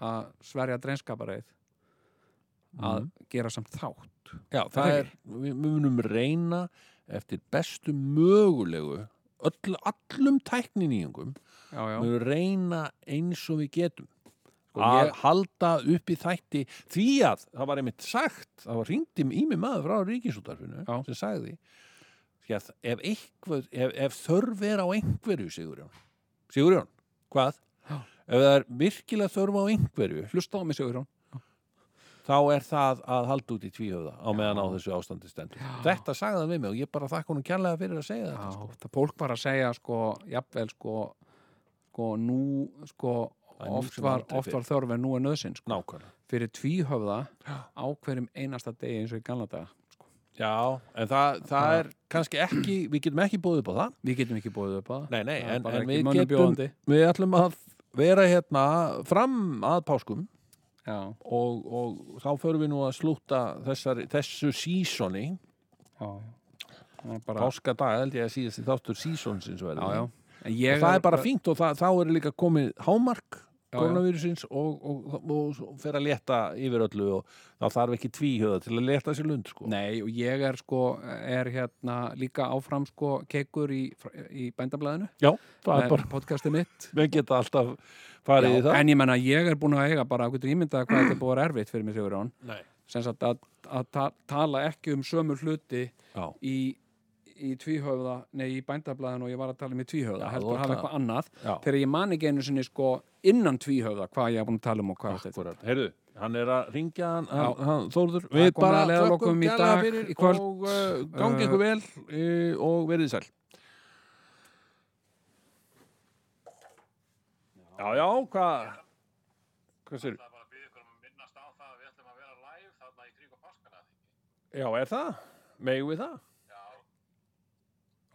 að sverja dreinskapareið að Mhm. gera samt þátt Já, það er, við við munum reyna eftir bestu mögulegu öll, allum tækninýjungum já, já, við munum reyna eins og við getum Sko, að ég- halda upp í þætti því að það var einmitt sagt það var hringt í mig maður frá ríkisútarfinu Já. sem sagði því að ef, eitthvað, ef, ef þörf er á einhverju Sigurjón Sigurjón, hvað? Já. Ef það er virkilega þörf á einhverju hlusta á mig Sigurjón þá er það að halda út í tvíhöfða á meðan á þessu ástandi stendur. Þetta sagði hann við mig og ég bara þakka honum kjærlega fyrir að segja þetta. Já, það fólk var að segja sko, jafnvel sko, sko nú sko Það er nú oft sem var, aldrei oft fyrr. var þörf en nú er nöðsinn sko. Nákvæmlega. fyrir tvíhöfða á hverjum einasta degi eins og í gamla daga sko. Já, en það, það er kannski ekki, við getum ekki búið upp á það. við getum ekki búið upp að Nei, nei, Það er en, bara en ekki við mönnum getum, bjóðandi. við ætlum að vera hérna fram að páskum já, og, og þá förum við nú að slúta þessari, þessu sísoni, já, já. Það er bara, páskadag held ég að síðast í þáttur sísonsins verður. já, já. En ég og það er bara fínt og það, þá er líka komið hámark já. koronavirusins og, og, og, og fer að leta yfir öllu og það þarf ekki tvíhjöða til að leta sér lund sko. Nei, og ég er sko er hérna líka áfram sko kekur í, í bændablaðinu Já, það er með bara, podcastið mitt við geta alltaf farið í Já, það en ég menna, ég er búin að eiga bara að getur ímyndað hvað þetta er búið að vera erfitt fyrir mig Sigurjón Nei. sem sagt að, að ta tala ekki um sömu hluti Já, í, í tvíhöfða, nei í bændablaðinu og ég var að tala um í tvíhöfða, Já, þú heldur að ert hafa að- eitthvað annað Já. þegar ég man ekki einu sinni sko innan tvíhöfða hvað ég er búin að tala um og hvað þetta er akkurat Heyrðu, hann er að ringja hann, Já. hann, hann Þórður er komið að leiðarlokum í kærlega dag, fyrir í kvöld. og uh, gangi ykkur vel uh, og verið sæl Já, já, hvað hvað sér bara að byggja ykkur um að minnast á það að við ætlum að vera live þarna í kringum páskana því. Já, er það? Megum við það?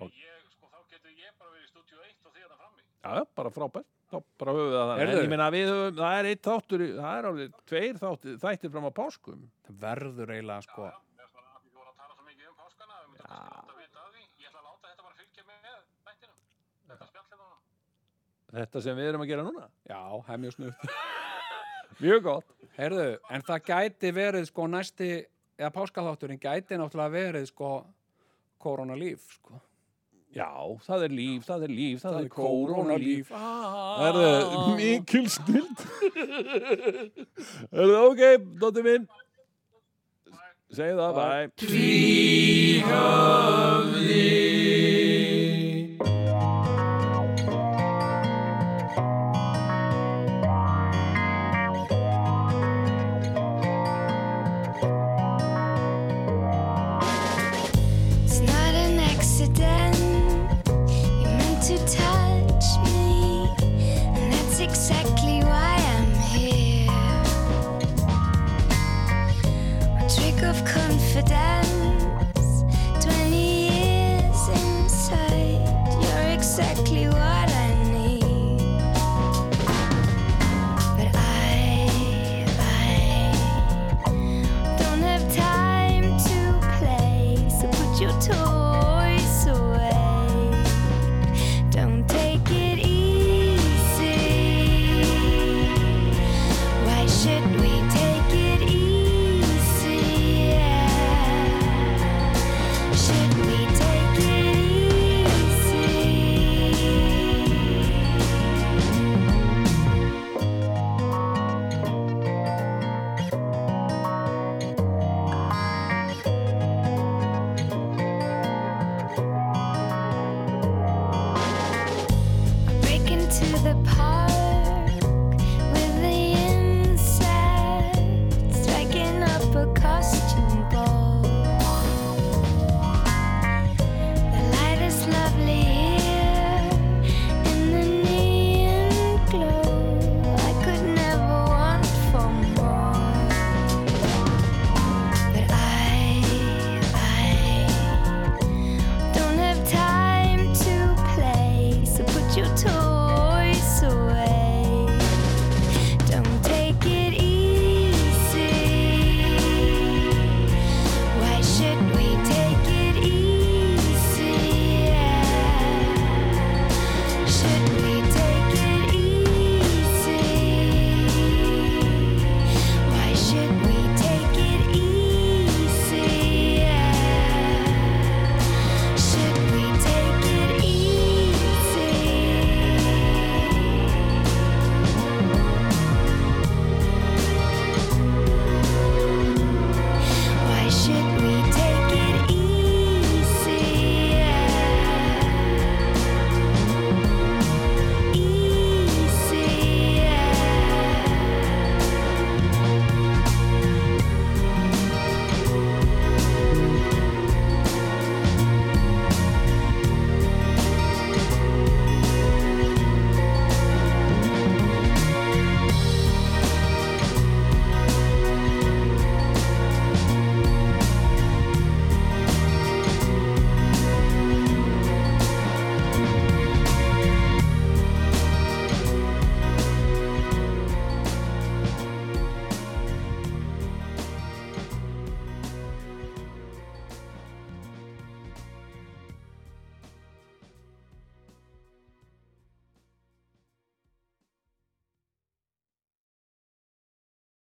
Okay. Ég, sko, þá getur ég bara verið í stúdíu 1 og því að það frammi. Já, já, bara frábært þá bara höfum við það þannig en Heyrðu. ég meina við höfum, það er eitt þáttur í- það er alveg tveir þáttir, þættir fram á páskum Það verður eiginlega sko Mér finnst bara að því voru að tala svo mikið um páskana, við myndum kannski láta vita af því. Ég ætla að láta þetta bara fylgja með þættinum. Þetta spjallið núna. þetta sem við erum að gera núna Já, það er mjög snuð mjög gott, Herðu, en það gæti verið sko næsti eða páskaþátturinn gæti náttúrulega verið sko koronalíf sko já, það er líf það er líf, það, Það er er koronalíf kórónalíf. það er uh, mikil snild er það ok, dottir minn segðu það, bye of confidence.